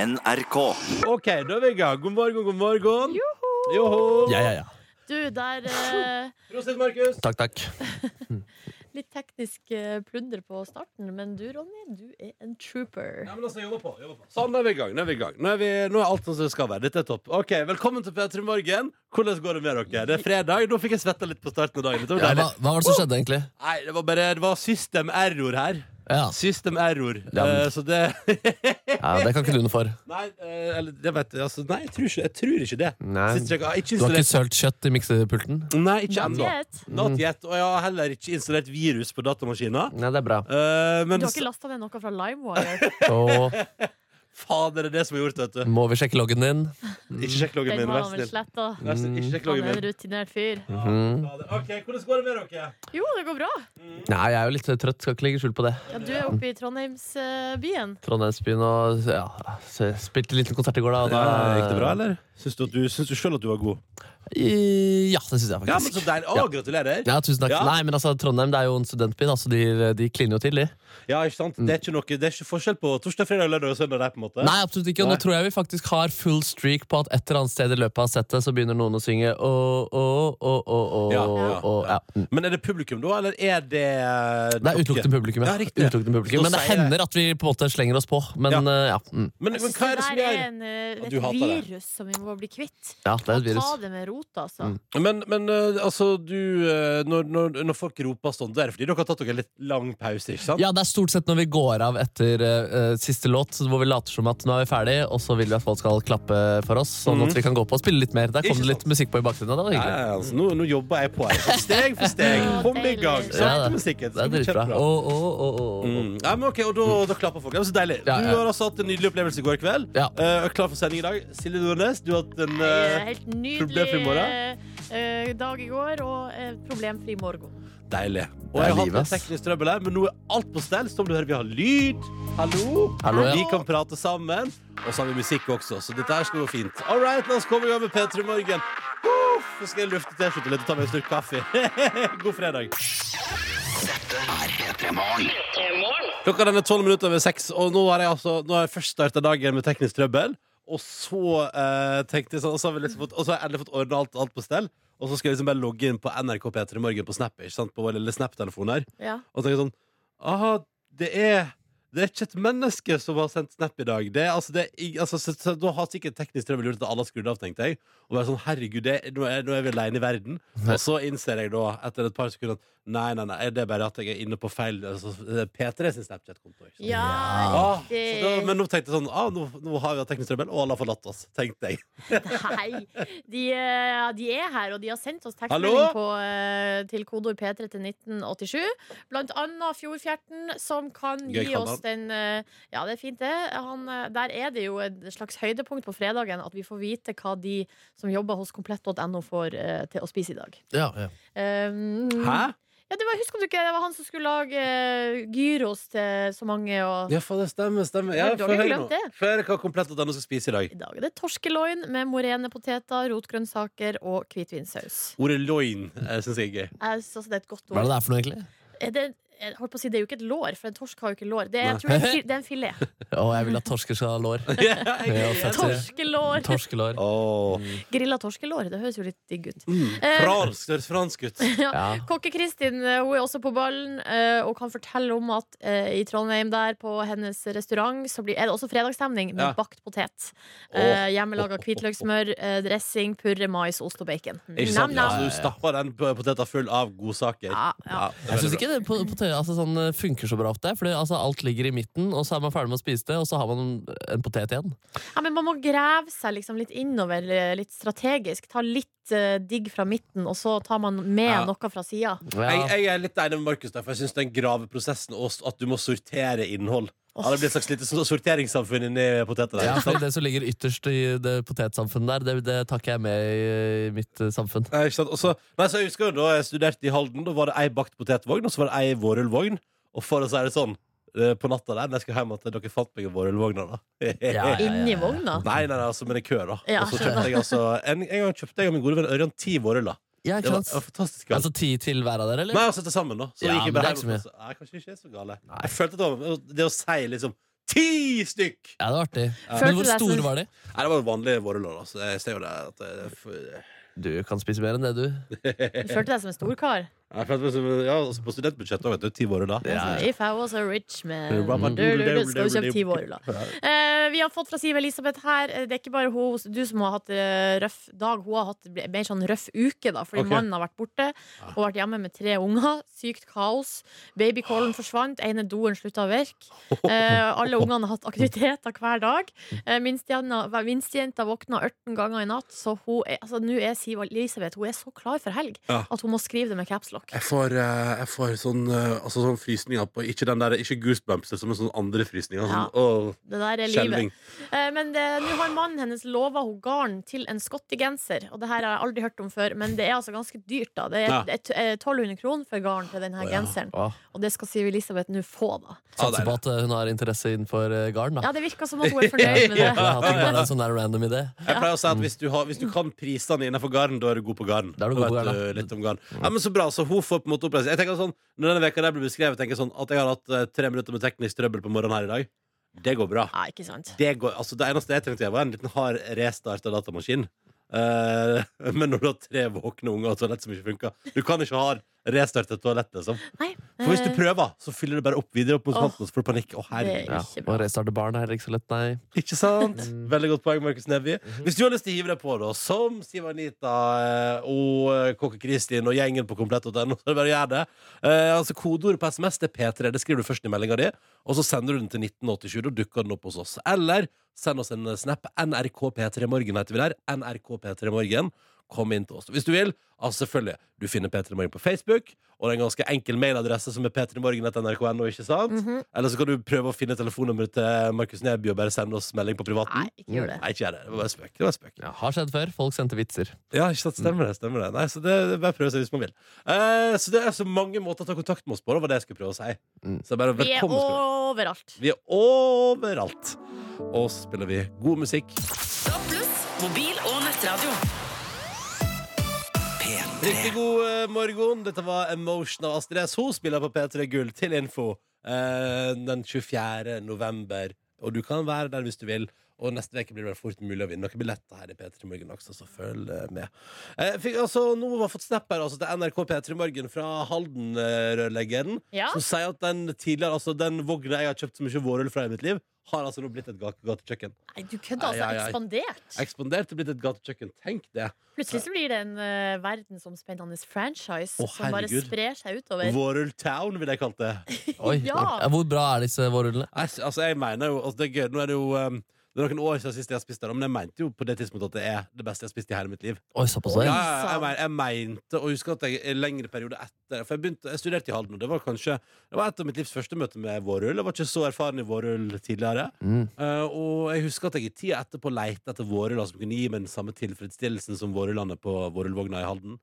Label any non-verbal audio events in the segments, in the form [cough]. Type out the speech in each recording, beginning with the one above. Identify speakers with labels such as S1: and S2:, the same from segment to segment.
S1: NRK.
S2: OK, da er vi i gang. God morgen, god morgen. Joho!
S3: Ja, ja, ja.
S4: Du, der eh,
S2: Prosit, Markus.
S3: Takk, takk.
S4: Litt teknisk eh, plunder på starten, men du, Ronny, du er en trooper.
S2: Ja, men altså, jobber på, jobber på. Sånn, nå er vi i gang. Nå er vi i gang Nå er, vi, nå er alt sånn som det skal være. Dette er topp. Ok, Velkommen til P3 Morgen. Hvordan går det med dere? Det er fredag. Nå fikk jeg svetta litt på starten av dagen. Dette var
S3: Ja, hva,
S2: deilig.
S3: hva var det som skjedde, egentlig?
S2: Nei, det var bare Det var system error her.
S3: Ja,
S2: System error.
S3: Ja, men-
S2: Eh, så det [laughs]
S3: ja Det kan ikke du noe for.
S2: Nei, eh, eller det vet jeg altså, Nei, jeg tror ikke, jeg tror ikke det.
S3: Nei.
S2: Sist jeg- jeg har ikke
S3: Du har
S2: installert-
S3: ikke sølt kjøtt i miksepulten?
S2: Nei, ikke
S4: Not
S2: ennå.
S4: yet.
S2: Not yet. Og jeg har heller ikke installert virus på datamaskina.
S3: Nei, det er bra.
S2: Eh, men
S4: Du har ikke lasta ned noe fra
S2: [laughs]
S4: LimeWire?
S3: Så
S2: fader, det er det som har gjort vet du.
S3: må vi sjekke loggen din.
S2: Ikke sjekk loggen
S4: Den
S2: min,
S4: har
S2: vær
S4: han vel
S2: snill.
S4: sletta.
S2: Vær så snill, Ikke sjekk
S4: Han
S2: loggen
S4: er en
S2: min.
S4: rutinert fyr.
S3: Mhm.
S2: Fader. Ok, Hvordan går det med dere?
S4: Jo, det går bra.
S3: Nei, jeg er jo litt trøtt, skal ikke legge skjul på det.
S4: Ja, du er oppe i eh, Trondheimsbyen.
S3: Trondheimsbyen og ja, så jeg spilte en liten konsert i går, da. Og da
S2: Gikk det bra, eller? eh, Syns du, at du, syns du selv at du var god?
S3: I- Ja, det syns jeg
S2: Ja, men
S3: faktisk.
S2: så deilig. Å,
S3: Ja.
S2: gratulerer.
S3: Ja, tusen takk.
S2: Ja.
S3: Nei, men altså, Trondheim det er jo en studentby, da, så de, de kliner jo til, de.
S2: Ja, ikke sant? Det er ikke, noe, det er ikke forskjell på torsdag, fredag, lørdag og søndag der, på en måte.
S3: Nei, absolutt ikke. Og
S2: Mm.
S3: nå
S2: Nei.
S3: tror jeg vi faktisk har full streak på at et eller annet sted i løpet av settet så begynner noen å synge å, å, å, å,
S2: Ja,
S3: å,
S2: ja,
S3: å. Ja.
S2: Men er det publikum, da, eller er det eh,
S3: Det er utelukkende publikum. Ja.
S2: Ja, riktig.
S3: utelukkende publikum.
S2: Så
S3: Men det
S2: sier jeg-
S3: hender at vi på en måte slenger oss på. Men
S2: Ja.
S3: eh, ja. Mm.
S2: Men, men hva er det som
S4: Det der
S2: gjør
S4: er en, eh,
S2: Du hater
S4: et
S2: det.
S4: virus som vi må bli kvitt.
S3: ja, det er et virus.
S4: Ta det med rota, altså.
S3: Mm.
S2: Men, men eh, altså, du eh, når, når, når folk roper sånn, da er det fordi dere har tatt dere en litt lang pause, ikke sant?
S3: Ja, det er stort sett når vi går av etter eh, eh, siste låt, hvor vi later som at nå er vi ferdig, og så vil vi at folk skal klappe for oss, sånn
S2: Mhm.
S3: at vi kan gå på og spille litt mer. Der kom
S2: Ikke
S3: det litt musikk på i bakgrunnen. og Det var
S2: Ja,
S3: hyggelig.
S2: altså, nå, nå jobber jeg på her. Så Steg for steg.
S4: Å,
S2: Kom i gang.
S4: deilig.
S3: Ja,
S2: Sakte, men sikkert.
S3: Det er
S2: Skal bli
S3: dritbra.
S2: kjempebra.
S3: Å, å, å, å, å.
S2: Mm. Ja, men ok, og da, da klapper folk. Det var så deilig.
S3: Ja, ja.
S2: Du har altså hatt en nydelig opplevelse i går kveld.
S3: Ja.
S2: Eh, og er klar for sending i dag. Silje Nordnes, du har hatt en
S4: Eh,
S2: eh,
S4: Helt
S2: problemfri
S4: nydelig
S2: morgen.
S4: eh, dag i går og eh, problemfri morgen.
S2: Deilig. Og
S3: Det er
S2: jeg har hatt litt
S3: livet, ass.
S2: teknisk trøbbel her, men nå er alt på stell. Som du hører, vi har lyd. Hallo.
S3: Hallo, ja.
S2: Vi kan prate sammen. Og så har vi musikk også, så dette her skal gå fint. All right, la oss komme i gang med P3 Morgen. Uff, Så skal jeg lufte T-skjorta litt og ta meg en slurk kaffe. [laughs] God fredag. Klokka den er tolv minutter over seks, og nå har jeg, altså, nå har jeg først starta dagen med teknisk trøbbel. Og så eh, tenkte jeg sånn, og så har, vi liksom fått, og så har jeg endelig fått ordna alt, alt på stell. Og så skal jeg liksom bare logge inn på NRK P3 Morgen på Snap. ikke sant? På vår lille Snap-telefon her.
S4: Ja.
S2: Og tenker sånn Aha, det er det er ikke et menneske som har sendt snap i dag. Det er, altså, det er, ing- altså, så, så, da har sikkert teknisk trøbbel gjort at alle har skrudd av, tenkte jeg. Og bare sånn, herregud, det, nå, er, nå er vi alene i verden. Og så innser jeg da, etter et par sekunder, at nei, nei, nei, det er bare at jeg er inne på feil altså, P3 sin Snapchat-konto. ikke sant?
S4: ja.
S2: Ah, så
S4: riktig.
S2: da, men nå tenkte jeg sånn ah, nå, nå har vi hatt teknisk trøbbel, og alle har forlatt oss. Tenkte jeg.
S4: Nei. De, eh, de er her, og de har sendt oss
S2: Hallo?
S4: tekstmelding på, eh, til kodeord P3 til 1987. Blant annet Fjordfjerten, som kan
S2: Gøy
S4: gi
S2: kanal.
S4: oss den eh, Ja, det er fint, det. Han, eh, der er det jo et slags høydepunkt på fredagen at vi får vite hva de som jobber hos komplett.no, får eh, til å spise i dag.
S3: Ja, ja.
S4: Um,
S2: Hæ?
S4: Ja, det var, husker du ikke, det var han som skulle lage eh, gyros til så mange. Og
S2: Ja, for det stemmer. stemmer.
S4: Ja,
S2: Ja,
S4: du har
S2: Få
S4: ikke
S2: høre
S4: glemt
S2: nå.
S4: det.
S2: Få høre hva komplett at denne skal spise i dag.
S4: i dag er det torskeloin med morene poteter, rotgrønnsaker og hvitvinsaus.
S2: Ordet loin eh, syns jeg er gøy.
S4: Jeg synes det er et godt
S3: Hva er det
S4: ord.
S3: det er for noe, egentlig?
S4: Er det, jeg holdt på å si, det er jo ikke et lår, for en torsk har jo ikke lår. Det er,
S2: Nei.
S4: jeg tror det er, en fil- det er en
S2: [laughs]
S4: filet.
S3: Å, jeg vil at torsker skal ha lår.
S4: [laughs]
S2: Ja, jeg
S3: [laughs] Ja,
S2: er
S3: fett.
S2: enig.
S4: Torskelår!
S3: Torskelår.
S2: Åh.
S3: Mm.
S4: Grilla torskelår, det høres jo litt digg ut.
S2: Mm.
S4: Eh,
S2: Fransk, det høres fransk
S4: [laughs]
S2: ut.
S4: Ja.
S3: Ja.
S4: Kokke-Kristin eh, hun er også på ballen eh, og kan fortelle om at eh, i Trondheim der på hennes restaurant så blir, er det også fredagsstemning med
S2: Ja.
S4: bakt potet.
S2: Åh.
S4: Eh, Hjemmelaga hvitløksløksmør, eh, dressing, purre, mais, ost og bacon.
S2: Ikke sant?
S4: Nam, nam.
S2: Altså, du stapper den p- poteta full av godsaker.
S4: Ja, ja.
S2: det er
S3: Jeg syns
S2: veldig
S3: ikke det på, på, altså, sånn, eh, funker så bra ofte. Fordi altså, alt ligger i midten, og så er man ferdig med å spise det, og så har man en potet igjen.
S4: ja, men man må grave seg liksom litt innover, eh, litt strategisk. Ta litt eh, digg fra midten, og så tar man med
S2: Ja.
S4: noe fra sida.
S2: bra.
S3: Ja.
S2: Jeg, jeg er litt enig med Markus der, for jeg syns den graveprosessen og s- at du må sortere innhold Ja, det blir et slags lite sånn sorteringssamfunn inni poteta der.
S3: Ja,
S2: ikke sant?
S3: fordi det som ligger ytterst i det potetsamfunnet der, det, det tar ikke jeg med i eh, mitt eh, samfunn.
S2: Nei, ikke sant? Og så- nei, så jeg husker jo da jeg studerte i Halden, da var det ei bakt potetvogn, og så var det ei vårrullvogn. Og for å si det sånn, eh, på natta der, når jeg skulle hjem, at dere fant meg i vårrullvogna, da.
S3: Ja, ja,
S4: Inni vogna.
S2: [laughs] Nei, nei, nei, altså, men i kø, da.
S4: Ja,
S2: og så kjøpte jeg altså En, en gang kjøpte jeg og min gode venn Ørjan ti vårruller.
S3: Ja,
S2: Det
S3: ikke
S2: var,
S3: sant?
S2: det var fantastisk. galt.
S3: Altså ti til hver av dere, eller?
S2: Nei, altså til sammen, da. Så
S3: Ja,
S2: gikk jeg
S3: men
S2: bare
S3: det er
S2: hjem
S3: ikke
S2: og
S3: så
S2: så- Nei, kanskje ikke er så gale. Jeg følte at det, var, det å si liksom Ti stykk!
S3: Ja, det var artig.
S4: Ja.
S3: Men
S4: Følte
S3: hvor
S4: du deg som-
S3: store var de?
S2: Nei, det var jo vanlige vårruller. Altså. Jeg ser jo det at det er for-
S3: Du kan spise mer enn det, du.
S4: Du følte deg som en storkar.
S2: Jeg følte meg som- ja, altså på studentbudsjettet òg, vet du. Ti vårruller.
S4: Altså, If I was a rich man
S2: Rabba-
S4: Du, du, du, Skal du kjøpe ti vårruller? Eh, vi har fått fra Siv Elisabeth her eh, Det er ikke bare hun, du som har hatt eh, røff dag Hun har hatt ble- mer sånn røff uke da Fordi
S2: Ok. Ah.
S4: mannen har vært borte Og vært hjemme med tre unger Sykt kaos Babycallen forsvant Ene doen sluttet å virke Eh, Alle ungene har hatt aktiviteter hver dag uh, Minstjenta våkna 18 ganger i natt Så hun er, altså, nå er Siv Elisabeth Hun er så klar for helg
S2: Ja.
S4: At hun må skrive det med caps lock
S2: Jeg får, eh, jeg får sånn, eh, altså sånn frysninger på Ikke den der, ikke goosebumps, det er som en sånn andre frysninger. Sånn,
S4: Ja.
S2: åh,
S4: Det der er livet
S2: skjelving.
S4: Eh, Men det- nå har mannen hennes lova henne garn til en skottigenser. Og det her har jeg aldri hørt om før, men det er altså ganske dyrt. da Det er
S2: Ja.
S4: det er t- eh, 1200 kroner for garn til denne
S2: Å, ja.
S4: genseren.
S3: Åh,
S4: Og det skal Siv Elisabeth nå få, da.
S2: Ja, det
S3: Satser
S2: er
S3: på at eh, hun har interesse innenfor eh, garn, da.
S4: Ja, det virker som om hun er fornøyd
S2: [laughs]
S4: med
S3: Jeg
S4: det.
S3: hadde ikke bare en sånn der random idé.
S2: Jeg pleier å si at hvis du, har, hvis du kan prisene innenfor garn, da er du god på garn.
S3: Da er du god på
S2: Vet
S3: garn, ja.
S2: du litt om garn. Ja, men Så bra. så hun får på en måte oppreisning. Jeg tenker sånn, Når denne veka der blir beskrevet, tenker jeg sånn at jeg har hatt eh, tre minutter med teknisk trøbbel på morgenen her i dag. Det går bra.
S4: Nei, ikke sant.
S2: Det, går, altså, det eneste jeg trengte, jeg var en liten hard restart av datamaskinen. Eh, [laughs] men når du har tre våkne unger og toalett som ikke funker Du kan ikke ha restart et toalett, liksom.
S4: Nei,
S2: For hvis du
S4: eh,
S2: prøver, så fyller du bare opp videre opp mot
S4: Åh.
S2: kanten, og så får du panikk. Å, herregud.
S4: Det-
S3: Ja.
S4: Ikke bra.
S3: Og restarte barn er ikke så lett, nei.
S2: Ikke sant? Veldig godt poeng, Markus Neby. Hvis du har lyst til å hive deg på, da, som Siv Anita eh, og eh, Kokke Kristin og gjengen på komplett.no, så er det bare å gjøre det. Eh, altså Kodeordet på SMS det er P3. Det skriver du først i meldinga di, og så sender du den til 1987. Da dukker den opp hos oss. Eller send oss en eh, snap. NRK P3 Morgen heter vi der. NRK P3 Morgen. Kom inn til oss. Hvis du vil, altså selvfølgelig. Du finner P3 Morgen på Facebook, og det er en ganske enkel mailadresse som er p3morgen.nrk.no, ikke sant?
S4: Mhm.
S2: Eller så kan du prøve å finne telefonnummeret til Markus Neby og bare sende oss melding på privaten.
S4: Nei, ikke gjør det.
S2: Nei, ikke gjør det. Det var bare spøk. Det var spøk.
S3: Ja, har skjedd før. Folk sendte
S4: [laughs]
S3: vitser.
S2: Ja, ikke sant? Stemmer det. stemmer det Nei, så det, det er Bare prøv å se hvis man vil. Eh, så det er så mange måter å ta kontakt med oss på. Det var det jeg skulle prøve å si.
S3: Mm.
S2: Så bare
S4: Vi er
S2: velkommen skal du være.
S4: overalt.
S2: Vi er overalt. Og så spiller vi god musikk.
S1: Pluss mobil og nettradio.
S2: Riktig god eh, morgen. Dette var Emotion av Astrid S. Hun spiller på P3 Gull til info eh, den 24. november. Og du kan være der hvis du vil. Og neste uke blir det vel fort mulig å vinne noen billetter her i P3 Morgen også, så følg eh, med. Eh, fikk, altså, nå har vi fått snap her altså, til NRK P3 Morgen fra Halden-rørleggeren,
S4: Ja.
S2: som sier at den tidligere, altså den vogna jeg har kjøpt så mye vårøl fra i mitt liv, har altså nå blitt et gate- gatekjøkken.
S4: Nei, du kødder
S2: Ai, ai,
S4: altså.
S2: ai.
S4: Ekspandert.
S2: Ekspandert og blitt et gatekjøkken. Tenk det.
S4: Plutselig så blir det en eh, verdensomspennende franchise
S2: Å,
S4: som bare
S2: herregud.
S4: sprer seg utover.
S2: Vårøl Town, vil jeg kalt det.
S3: Oi,
S4: Ja.
S3: Hvor bra er disse vårrullene?
S2: Jeg, s- altså, jeg mener jo altså, det er gøy. Nå er det jo um, det er noen år siden sist jeg har spist det, men jeg mente jo på det tidspunktet at det er det beste jeg har spist i hele mitt liv.
S3: Oi, såpass.
S4: Oi.
S2: Ja,
S3: ja.
S2: ja, jeg, mener, jeg mente, og husker at jeg i lengre periode etter For jeg, begynte, jeg studerte i Halden, og det var kanskje Det var et av mitt livs første møte med vårrull. Jeg var ikke så erfaren i vårrull tidligere.
S3: Mm.
S2: Eh, og jeg husker at jeg i tida etterpå leita etter vårruller som kunne gi meg den samme tilfredsstillelsen som vårrullene på vårrullvogna i Halden.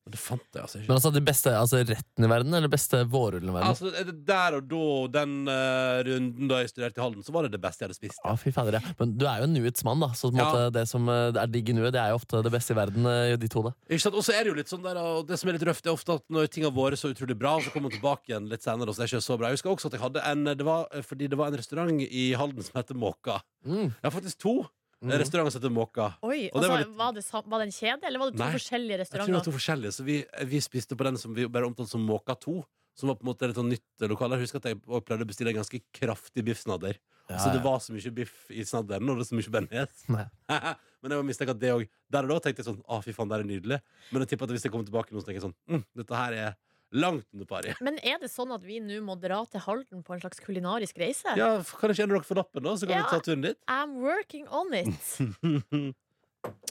S2: Men det fant jeg altså ikke.
S3: Men altså, de beste altså, retten i verden, eller beste vårrullen i verden?
S2: Altså, der og da, den eh, runden da jeg studerte i Halden, så var det det beste jeg hadde spist.
S3: Ja, fy fader, ja. Men du er jo en nuets mann, da. Så på en
S2: Ja.
S3: måte, det som eh, er digg i nuet, det er jo ofte det beste i verden, eh, ditt hode.
S2: Ikke sant? Og så er det jo litt sånn der Og det som er litt røft, det er ofte at når ting har vært så utrolig bra, og så kommer man tilbake igjen litt senere, og så er det ikke så bra. Jeg husker også at jeg hadde en Det var eh, fordi det var en restaurant i Halden som heter Måka.
S3: Mm.
S2: Jeg har faktisk to
S3: Mm.
S2: restauranter som heter Måka.
S4: Oi,
S2: Og det
S4: altså,
S2: var
S4: var,
S2: litt-
S4: det, sam- var det en kjede, eller var det to
S2: Nei,
S4: forskjellige
S2: Jeg tror det
S4: restauranter?
S2: var to forskjellige, så vi, eh, vi spiste på den som vi bare omtalte som Måka 2. Som var på en måte et sånn nytt lokale. Jeg husker at jeg også pleide å bestille en ganske kraftig biffsnadder. Så det var så mye biff i snadderen, og det var så mye bearnés.
S3: Nei.
S2: [laughs] Men jeg mistenker at det også- Der og da tenkte jeg sånn Å, fy faen, det er nydelig. Men jeg tipper at hvis jeg kommer tilbake nå, så tenker jeg sånn mm, Dette her er langt under
S4: [laughs]
S2: pari.
S4: Men er det sånn at vi nå må dra til Halden på en slags kulinarisk reise?
S2: Ja, f- kan ikke en av dere få lappen, da? Så kan
S4: Ja.
S2: vi ta turen dit.
S4: I'm working on it!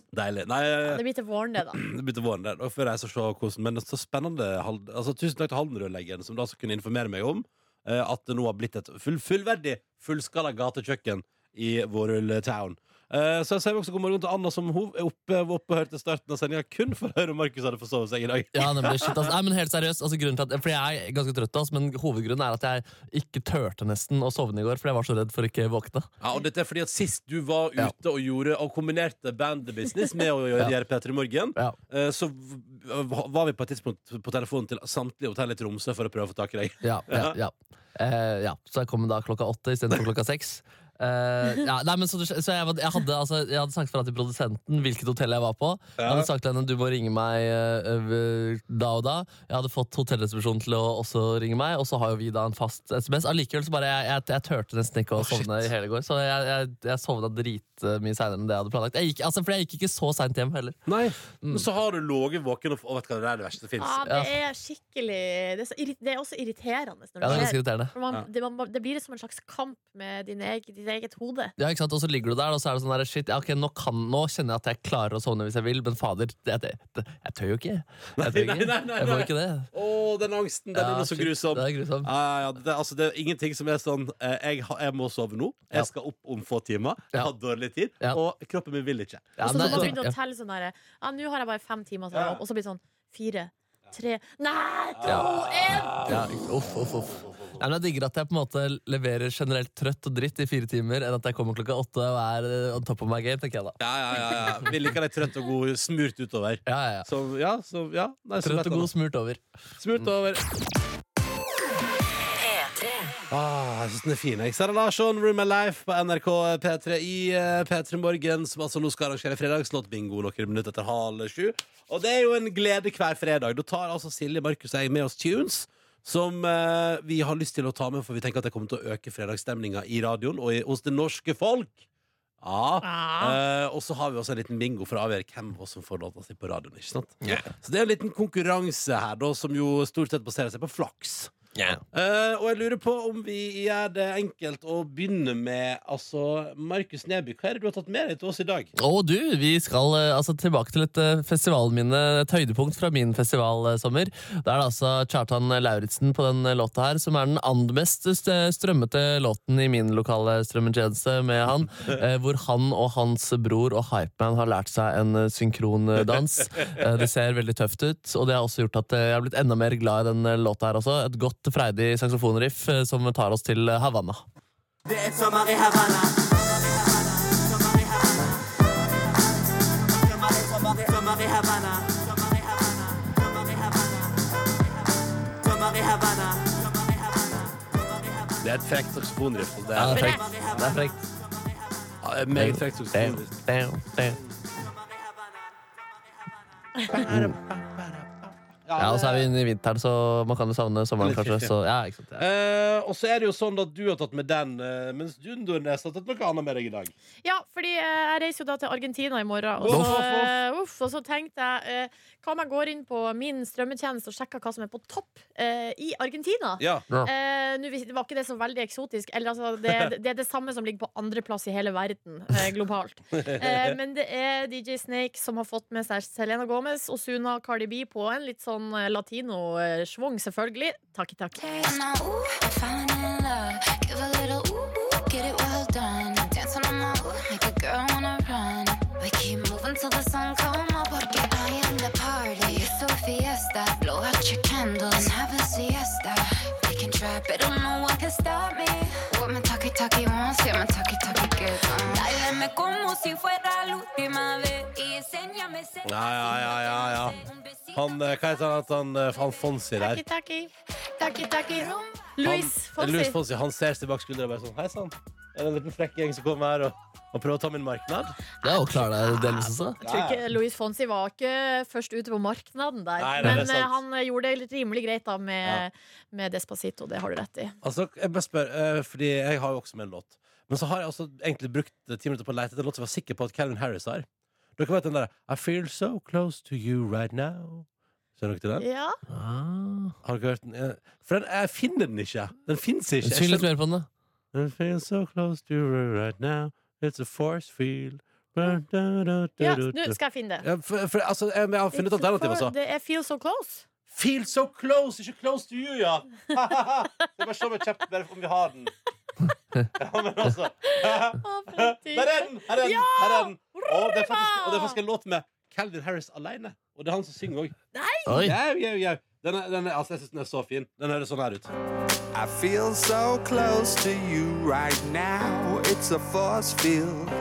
S2: Deilig. Nei,
S4: Det blir til våren, det, da.
S2: det begynte våren der. Og før jeg så se hvordan Men så spennende. Hal- Altså, tusen takk til Haldenrødleggeren, som da altså kunne informere meg om eh, at det nå har blitt et full, fullverdig, fullskala gatekjøkken i Vårøl Town. Eh, så jeg sier også god morgen til Anna, som hun er oppe, var oppe og hørte starten av sendinga kun for å høre om Markus hadde forsovet seg i dag.
S3: Ja, nemlig, shit, altså. Nei, men helt seriøst, altså, grunnen til at, fordi Jeg er ganske trøtt, altså, men hovedgrunnen er at jeg ikke turte nesten å sovne i går, fordi jeg var så redd for ikke å våkne.
S2: Ja, og dette er fordi at Sist du var ute
S3: Ja.
S2: og gjorde Og kombinerte bandbusiness med å gjøre
S3: Ja.
S2: P3 Morgen,
S3: Ja.
S2: eh, så v- var vi på et tidspunkt på telefonen til samtlige hotell i Tromsø for å prøve å få tak i deg.
S3: Ja, ja, ja. Eh, ja. Så jeg kom da klokka åtte istedenfor klokka seks. Eh, ja, nei, men så, du- så jeg, var- jeg, hadde, altså, jeg hadde sagt fra til produsenten hvilket hotell jeg var på. Jeg hadde sagt til henne du må ringe meg eh, eh, da og da. Jeg hadde fått hotellresepsjonen til å også ringe meg, og så har jo vi da en fast SMS. Allikevel så bare jeg, jeg, jeg turte nesten ikke å
S2: shit.
S3: sovne i hele går, så jeg, jeg, jeg sovna dritmye seinere enn det jeg hadde planlagt. Jeg gikk, altså, for jeg gikk ikke så seint hjem heller.
S2: Nei, Mm. Men så har du ligget våken og, f- og vet du hva det er det verste som fins.
S4: Ja, Ah, det er skikkelig Det er, så, irri- det er også irriterende når
S3: Ja, det er
S4: det
S3: ganske
S4: skjer.
S3: irriterende
S4: For man,
S2: Ja.
S4: det, man, det blir som en slags kamp med din egen, ditt eget hode.
S3: Ja, ikke sant? Og så ligger du der, og så er det sånn der, shit, ja, ok, nå, kan, nå kjenner jeg at jeg klarer å sovne hvis jeg vil, men fader, det, det, det, jeg tør jo ikke. Jeg
S2: Nei,
S3: tør ikke.
S2: nei, nei, nei,
S3: Jeg må
S2: nei.
S3: ikke det.
S2: Å, den angsten! Den
S3: Ja,
S2: er nå så
S3: shit,
S2: grusom.
S3: Det er grusom.
S2: Ja, ja, ja, det, altså, det er ingenting som er sånn eh, jeg, har- jeg må sove nå.
S3: Ja.
S2: Jeg skal opp om få timer. Jeg
S3: Ja.
S2: har dårlig tid.
S3: Ja.
S2: Og kroppen min vil ikke.
S3: Ja,
S4: Og så
S3: nei,
S4: når man
S3: jeg
S4: begynner å
S3: tenker-
S4: telle sånn der Ja, nå har jeg bare fem timer, til å
S2: Ja.
S4: jobbe», og så blir det sånn fire, tre Nei, to,
S3: Ja.
S4: én!
S3: ja, ikke- uff, uff, uff. Nei, men jeg digger at jeg på en måte leverer generelt trøtt og dritt i fire timer, enn at jeg kommer klokka åtte og er eh, on top of my game, tenker jeg da.
S2: Ja, ja, ja, ja. Vi liker deg trøtt og god smurt utover.
S3: Ja, ja, ja.
S2: Så ja, så ja. Nei, så vet
S3: Trøtt og
S2: han.
S3: god smurt over.
S2: Smurt over. Ah, jeg synes den er fin. jeg. Sara Larsson, Room of Life på NRK P3 i eh, P3 Morgen, som altså nå skal arrangere fredagslåtbingo noen minutter etter halv sju. Og det er jo en glede hver fredag. Da tar altså Silje, Markus og jeg med oss tunes. Som eh, vi har lyst til å ta med, for vi tenker at det kommer til å øke fredagsstemninga i radioen og i, hos det norske folk. Ja. Eh, og så har vi også en liten bingo for å avgjøre hvem av oss som får låta si på radioen. ikke sant? Så det er en liten konkurranse her, da, som jo stort sett baserer seg på flaks. Eh, og jeg lurer på om vi gjør det enkelt å begynne med altså, Markus Neby. Hva er det du har tatt med deg til oss i dag?
S3: Og du, vi skal eh, altså, tilbake til et eh, festivalminne, et høydepunkt fra min festivalsommer. Da er det altså Kjartan Lauritzen på den eh, låta her, som er den and mest st- strømmete låten i min lokale strømmetjeneste med han. eh, Hvor han og hans bror og Hypeman har lært seg en eh, synkrondans. Eh, Det ser veldig tøft ut, og det har også gjort at eh, jeg har blitt enda mer glad i den eh, låta her også. Et godt, freidig saksofonriff eh, som tar oss til eh, Havanna.
S5: Det er sommer i Havanna. Sommer i Havanna. Sommer i Havanna. Sommer i Havanna. Sommer i Havanna. Sommer i Havanna. Sommer i Havanna.
S2: Det er et frekt saksofonriff. og Det
S3: Ja,
S2: er
S3: det er frekt. Det er frekt.
S2: Ja, det er meget frekt saksofonriff.
S3: Damn, damn.
S5: Sommer i Havanna.
S3: Ja, og så er vi inne i vinteren, så man kan jo savne sommeren,
S2: Litt
S3: kanskje.
S2: trist, ja.
S3: Så, ja, ikke sant, ja.
S2: Eh, og så er det jo sånn at du har tatt med den, eh, mens du Nordnes, har tatt noe annet med deg i dag.
S4: Ja, fordi eh, jeg reiser jo da til Argentina i morgen. Og
S2: Voff,
S4: så,
S2: voff, voff.
S4: eh, uff, og så tenkte jeg eh, Hva om jeg går inn på min strømmetjeneste og sjekker hva som er på topp eh, i Argentina?
S2: Ja.
S4: Eh, nå vis- det var ikke det så veldig eksotisk. Eller, altså, det, det er det samme som ligger på andreplass i hele verden eh, globalt. Eh, men det er DJ Snake som har fått med seg Selena Gomez, Osuna og Cardi B på en litt sånn eh, latino-schwung, selvfølgelig. Takk, takk.
S6: And I, ooh, I'm falling in love. Give a little ooh, ooh, get it well done. Dance on my ooh, make a girl wanna run. We keep moving till the sun come up. Porque I am the party. It's so fiesta. Blow out your candles and have a siesta. They can try, but don't know what can stop me. What my talkie talkie wants, yeah, my talkie talkie gets on. Dáleme como si fuera la última vez. Y enséñame ese
S2: Ja, ja, ja, ja, ja.
S6: un besito.
S2: Han, eh, hva heter han, at han, eh, han Fonsi der?
S4: Takk, takk. Takk, takk. Louis
S2: Han, Louis
S4: Fonsi.
S2: Fonsi han ser seg bak skuldra og bare sånn Hei sann, er det en liten frekk gjeng som kommer her og, og prøver å ta min marknad?
S3: ja, og klarer deg delvis også.
S4: Jeg tror ikke Louis Fonsi var ikke først ute på markedet
S2: Nei,
S4: der.
S2: nei, det er
S4: men eh,
S2: sant.
S4: han gjorde det litt rimelig greit da med, med Despacito. Det har du rett i.
S2: Altså, jeg bare spør, eh, fordi jeg har jo også med en låt. Men så har jeg altså egentlig brukt eh, ti minutter på å lete etter en låt som jeg var sikker på at Calvin Harris har. Dere vet den der I feel so close to you right now. Skjønner dere til den?
S4: Ja.
S3: Ah.
S2: Har dere hørt den? Eh, For den, jeg finner den ikke. Den fins ikke.
S3: Syng
S2: Jeg
S3: litt
S2: skjønner-
S3: mer på den, da.
S2: I feel so close to you right now. It's a force field. Ja,
S4: ja, nå skal jeg finne det.
S2: for, for, altså, jeg, jeg har funnet
S4: It's a
S2: alternativet,
S4: for-
S2: altså.
S4: Det er Feel So Close.
S2: [laughs] Feel so close, ikke close to you, ja! Så jeg bare se meg kjapt bare om vi har den. [laughs] Ja, men altså
S4: Å, for en tid.
S2: Der er den! Her er den! Her er den. Og, det er faktisk,
S4: Hurra!
S2: og det er faktisk en låt med Calvin Harris alene. Og det er han som synger òg.
S3: Oi.
S2: Jau, jau, jau. Den er, den er, altså, jeg synes den er så fin. Den høres sånn her ut.
S7: I feel so close to you right now. It's a force field.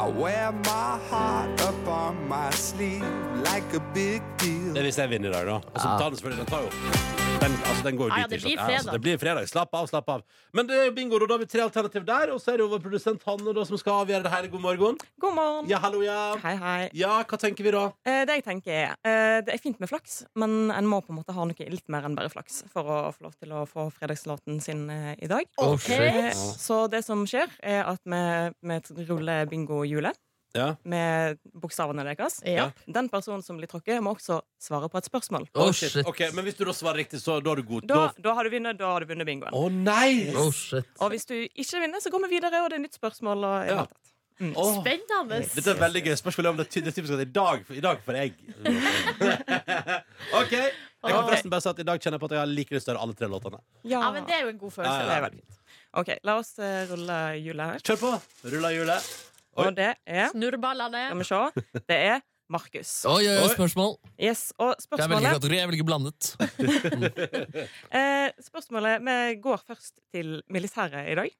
S7: I wear my heart up on my sleeve like a big deal.
S2: Det er hvis jeg vinner i dag, da. Og så tar den selvfølgelig Den tar jo den, altså, den går jo
S4: Ja, ja,
S2: dit,
S4: det
S2: ikke sant?
S4: blir fredag.
S2: altså, det blir fredag. Slapp av, slapp av. Men det er jo bingo, og da har vi tre alternativ der. Og så er det jo vår produsent Hanne da, som skal avgjøre det her. God morgen.
S8: God morgen.
S2: Ja, hallo, ja.
S8: Hei, hei.
S2: Ja, hva tenker vi da?
S8: Eh, Det jeg tenker er eh, Det er fint med flaks, men en må på en måte ha noe litt mer enn bare flaks for å få lov til å få fredagslåten sin eh, i dag. Eh,
S3: Oh,
S4: Ok.
S3: shit.
S8: Så det som skjer, er at vi, vi ruller bingohjulet
S2: Ja.
S8: med bokstavene deres.
S4: Ja.
S8: Den personen som blir tråkket, må også svare på et spørsmål.
S3: Oh, shit.
S2: Ok, Men hvis du da svarer riktig, så da er du god.
S8: Da, da har du vunnet, da har du vunnet bingoen.
S2: Å nei!
S3: Oh, shit.
S8: Og hvis du ikke vinner, så går vi videre, og det er nytt spørsmål. Og
S2: Ja.
S8: i det hele tatt. Mm.
S2: Åh.
S4: Spennende.
S2: Dette er veldig gøy. Spørsmålet er om det er ty- det er typisk at i dag, i dag får jeg [laughs] OK. Jeg kan forresten bare si at i dag kjenner jeg på at jeg har like lyst til å høre alle tre låtene.
S8: ja.
S4: Ja, men det er jo en god følelse.
S2: Ja,
S8: det er veldig fint. OK, la oss eh, rulle hjulet her.
S2: Kjør på! Rulla hjulet. Oi.
S8: Og det er Skal
S4: Snurrballene.
S8: vi se. Det er Markus.
S3: Oi, oi, oi,
S2: Oi.
S3: spørsmål.
S8: Yes, og
S3: Jeg velger
S8: spørsmålet,
S3: kategori, jeg velger blandet.
S8: eh, spørsmålet Vi går først til militæret i dag.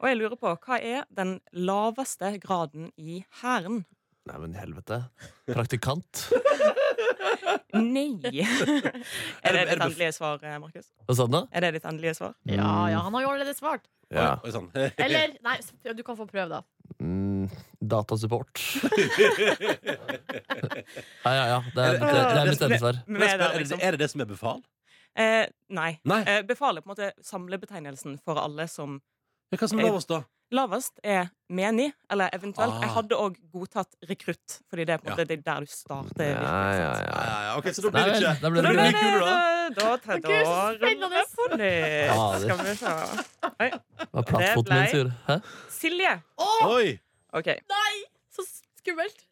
S8: Og jeg lurer på, hva er den laveste graden i hæren?
S3: Nei, men helvete. Praktikant.
S2: [laughs]
S8: Nei!
S2: Er det-
S8: er det
S2: er det
S8: ditt
S2: bef-
S8: endelige svar, eh, Markus?
S3: Hva sa du nå?
S8: Er det ditt endelige svar?
S4: Ja, ja, han har jo allerede svart.
S3: Ja.
S2: Oi, sånn.
S4: Eller Nei, du kan få prøve, da.
S3: Mm, datasupport. ja, ja, ja. Det er,
S2: Er det-
S3: det, det er mitt
S2: er det-
S3: endesvar.
S8: Vi
S2: Men jeg
S8: er der,
S2: spør, er, det,
S8: liksom.
S2: er det det som er befal?
S8: Eh, nei.
S2: Nei.
S8: Eh, befal er på en måte samlebetegnelsen for alle som
S2: Men Hva som er lov oss, da?
S8: Lavest er menig, eller eventuelt.
S2: Ah.
S8: Jeg hadde òg godtatt rekrutt, fordi det er på en
S2: Ja.
S8: måte det er der du starter.
S3: Ja,
S8: virkelig,
S3: ja,
S8: sant?
S2: Ja,
S3: ja.
S2: ja, ja, ok, Så da
S3: Nei,
S2: blir det
S3: vel,
S2: ikke
S3: da ble
S8: Da
S3: det
S2: blir det
S8: blir
S3: gull.
S2: kulere,
S8: det- da tar
S4: Å, Gud, så
S8: da ruller jeg på
S3: Ja,
S8: nytt.
S3: det-
S8: Skal vi se.
S3: Det var plattfoten min som gjorde Hæ?
S8: Silje.
S2: Oi!
S8: Ok,
S4: Nei! Så skummelt.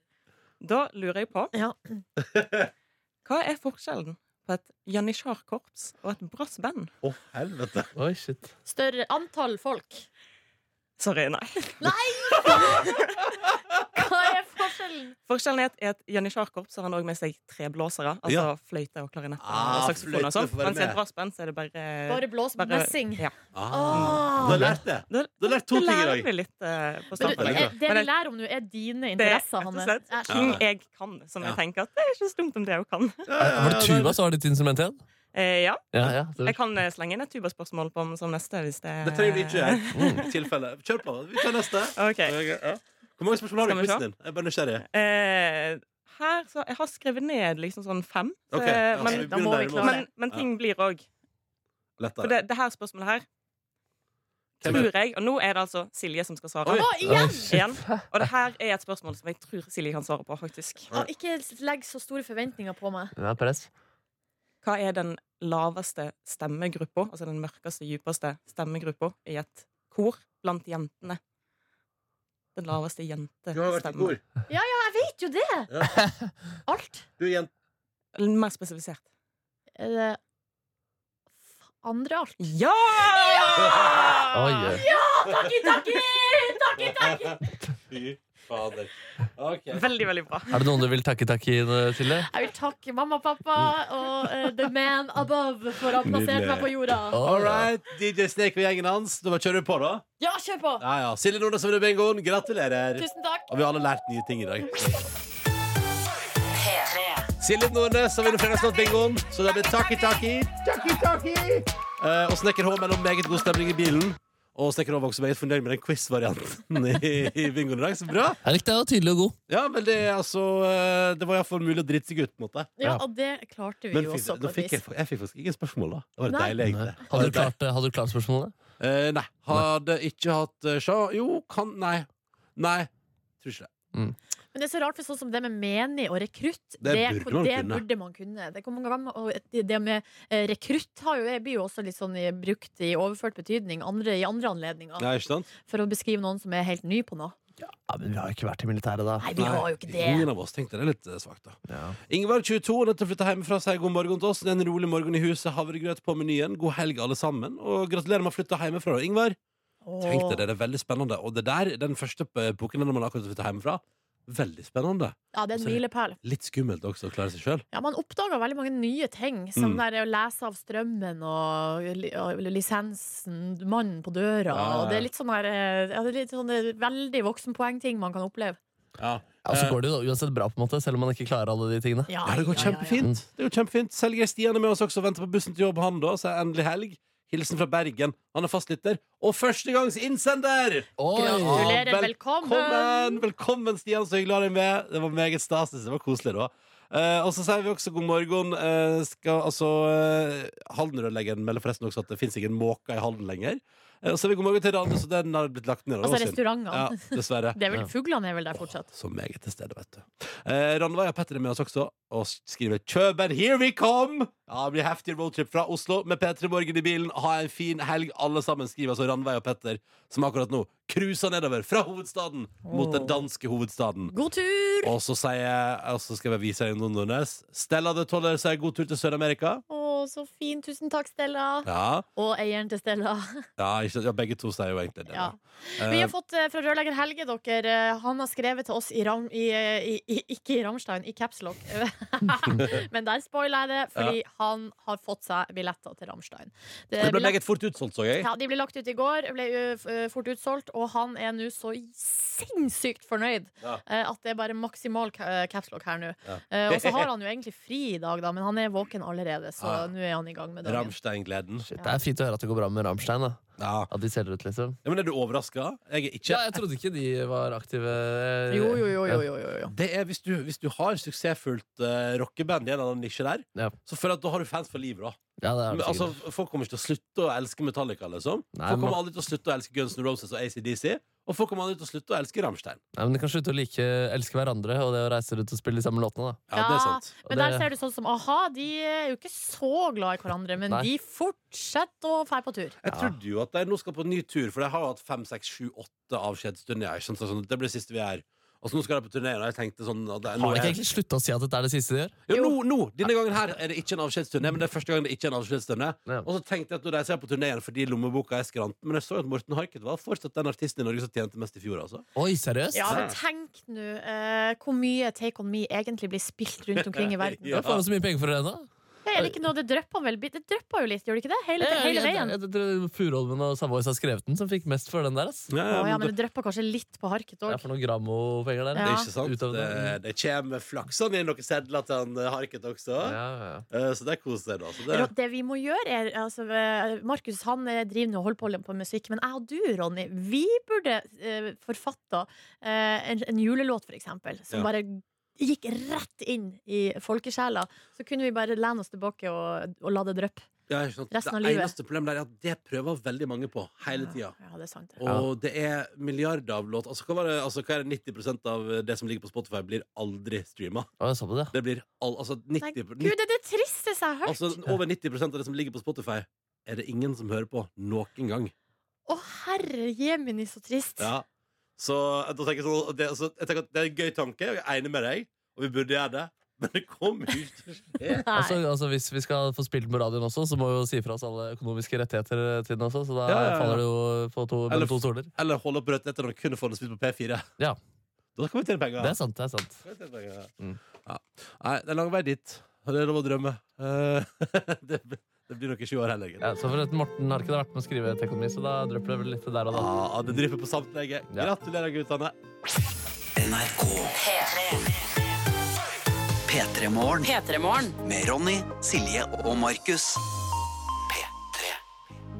S8: Da lurer jeg på
S4: Ja.
S8: Hva er forskjellen på et janitsjarkorps og et brassband?
S2: Å, helvete.
S3: Oi, shit.
S4: Større antall folk.
S8: Sorry, nei.
S4: Hva er forskjellen?
S8: Forskjellen er at i et janitsjarkorps har han òg med seg tre blåsere. Altså
S2: Ja.
S8: fløyte og klarinett
S2: Ah,
S8: og saksofon og
S2: fløyte får
S8: sånn.
S2: være
S8: Mens i
S2: med.
S8: et brassband så er det bare
S4: Bare blås
S8: bare-
S4: messing.
S8: Ja.
S2: Ah. Eh, Du har
S4: Ah.
S2: lært det.
S8: Da,
S2: Du har lært to
S8: da
S2: ting i
S8: lærer
S2: dag.
S8: vi litt eh, på
S4: Men du,
S8: starten.
S2: Veldig bra.
S4: eh, det
S8: Men
S4: vi
S8: jeg-
S4: lærer om nå, er dine
S8: Det er
S4: interesser,
S8: rett og
S4: Hanne.
S8: slett
S4: Æsj.
S8: ting
S2: Ja.
S8: jeg kan, som
S2: Ja.
S8: jeg tenker at det er ikke så dumt om det jeg kan.
S3: Var det tuba som var ditt instrument igjen?
S8: Eh, ja.
S3: Ja, ja. Det
S8: Jeg kan eh, slenge inn et tubaspørsmål på som neste. Hvis det,
S2: Det trenger du ikke gjøre.
S3: Mm.
S2: I tilfelle. Kjør på. Vi tar neste.
S8: [laughs] Ok.
S2: Ja. Hvor mange spørsmål har du i
S8: Skal vi se?
S2: quizen din? Jeg er bare nysgjerrig.
S8: Eh, her, så, jeg har skrevet ned liksom sånn fem, så,
S2: Ok, ja, så
S8: men,
S4: da må
S2: begynner
S4: vi
S2: å
S4: klare
S2: nærme
S8: men, men ting blir òg.
S2: oss.
S8: For
S2: Lettere.
S8: det, det her spørsmålet her
S2: Hvem
S8: tror
S2: er-
S8: jeg Og nå er det altså Silje som skal svare.
S2: Oi.
S4: Å, igjen!
S8: Igjen. Og det her er et spørsmål som jeg tror Silje kan svare på, faktisk.
S4: Å, ikke legg så store forventninger på meg.
S3: er press.
S8: Hva er den laveste stemmegruppa, altså den mørkeste, djupeste stemmegruppa i et kor blant jentene? Den laveste
S2: Du har vært i
S8: jentestemmen.
S2: kor.
S4: Jeg vet jo det!
S2: Ja.
S4: Alt.
S2: Du er jente.
S8: Eller Mer spesifisert.
S4: Er det f- andre alt?
S2: [laughs]
S8: Ja!
S3: Oi, oi.
S4: Takki, takki! Takki, takki!
S2: [laughs] Fy fader. Ok.
S8: Veldig, veldig bra.
S3: Er det noen du vil takke takke inn eh, til det?
S4: Jeg vil takke mamma og pappa og eh, the man above for å ha plassert
S2: Nydelig.
S4: meg på jorda.
S2: All right, DJ Snake og gjengen hans. Da bare kjører du på, da.
S4: Ja, kjør på!
S2: Ja, ja. Silje Nordnes som vinner bingoen. Gratulerer.
S4: Tusen takk.
S2: Og vi har alle lært nye ting i dag. Silje Nordnes som vinner fredagslåtbingoen. Så det blir taki-taki. Taki-taki. Eh, og Snekker H mellom meget god stemning i bilen. Og Snekker H var også meget fornøyd med den quiz-varianten [laughs] i, i bingoen i dag. Så bra.
S3: Jeg likte det, det var tydelig og god.
S2: Ja, men det, er altså, eh, det var iallfall mulig å drite seg ut, på en måte.
S4: Ja, og det klarte vi
S2: Men
S4: jo
S2: fikk,
S4: også.
S2: nå
S4: på et
S2: fikk jeg,
S4: vis.
S2: jeg fikk faktisk ingen spørsmål, da. Det var
S4: Nei.
S2: deilig, egentlig.
S3: Hadde du klart, eh, hadde du klart spørsmålet?
S2: Eh, nei. Hadde ikke hatt eh, sjå Jo, kan Nei. Nei. Tror ikke det.
S4: Men det er så rart, for sånn som det med menig og rekrutt, det,
S2: Det burde man
S4: det
S2: kunne.
S4: burde man kunne. Det, kommer mange ganger, og det- det med eh, rekrutt har jo, det blir jo også litt sånn i- brukt i overført betydning andre, i andre anledninger
S2: Nei, ikke sant?
S4: for å beskrive noen som er helt ny på noe.
S3: Ja, men vi har jo ikke vært i militæret, da.
S4: Nei, vi har jo ikke det.
S2: Ingen av oss tenkte det er litt eh, svakt, da. Ingeborg 22 har nettopp flytta hjemmefra, sier god morgen til oss. Det er En rolig morgen i huset, havregrøt på menyen. God helg, alle sammen. Og gratulerer med å flytte hjemmefra, da, Ingeborg. Tenk deg det, det er veldig spennende. Og det der, den første boken når man akkurat flytta hjemmefra, veldig spennende.
S4: Ja, det er en milepæl.
S2: Litt skummelt også å klare seg sjøl.
S4: Ja, man oppdager veldig mange nye ting, som
S2: Mm.
S4: der å lese av strømmen og, li- og lisensen, mannen på døra.
S2: Ja, ja,
S4: Og det
S2: ja.
S4: er litt sånn der, eh, ja, det er litt sånne veldig voksenpoengting man kan oppleve.
S2: Ja.
S3: Ja, og så altså, går det jo uansett bra, på en måte, selv om man ikke klarer alle de tingene.
S4: Ja,
S2: Ja, det går
S4: ja, ja, ja.
S2: kjempefint. Det går kjempefint Selger Stian er med oss også og venter på bussen til jobb, han da. Så er endelig helg. Hilsen fra Bergen. Han er fastlytter. Og førstegangs innsender!
S3: Oi!
S4: Gratulerer,
S2: Ja,
S4: velkommen!
S2: Velkommen, velkommen Stian, så hyggelig å ha deg med. Det var meget stas. Det var koselig, da. Eh, og så sier vi også god morgen. Eh, skal, altså, eh, Haldenrødleggeren melder forresten også at det fins ingen måker i Halden lenger. Eh, og så sier vi god morgen til Randus, og den har blitt lagt ned. og det
S4: Altså
S2: var synd. Ja,
S4: restaurantene.
S2: dessverre.
S4: [laughs] Det er vel, fuglene er vel der fortsatt.
S2: Så meget til stede, vet du. Eh, Ranveig og Petter er med oss også og skriver 'Kjøben, here we come'! Ja, det blir heftig roadtrip fra Oslo med P3 Morgen i bilen. Ha en fin helg, alle sammen, skriver altså Ranveig og Petter, som akkurat nå cruiser nedover fra hovedstaden mot den danske hovedstaden.
S4: God tur!
S2: Og så sier og så skal jeg vise deg noen hennes. Stella de Toller sier god tur til Sør-Amerika.
S4: Å, så fint. Tusen takk, Stella.
S2: Ja,
S4: Og eieren til Stella.
S2: ja, ikke, ja, begge to sier jo egentlig det.
S4: Ja.
S2: da.
S4: Vi
S2: Eh,
S4: har fått eh, fra rørlegger Helge, dere. eh, Han har skrevet til oss i Ram... I, eh, i, i, ikke i Ramstein,
S2: [laughs]
S4: i Capslock. Men der spoiler jeg det, fordi han har fått seg billetter til Ramstein.
S2: det ble meget fort utsolgt, så jeg.
S4: ja, de ble lagt ut i går, ble eh, f- eh, fort utsolgt, og han er nå så sinnssykt fornøyd
S2: Ja.
S4: eh, at det er bare maksimal capslock her nå.
S2: Ja.
S4: Eh, Og så har
S2: [laughs]
S4: han jo egentlig fri i dag, da, men han er våken allerede, så
S2: Ja.
S4: nå er han i gang med dagen.
S2: Ramstein-gleden.
S3: Shit, det er fint å høre at det går bra med Rammstein. da.
S2: Ja.
S3: At de selger ut, liksom.
S2: ja, men Er du overraska? Jeg er ikke.
S3: Ja, jeg trodde ikke de var aktive. eh,
S4: Jo, jo, jo, jo, jo, jo, jo.
S2: Det er hvis du, hvis du har suksessfullt uh, rockeband i en eller annen nisje der,
S3: Ja.
S2: så føler jeg at da har du fans for livet, da.
S3: Ja, det er
S2: Men,
S3: det
S2: altså,
S3: sikkert.
S2: folk kommer ikke til å slutte å elske Metallica, liksom.
S3: Nei,
S2: folk
S3: man-
S2: kommer aldri til å slutte å elske Guns N' Roses og ACDC. Og folk kommer aldri til å slutte å elske Rammstein.
S3: Nei, men de kan slutte å like, elske hverandre og det å reise rundt og spille de samme låtene.
S2: Ja,
S3: da.
S2: det er sant.
S3: Og
S4: Men
S3: det-
S4: der ser du sånn som aha, de er jo ikke så glad i hverandre, men
S3: Nei.
S4: de fortsetter å fære på tur.
S2: Jeg trodde jo at de nå skal på en ny tur, for de har jo hatt fem, seks, sju, åtte avskjedsstunder. jeg, ikke sant? Så Sånn, det blir det siste vi er. Og så nå skal de på turné, og jeg tenkte sånn at det, nå
S3: Har de ikke
S2: er,
S3: egentlig slutta å si at dette er det siste de gjør?
S2: jo, nå, nå, Denne gangen her er det ikke en avskjedsturné, men det er første gangen det ikke er en avskjedsturné.
S3: Ja.
S2: Og så tenkte jeg at nå reiser jeg på turné igjen fordi lommeboka er skrant. Men jeg så at Morten Harket var fortsatt den artisten i Norge som tjente mest i fjor, altså.
S3: Oi, seriøst?
S4: Ja, men tenk nå eh, hvor mye Take On Me egentlig blir spilt rundt omkring i verden.
S2: [laughs] Ja.
S3: Da får du så mye penger for det ennå.
S4: Det er ikke noe, det drypper vel Det drypper jo litt, gjør det ikke det? Hele, hele veien.
S3: Jeg, jeg, jeg, tror Furuholmen og Savoys har skrevet den, som fikk mest for den der. ass.
S2: Ja,
S4: Å, ja,
S2: men
S4: men det drypper kanskje litt på harket
S3: Det
S4: òg.
S3: er for noen grammopenger der.
S4: Ja.
S2: Det er ikke sant.
S3: Utover
S2: Det,
S3: det.
S2: det kommer flaksene i noen sedler til han eh, Harket også.
S3: Ja, ja, ja.
S2: Eh, Så det koser jeg, da. Så det,
S4: Ro- Det vi må gjøre er altså, eh, Markus han eh, driver nå og holder på litt på musikk, men jeg og du, Ronny, vi burde eh, forfatta eh, en, en julelåt, for eksempel, som
S2: Ja.
S4: bare gikk rett inn i folkesjela. Så kunne vi bare lene oss tilbake og, og la det dryppe.
S2: ja, ikke sant?
S4: resten av
S2: det
S4: livet.
S2: eneste problemet der er at det prøver veldig mange på hele tida.
S4: Ja, det er sant. det.
S2: Og det er milliarder av låter. Altså, hva, var det- altså, hva er det 90 av det som ligger på Spotify, blir aldri streama?
S3: Å, jeg så på det.
S2: Det blir all, altså,
S4: Nei,
S2: 90,
S4: Gud, det er det tristeste jeg har hørt!
S2: altså Over 90 av det som ligger på Spotify, er det ingen som hører på noen gang.
S4: Å, herre jemini, så trist.
S2: Ja. Så da tenker jeg sånn det, altså, Jeg tenker at det er en gøy tanke, og jeg er enig med deg, og vi burde gjøre det, men det kommer jo ikke til å skje.
S4: [laughs] Nei.
S3: Altså, altså, hvis vi skal få spilt med radioen også, så må vi jo si fra oss alle økonomiske rettigheter til den også. Så da
S2: Ja, ja, ja.
S3: faller det jo på to,
S2: Eller-
S3: mellom to stoler.
S2: Eller holde opp rødt etter når du kunne få det spilt på P4.
S3: Ja.
S2: Da kan vi tjene penger.
S3: Det er sant. det er sant
S2: Da kan vi tjene penger.
S3: Mm.
S2: Ja. Nei, det er lang vei dit. Det er lov å drømme. Eh, [laughs] det, det blir nok ikke 20 år heller.
S3: ja,
S2: Ja.
S3: Så for at Morten har ikke vært med å skrive Tekonomi, så da drypper det vel litt der og da.
S2: Ah, det drypper på samtlegget.
S3: Ja.
S2: Gratulerer, guttene.
S9: P3 Morgen
S1: P3-morgen.
S9: med Ronny, Silje og Markus. P3.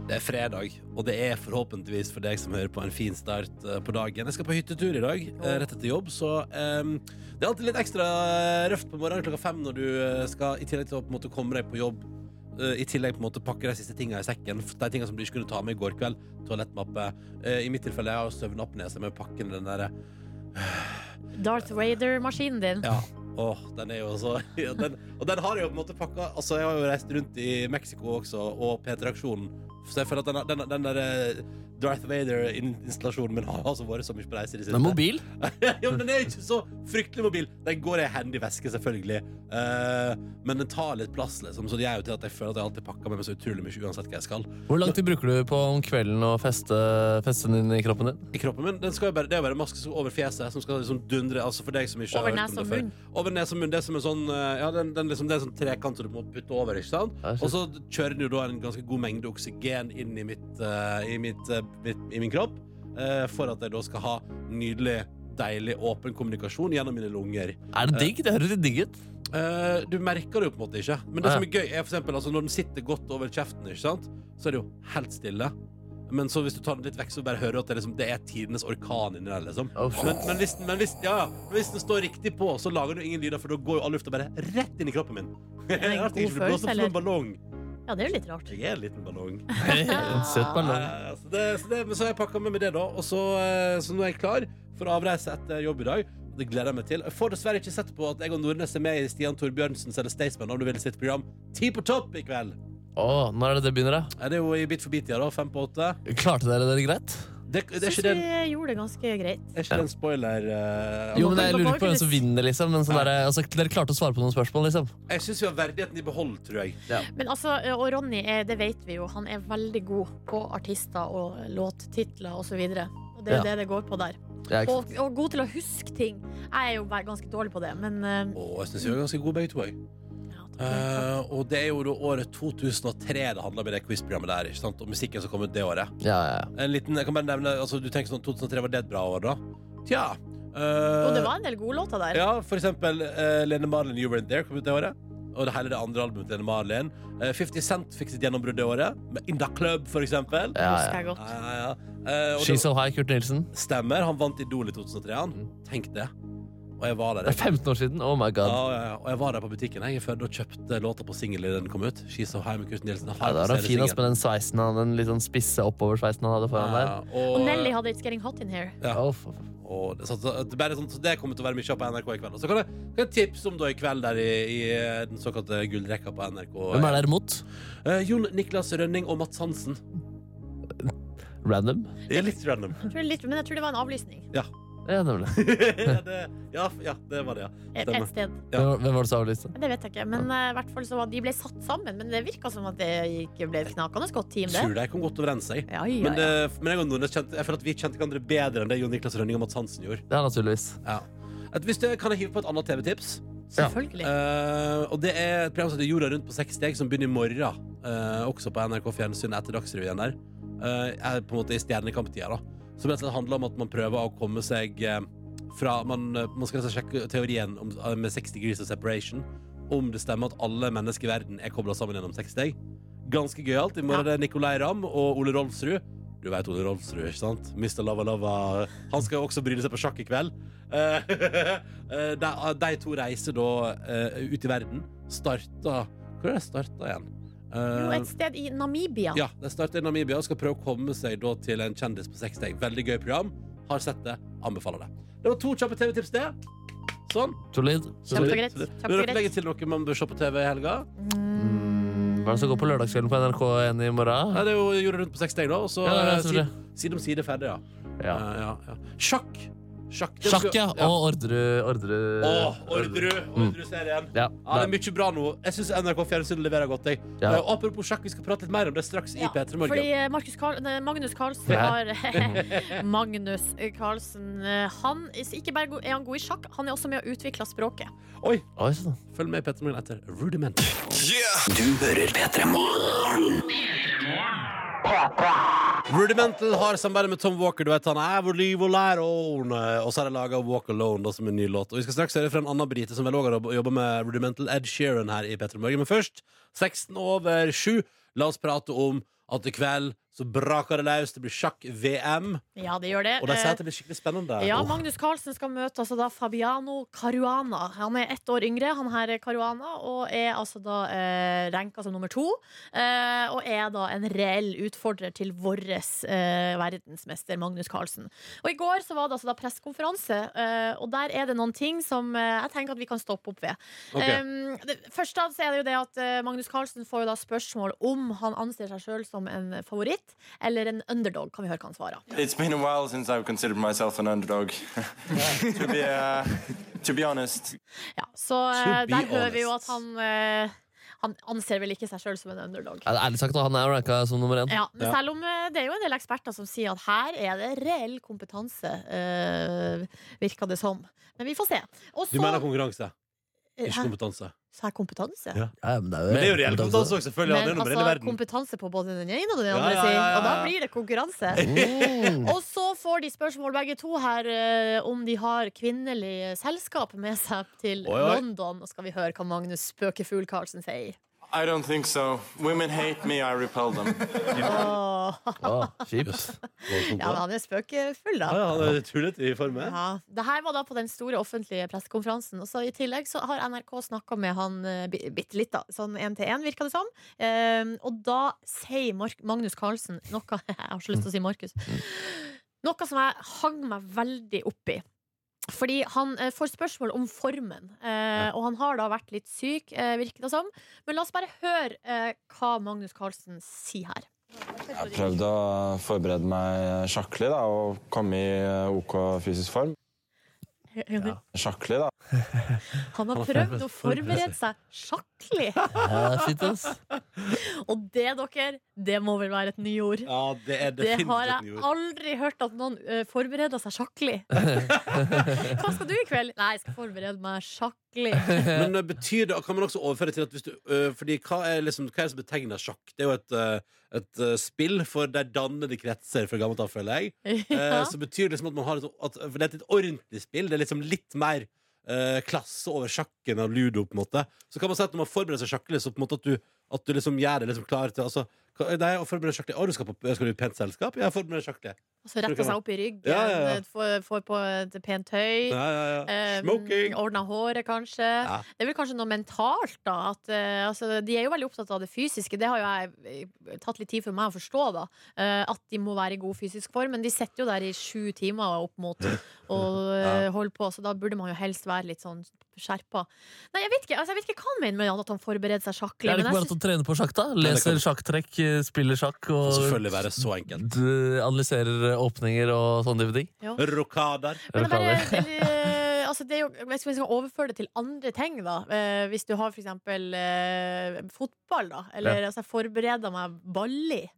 S2: Det er fredag, og det er forhåpentligvis for deg som hører på en fin start eh, på dagen. Jeg skal på hyttetur i dag, eh, rett etter jobb, så ehm, det er alltid litt ekstra eh, røft på morgenen klokka fem når du eh, skal, i tillegg til å på en måte komme deg på jobb, eh, i tillegg på en måte pakke de siste tingene i sekken, f- de tingene som du ikke kunne ta med i går kveld, toalettmappe. Eh, I mitt tilfelle jeg har søvnapnese med pakken den der,
S4: Darth Vader-maskinen din.
S2: ja, åh, den er jo så, [laughs] ja, den, og den har jeg jo på en måte pakket, altså jeg har jo reist rundt i Meksiko også, og Peter Aksjonen, så jeg føler at den, den, den der eh, Darth Vader-installasjonen min har altså vært så mye på reise i det
S3: Den er mobil.
S2: [laughs] ja, men den er ikke så fryktelig mobil. Den går i en handy veske, selvfølgelig. Eh, men den tar litt plass, liksom. Så det gjør jo til at jeg føler at jeg alltid pakker med meg så utrolig mye uansett hva jeg skal.
S3: Hvor lang tid bruker du på om kvelden å feste, feste den inn i kroppen din?
S2: I kroppen min, den skal jo bare, Det er jo bare en maske som- over fjeset som skal liksom dundre altså for deg som ikke har hørt
S4: Over
S2: om
S4: nes og
S2: det før.
S4: munn.
S2: Over nes og munn. Det er som en sånn eh, Ja, den, den liksom, det er en sånn trekant som du må putte over, ikke sant?
S3: Ja, jeg
S2: Og så kjører den jo da en ganske god mengde oksygen inn i, mitt, eh, i, mitt, eh, mitt, i min kropp eh, for at jeg da skal ha nydelig, deilig, åpen kommunikasjon gjennom mine lunger.
S3: Er det digg? Det høres litt digg ut.
S2: Eh, du merker det jo på en måte ikke, men det
S3: Ja.
S2: som er gøy, er for eksempel altså, når den sitter godt over kjeften, ikke sant? så er det jo helt stille. Men så hvis du tar den litt vekk, så bare hører du at det, liksom, det er tidenes orkan inni der. liksom
S3: Oh, shit.
S2: men, men, hvis, den- men hvis, ja, ja. Men hvis den står riktig på, så lager den jo ingen lyder, for da går jo all lufta bare rett inn i kroppen min. Det
S4: en
S2: [laughs] Rart jeg ikke
S4: god
S2: blir blåst opp
S4: følelse,
S2: som en ballong.
S4: Ja, det er jo litt rart.
S2: Jeg er en liten ballong.
S3: [laughs] En søt ballong.
S2: Eh, Så, det, så, det, men så har jeg pakka med meg det, da. Og så, eh, så nå er jeg klar for avreise etter jobb i dag. Det gleder jeg meg til. Jeg får dessverre ikke sett på at jeg og Nordnes er med i Stian Torbjørnsens eller Staysman om du vil sitt program Ti på topp i kveld.
S3: Å, når er det det begynner, da?
S2: Er det jo i Bit for bit-tida, da. Fem på åtte.
S3: Klarte dere det greit?
S2: Det, det er
S4: Syns
S2: ikke den,
S4: vi gjorde det ganske greit.
S2: er ikke den spoiler eh,
S3: Jo, men
S4: man
S3: jeg
S4: kan bare
S3: lurer på hvem
S4: kunne
S3: som
S4: s-
S3: vinner, liksom. Men sånn der, altså, dere klarte å svare på noen spørsmål, liksom.
S2: Jeg syns vi har verdigheten i behold, tror jeg.
S4: Men altså, og Ronny, er, det vet vi jo, han er veldig god på artister og låttitler og så videre. Og det er jo
S3: Ja.
S4: det det går på der.
S3: Jeg er ikke-
S4: Og, og god til å huske ting. Jeg er jo bare ganske dårlig på det, men eh,
S2: Og jeg syns vi er ganske gode begge to. Jeg.
S4: ja, takk.
S2: Eh, og det er jo da året 2003 det handler om i det quizprogrammet der. Ikke sant? Og musikken som kom ut det året.
S3: Ja, ja, ja.
S2: En liten, jeg kan bare nevne, altså Du tenker sånn 2003 var det et bra år, da? Tja.
S4: Og det
S2: eh,
S4: var en del gode låter der.
S2: Ja, for eksempel eh, Lene Marlin You Were In There kom ut det året. Og det hele det andre albumet til Lene Marlin. Eh, 50 Cent fikk sitt gjennombrudd det året. Med In Da Club, for eksempel. Ja,
S3: ja,
S4: Husker
S3: ja.
S4: jeg godt.
S2: ja, ja. Eh, og
S3: She's
S2: det
S3: So High, Kurt Nilsen.
S2: stemmer. Han vant Idol i 2003, han.
S3: Mm.
S2: Tenk det. Og jeg var der.
S3: Det er 15 år siden. Oh my
S2: Ja,
S3: god.
S2: ja, ja. Og jeg var der på butikken jeg, før og kjøpte låta på singel da den kom ut. She's So High med Kurt Nielsen.
S3: Ja, det var han fin ass med den sveisen han, den litt sånn spisse oppoversveisen han hadde foran der.
S4: Og Nelly hadde It's Getting Hot In Here.
S2: Ja.
S3: Å, for-
S2: Og det, så, så, det, bare sånn, så det kommer til å være mye av på NRK i kveld. Og så kan jeg, kan jeg tipse om da i kveld der i, i eh, den såkalte gullrekka på NRK.
S3: Hvem er der imot?
S2: Eh, Jon Niklas Rønning og Mats Hansen.
S3: Random?
S2: Det er litt random.
S4: Jeg tror litt, men jeg tror det var en avlysning
S3: Ja, nemlig.
S2: [laughs] ja, det, ja, ja, det var det, ja.
S4: et,
S2: Stemmer.
S4: et sted.
S2: Ja.
S3: Hvem var- Hvem var det som avlyste?
S4: Men Det vet jeg ikke. Men eh, i hvert fall så var de ble satt sammen. Men det virka som at det ikke ble et knakende godt team, det.
S2: Tror de kom godt overens, jeg.
S4: Ja, ja,
S2: Men,
S4: ja.
S2: det, men jeg, og Nordnes kjente, jeg føler at vi kjente hverandre bedre enn det Jon Niklas Rønning og Mats Hansen gjorde.
S3: Ja, naturligvis.
S2: Ja. At Hvis det, kan jeg hive på et annet TV-tips?
S4: Selvfølgelig.
S2: Eh, og det er et program som heter Jorda rundt på seks steg, som begynner i morgen. eh, også på NRK Fjernsyn etter Dagsrevyen der. Eh, er på en måte i Stjernekamptida, da. Som rett og slett handler om at man prøver å komme seg eh, fra Man, eh, man skal altså sjekke teorien om, eh, med 60 degrees of separation. Om det stemmer at alle mennesker i verden er kobla sammen gjennom seks steg. Ganske gøyalt. I morgen er det Nicolay Ramm og Ole Rolfsrud. Du veit Ole Rolfsrud, ikke sant? Mr. Lava Lava. Han skal jo også bryne seg på sjakk i kveld. Eh, [laughs] eh, de, de to reiser da eh, ut i verden. Starta Hvor er det starta igjen? Eh,
S4: Jo, et sted i Namibia.
S2: ja, de starta i Namibia og skal prøve å komme seg da til en kjendis på seks steg. Veldig gøy program. Har sett det. Anbefaler det. Det var to kjappe TV-tips, det. Sånn.
S3: Solid.
S4: Kjempe-
S3: Solid.
S4: Kjempegreit,
S2: Vil
S4: kjempegreit.
S2: dere legge til noe man bør se på TV i helga?
S3: Mm, Hva er det som går på lørdagskvelden på NRK1 i morgen?
S2: Nei, det er jo Jorda rundt på seks steg, da. Og så
S3: Ja, det er
S2: eh,
S3: selvfølgelig.
S2: side, side om side ferdig, ja.
S3: Ja.
S2: Eh, ja, ja. Sjakk. Sjakk, det
S3: Sjakk,
S2: skal-
S3: ja. Og Orderud. Orderud.
S2: Åh, Orderud.
S3: Mm.
S2: Orderud-serien.
S3: Ja,
S2: Ja, det er
S3: der.
S2: mye bra nå. Jeg syns NRK Fjernsyn leverer godt. Jeg.
S3: Ja.
S2: Eh, apropos sjakk, vi skal prate litt mer om det straks i
S4: Ja,
S2: P3
S4: Fordi
S2: Morgen.
S4: eh, Markus Karl, nei, Magnus Carlsen har [laughs] Magnus Carlsen eh, Han er ikke bare go- er han god i sjakk, han er også med å utvikle språket.
S2: Oi,
S3: Oi, sånn.
S2: følg med i P3 Morgen etter Rudiment.
S9: Du hører P3 Morgen.
S2: Rudimental har samarbeid med Tom Walker. Du vet han er vår liv og lære Og eh, og så har de laga Walk Alone da, som en ny låt. Og Vi skal straks høre fra en annen brite som vel òg har jobba med Rudimental Ed Sheeran her i P3 Morgen. Men først, 16 over 7, la oss prate om at i kveld så braker det løs. Det blir sjakk-VM,
S4: Ja, det gjør det.
S2: og de sier
S4: Eh,
S2: at det blir skikkelig spennende.
S4: Ja,
S2: Åh.
S4: Magnus Carlsen skal møte altså da Fabiano Caruana. Han er ett år yngre, han her er Caruana, og er altså da eh, ranka som nummer to. Eh, og er da en reell utfordrer til vår eh, verdensmester Magnus Carlsen. Og i går så var det altså da pressekonferanse, eh, og der er det noen ting som eh, jeg tenker at vi kan stoppe opp ved.
S2: Ok.
S4: Um, det, først av så er det jo det at eh, Magnus Carlsen får jo da spørsmål om han anser seg sjøl som en favoritt. favoritt eller en underdog? Kan vi høre hva han svarer.
S10: It's been a while since I've considered myself an underdog. [laughs] to, be, uh, to be honest.
S4: Ja, så eh,
S2: To be
S4: der hører vi jo at
S2: honest.
S4: han eh, Han anser vel ikke seg sjøl som en underdog.
S3: Ja, ærlig sagt, han er ranka som nummer én.
S4: Ja, men
S2: Ja.
S4: selv om eh, det er jo en del eksperter som sier at her er det reell kompetanse, eh, virker det som. Men vi får se. Og
S2: Du
S4: så
S2: mener konkurranse, ikke
S4: Hæ?
S2: kompetanse.
S4: Sa jeg kompetanse?
S2: Ja.
S3: Ja, men det
S2: Men det er jo reell kompetanse også, selvfølgelig. han er
S4: Men
S2: nummer én i
S4: altså
S2: verden.
S4: kompetanse på både den ene og den
S2: Ja,
S4: andre
S2: ja, ja,
S4: siden,
S2: ja,
S4: og da
S2: ja.
S4: blir det konkurranse.
S2: [laughs]
S4: [laughs]
S3: Mm.
S4: Og så får de spørsmål begge to her eh, om de har kvinnelig selskap med seg til
S2: Oi, oi.
S4: London. Og skal vi høre hva Magnus Spøkefugl Carlsen sier.
S10: I don't think so. Women hate me, I repel them.
S4: Åh,
S3: Å, kjipt.
S2: Yes. Voldsomt,
S4: ja, men
S2: da.
S4: han er spøkefull, da.
S2: Ja, ja, han er tullete i form. eh?
S4: Ja, det her var da på den store offentlige pressekonferansen. Og så I tillegg så har NRK snakka med han eh, bi- bitte litt, da. Sånn én til én, virka det som. Ehm, og da sier Mark Magnus Carlsen noe [laughs] Jeg har så lyst til å si Markus. Noe som jeg hang meg veldig opp i. Fordi han eh, får spørsmål om formen, eh, og han har da vært litt syk, eh, virker det som. Men la oss bare høre eh, hva Magnus Carlsen sier her.
S10: Jeg prøvde å forberede meg sjakkelig da, og komme i eh, OK fysisk form. Sjakkelig, da.
S4: Han har prøvd å forberede seg sjakklig.
S3: Ja, det er fint, ass.
S4: Og det, dere, det må vel være et nyord.
S2: Ja, det er
S4: Det har
S2: definitivt et
S4: jeg
S2: nyord.
S4: aldri hørt at noen eh, forbereder seg sjakklig. Hva skal du i kveld? Nei, jeg skal forberede meg sjakklig.
S2: Men eh, betyr det, kan man også overføre til at hvis du øh, Fordi hva er, liksom, hva er det som betegner sjakk? Det er jo et, øh, et øh, spill for der dannede kretser fra gammelt av, føler jeg.
S4: Ja.
S2: [laughs] Eh, Så betyr det liksom at man har et, at, For det er et litt ordentlig spill. Det er liksom litt mer eh, klasse over sjakken og ludo, på en måte. Så kan man si at når man forbereder seg sjakkelig, så på en måte at du, at du liksom gjør det liksom klar til altså, hva- Nei, å forberede sjakkelig Å, du skal, på, skal du i pent selskap? Ja, forbereder sjakkelig.
S4: Og så retter seg opp i ryggen, eh,
S2: Ja, ja, ja.
S4: får- får på et pent høy.
S2: Ja, ja, ja.
S4: Um,
S2: Smoking!
S4: Ordna håret, kanskje.
S2: Ja.
S4: Det er vel kanskje noe mentalt, da. At, eh, altså, de er jo veldig opptatt av det fysiske. Det har jo jeg eh, tatt litt tid for meg å forstå, da. Eh, at de må være i god fysisk form. Men de sitter jo der i sju timer opp
S2: [laughs]
S4: mot og eh, holder på, så da burde man jo helst være litt sånn skjerpa. Nei, jeg vet ikke, altså, jeg vet ikke hva han mener med at han forbereder seg
S3: Det
S4: sjakklig.
S3: er det
S4: Men
S3: ikke bare
S4: jeg
S3: at han
S4: synes,
S3: trener på sjakk, da?
S2: kan-
S3: Leser sjakktrekk, eh, spiller sjakk
S2: Kan
S3: og
S2: Selvfølgelig være så enkelt.
S3: d- analyserer åpninger og sånne type ting.
S4: [laughs]
S2: Rokader.
S4: men det,
S3: Rokader.
S4: er bare, eller, altså, det er jo, hvis vi skal overføre det til andre ting, da. eh, hvis du har for eksempel eh, fotball, da. Eller altså, jeg forbereder meg ballig.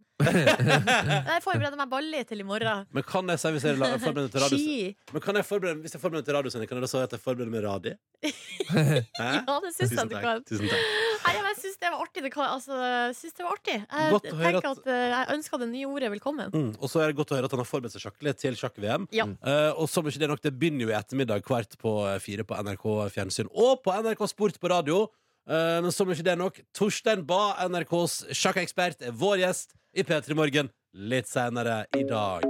S4: Nei, Jeg forbereder meg ballig til i morgen.
S2: Men kan jeg si hvis jeg la- forbereder meg til radio
S4: Ski.
S2: Men kan jeg forberede, hvis jeg forbereder meg til radiosending, kan jeg da si at jeg forbereder meg
S4: [laughs]
S2: radio? Hæ?
S4: Ja, det syns jeg
S2: Tusen
S4: at du
S2: takk.
S4: kan.
S2: Tusen takk.
S4: Nei, men jeg syns det var artig. Det kan, altså, jeg synes det var artig. Jeg
S2: Godt å høre
S4: tenker
S2: at-
S4: at, eh, jeg ønsker det nye ordet velkommen.
S2: Mm. Og så er det godt å høre at han har forberedt seg sjakkelig til sjakk-VM.
S4: Ja.
S2: Eh, og som ikke det er nok, det begynner jo i ettermiddag kvart på eh, fire på NRK Fjernsyn og på NRK Sport på radio. Eh, men som ikke det er nok, Torstein Ba, NRKs sjakkekspert, er vår gjest i P3 Morgen litt senere i dag.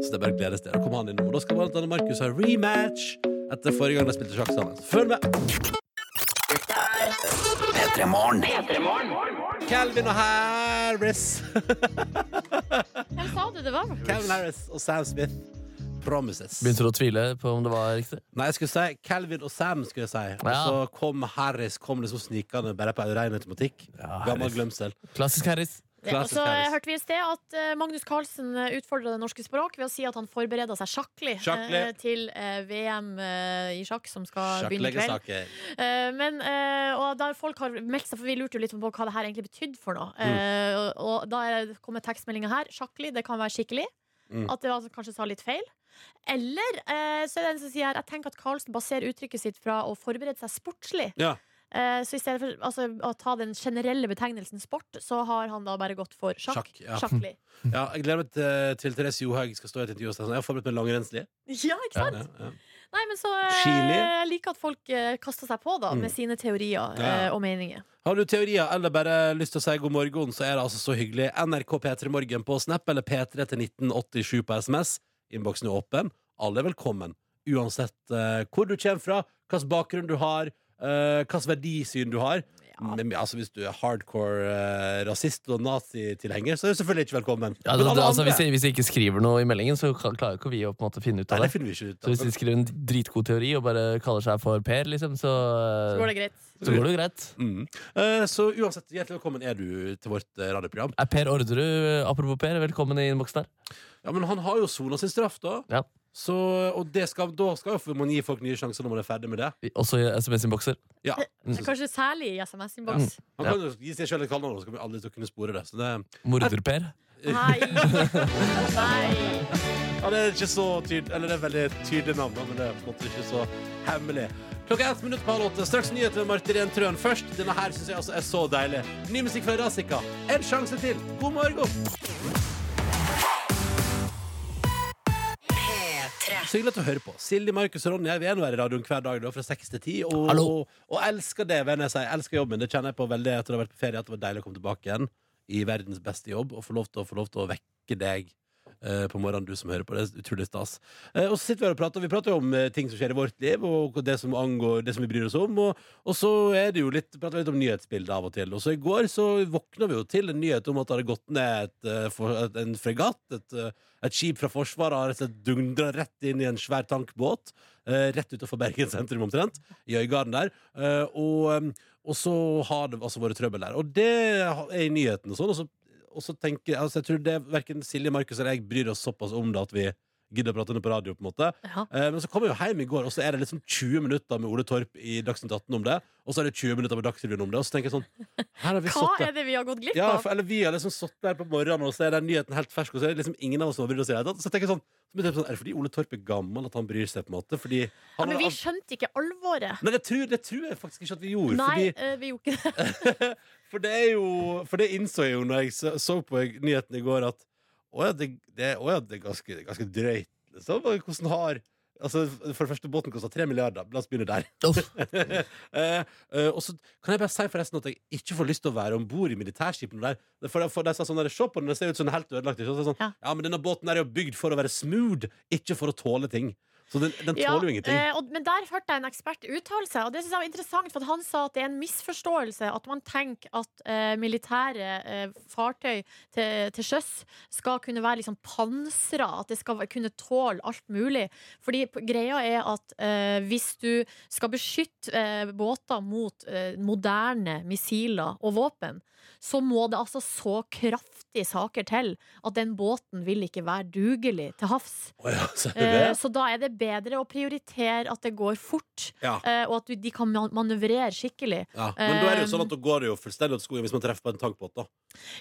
S2: Så det er bare å glede seg til å komme han innom. Og da skal blant annet Markus ha rematch etter forrige gang de spilte sjakk sammen. Så følg med! Calvin og Harris.
S4: Hvem sa du det var?
S2: Calvin Harris og Sam Smith. Promises.
S3: Begynte du å tvile på om det var riktig?
S2: Nei, jeg skulle si Calvin og Sam, skulle jeg si. Og
S3: Ja.
S2: så kom Harris kom liksom snikende bare på ren automatikk. Gammel
S3: Harris.
S2: glemsel.
S3: Klassisk Harris.
S4: Ja, og
S2: Klassisk
S4: så eh,
S2: Harris.
S4: hørte vi i sted at eh, Magnus Carlsen eh, utfordra det norske språk ved å si at han forbereder seg sjakklig
S2: Sjakklig.
S4: eh, til eh, VM eh, i sjakk som skal begynne i kveld.
S2: Sjakkleggersaker.
S4: Eh, men, eh, og der folk har meldt seg, for vi lurte jo litt på hva det her egentlig betydde for noe.
S2: Mm.
S4: Eh, og, og da er det- kommer tekstmeldinga her. Sjakklig, det kan være skikkelig.
S2: Mm.
S4: At det var, kanskje sa litt feil. Eller eh, så er det en som sier her Jeg tenker at Carlsen baserer uttrykket sitt fra å forberede seg sportslig.
S2: Ja.
S4: Eh, så i stedet for altså, å ta den generelle betegnelsen sport, så har han da bare gått for sjakk.
S2: Sjakk, ja.
S4: Sjakklig.
S2: Ja, jeg gleder meg til, til Therese Johaug skal stå i et intervju. og si sånn, Jeg har forberedt meg langrennslig.
S4: [laughs] Ja, ikke sant?
S2: Ja, ja.
S4: Nei, men så eh,
S2: Chili.
S4: Jeg liker at folk eh, kaster seg på da med sine teorier eh,
S2: Mm. Ja.
S4: og meninger.
S2: Har du teorier eller bare lyst til å si god morgen, så er det altså så hyggelig. NRK P3 Morgen på Snap eller P3 til 1987 på SMS. Innboksen er åpen. Alle er velkommen. Uansett eh, hvor du kommer fra, hvilken bakgrunn du har, uh, hvilket eh, verdisyn du har. Men, altså, hvis du er hardcore eh, rasist og nazitilhenger, så er du selvfølgelig ikke velkommen.
S3: Ja,
S2: Men
S3: altså,
S2: alle
S3: altså,
S2: andre-
S3: hvis, de- hvis de ikke skriver noe i meldingen, så kan- klarer ikke vi å på en måte finne ut av
S2: Nei,
S3: det.
S2: det finner vi ikke ut
S3: Så
S2: av.
S3: hvis de skriver en dritgod teori og bare kaller seg for Per, liksom, så,
S4: Så går det greit.
S3: så går det jo greit.
S2: Mm. Eh, Så uansett, hjertelig velkommen er du til vårt eh, radioprogram.
S3: Er Per Orderud, apropos Per, velkommen i innboksen her.
S2: Ja, men han har jo sona sin straff, da.
S3: Ja.
S2: Så, og det skal, da skal jo man gi folk nye sjanser når man er ferdig med det.
S3: I- Også i SMS-innbokser.
S2: Ja.
S4: Kanskje særlig i
S2: Mm.
S4: SMS-innboks.
S2: Man kan jo gi seg selv et kallenavn, så kommer vi aldri til å kunne spore det. Så det,
S3: Morder-Per.
S2: [laughs]
S4: Nei. Nei.
S2: ja, det er ikke så tydelig Eller det er veldig tydelig navn, da, men det er på en måte ikke så hemmelig. Klokka er ett minutt på halv åtte. Straks nyheter med Marte Irén Trøen først. Denne her syns jeg altså er så deilig. Ny musikk fra Razika. En sjanse til. God morgen! Så hyggelig at du hører på. Silje, Markus og Ronny vi er nå her i radioen hver dag da, fra 6 til 10. Og,
S3: Hallo.
S2: og, og elsker det, venner. Jeg elsker jobben. Det kjenner jeg på veldig etter å ha vært på ferie. At det var deilig å komme tilbake igjen i verdens beste jobb og få lov til å, få lov til å vekke deg. eh, På morgenen, du som hører på det. er Utrolig stas. Eh, Og så sitter vi her og prater. Vi prater jo om eh, ting som skjer i vårt liv, og det som angår det som vi bryr oss om. Og, og så er det jo litt, prater vi litt om nyhetsbildet av og til. Og så i går så våkna vi jo til en nyhet om at det hadde gått ned et, eh, for, et, en fregatt. Et, eh, et skip fra Forsvaret har rett og slett dundra rett inn i en svær tankbåt. eh, rett utenfor Bergen sentrum, omtrent. I Øygarden der. Eh, og, eh, og så har det altså vært trøbbel der. Og det ha- er i nyhetene og sånn. Og så, og så tenker jeg altså, Jeg tror det verken Silje, Markus eller jeg bryr oss såpass om det at vi gidder å prate om det på radio. på en måte
S4: Ja.
S2: Eh, Men så kom jeg jo hjem i går, og så er det liksom 20 minutter med Ole Torp i Dagsnytt 18 om det. Og så er det 20 minutter med Dagsrevyen om det. Og så tenker jeg sånn her har vi
S4: Hva
S2: satt det-
S4: er det vi har gått glipp
S2: ja,
S4: av?
S2: for, eller vi har liksom sittet der på morgenen, og så er den nyheten helt fersk. Og så er det liksom ingen av oss som har brydd oss i det hele tatt. Så tenker jeg sånn, så blir det sånn, Er det fordi Ole Torp er gammel at han bryr seg? på en måte? Fordi
S4: Ja,
S2: han,
S4: men vi
S2: han,
S4: skjønte ikke alvoret.
S2: nei, det tror, det tror jeg faktisk ikke at vi gjorde.
S4: Nei,
S2: Fordi,
S4: eh, vi gjorde ikke det.
S2: [laughs] for det er jo For det innså jeg jo når jeg så, så på nyheten i går, at å ja, det, det, å ja, det er ganske, ganske drøyt. Liksom. Hvordan har Altså, For det første, båten koster tre milliarder. La oss begynne der. [laughs]
S3: Uff.
S2: Eh, eh, og så kan jeg bare si forresten at jeg ikke får lyst til å være om bord i militærskipene der. For, for de sa sånn der, Se på den, den ser ut som den er helt ødelagt. Ikke? sant? Så, sånn, ja.
S4: Ja.
S2: men denne båten der er jo bygd for å være smooth, ikke for å tåle ting. Så den, den
S4: Ja,
S2: tåler jo ingenting.
S4: eh, og, men der hørte jeg en ekspert uttale seg, og det synes jeg var interessant. For at han sa at det er en misforståelse at man tenker at eh, militære eh, fartøy til, til sjøs skal kunne være liksom pansra, at det skal kunne tåle alt mulig. Fordi p- greia er at eh, hvis du skal beskytte eh, båter mot eh, moderne missiler og våpen, så må det altså så kraftige saker til at den båten vil ikke være dugelig til havs.
S2: Å ja, så er det
S4: Eh,
S2: det.
S4: Så da er det bedre å prioritere at det går fort,
S2: Ja.
S4: eh, og at du, de kan man- manøvrere skikkelig.
S2: Ja. Men da er det jo
S4: eh,
S2: sånn at da går det jo fullstendig til skogen hvis man treffer på en tankbåt. da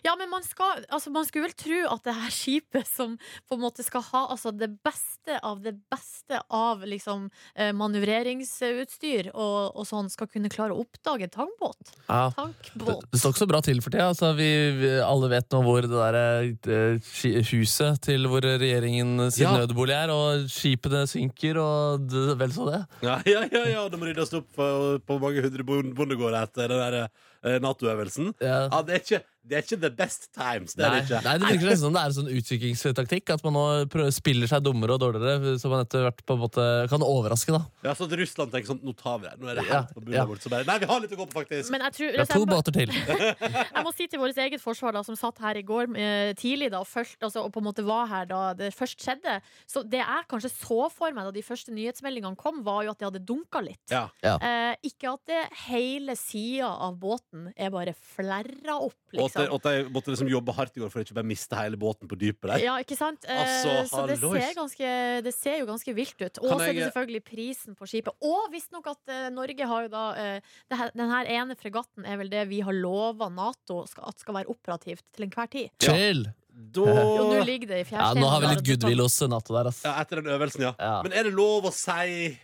S4: Ja, men man, skal, altså, man skulle vel tro at det her [laughs] skipet som på en måte skal ha altså, det beste av det beste av liksom, eh, manøvreringsutstyr og, og sånn, skal kunne klare å oppdage en tankbåt.
S3: Ja. Det,
S4: Tankbåt.
S3: det står ikke så bra til for tida. Altså, vi, vi, alle vet nå hvor det der eh, ski- huset til hvor regjeringen sin
S2: Ja.
S3: nødbolig er, og skipene synker, og det, vel så det.
S2: Ja, ja, ja, ja. det må ryddes opp på, på mange hundre bon- bondegårder etter den der eh, Nato-øvelsen.
S3: Ja.
S2: Ja, det, er ikke- det er ikke the best times. Det er
S3: nei,
S2: det ikke.
S3: nei, det virker nesten som det er en sånn utviklingstaktikk. At man nå prøver, spiller seg dummere og dårligere, så man etter hvert på en måte kan overraske. da
S2: Ja, så at Russland tenker sånn Nå tar vi det. Nå er det
S3: Ja,
S2: helt på bunnen
S3: ja.
S2: vårt. Så bare Nei, vi har litt å gå på, faktisk.
S4: Men jeg tror,
S3: Det er to
S4: jeg bare-
S3: båter [laughs] til.
S4: Jeg må si til vårt eget forsvar, da, som satt her i går eh, tidlig da, og, først, altså, og på en måte var her da det først skjedde Så Det jeg kanskje så for meg da de første nyhetsmeldingene kom, var jo at det hadde dunka litt.
S2: Ja.
S3: Ja.
S4: Eh, ikke at det hele sida av båten er bare flerra opp,
S2: Og at, de,
S4: liksom.
S2: og at de måtte liksom jobbe hardt i går for å ikke bare miste hele båten på dypet der.
S4: Ja, ikke sant? Eh,
S2: Altså,
S4: så det
S2: hallois.
S4: ser, ganske, det ser jo ganske vilt ut. Og
S2: Kan
S4: så er det
S2: jeg-
S4: selvfølgelig prisen på skipet. Og visstnok at eh, Norge har jo da eh, det her, Den her ene fregatten er vel det vi har lova Nato skal, at skal være operativt til enhver tid.
S3: Chill!
S2: Da
S4: [laughs] Jo, nå ligger det i
S3: Ja,
S4: fjærsteinen.
S3: nå har vi
S4: der, og det sånn
S3: litt
S4: er
S3: goodwill hos Nato der, ass.
S2: ja, Etter den øvelsen, ja.
S3: Ja.
S2: Men er det lov å si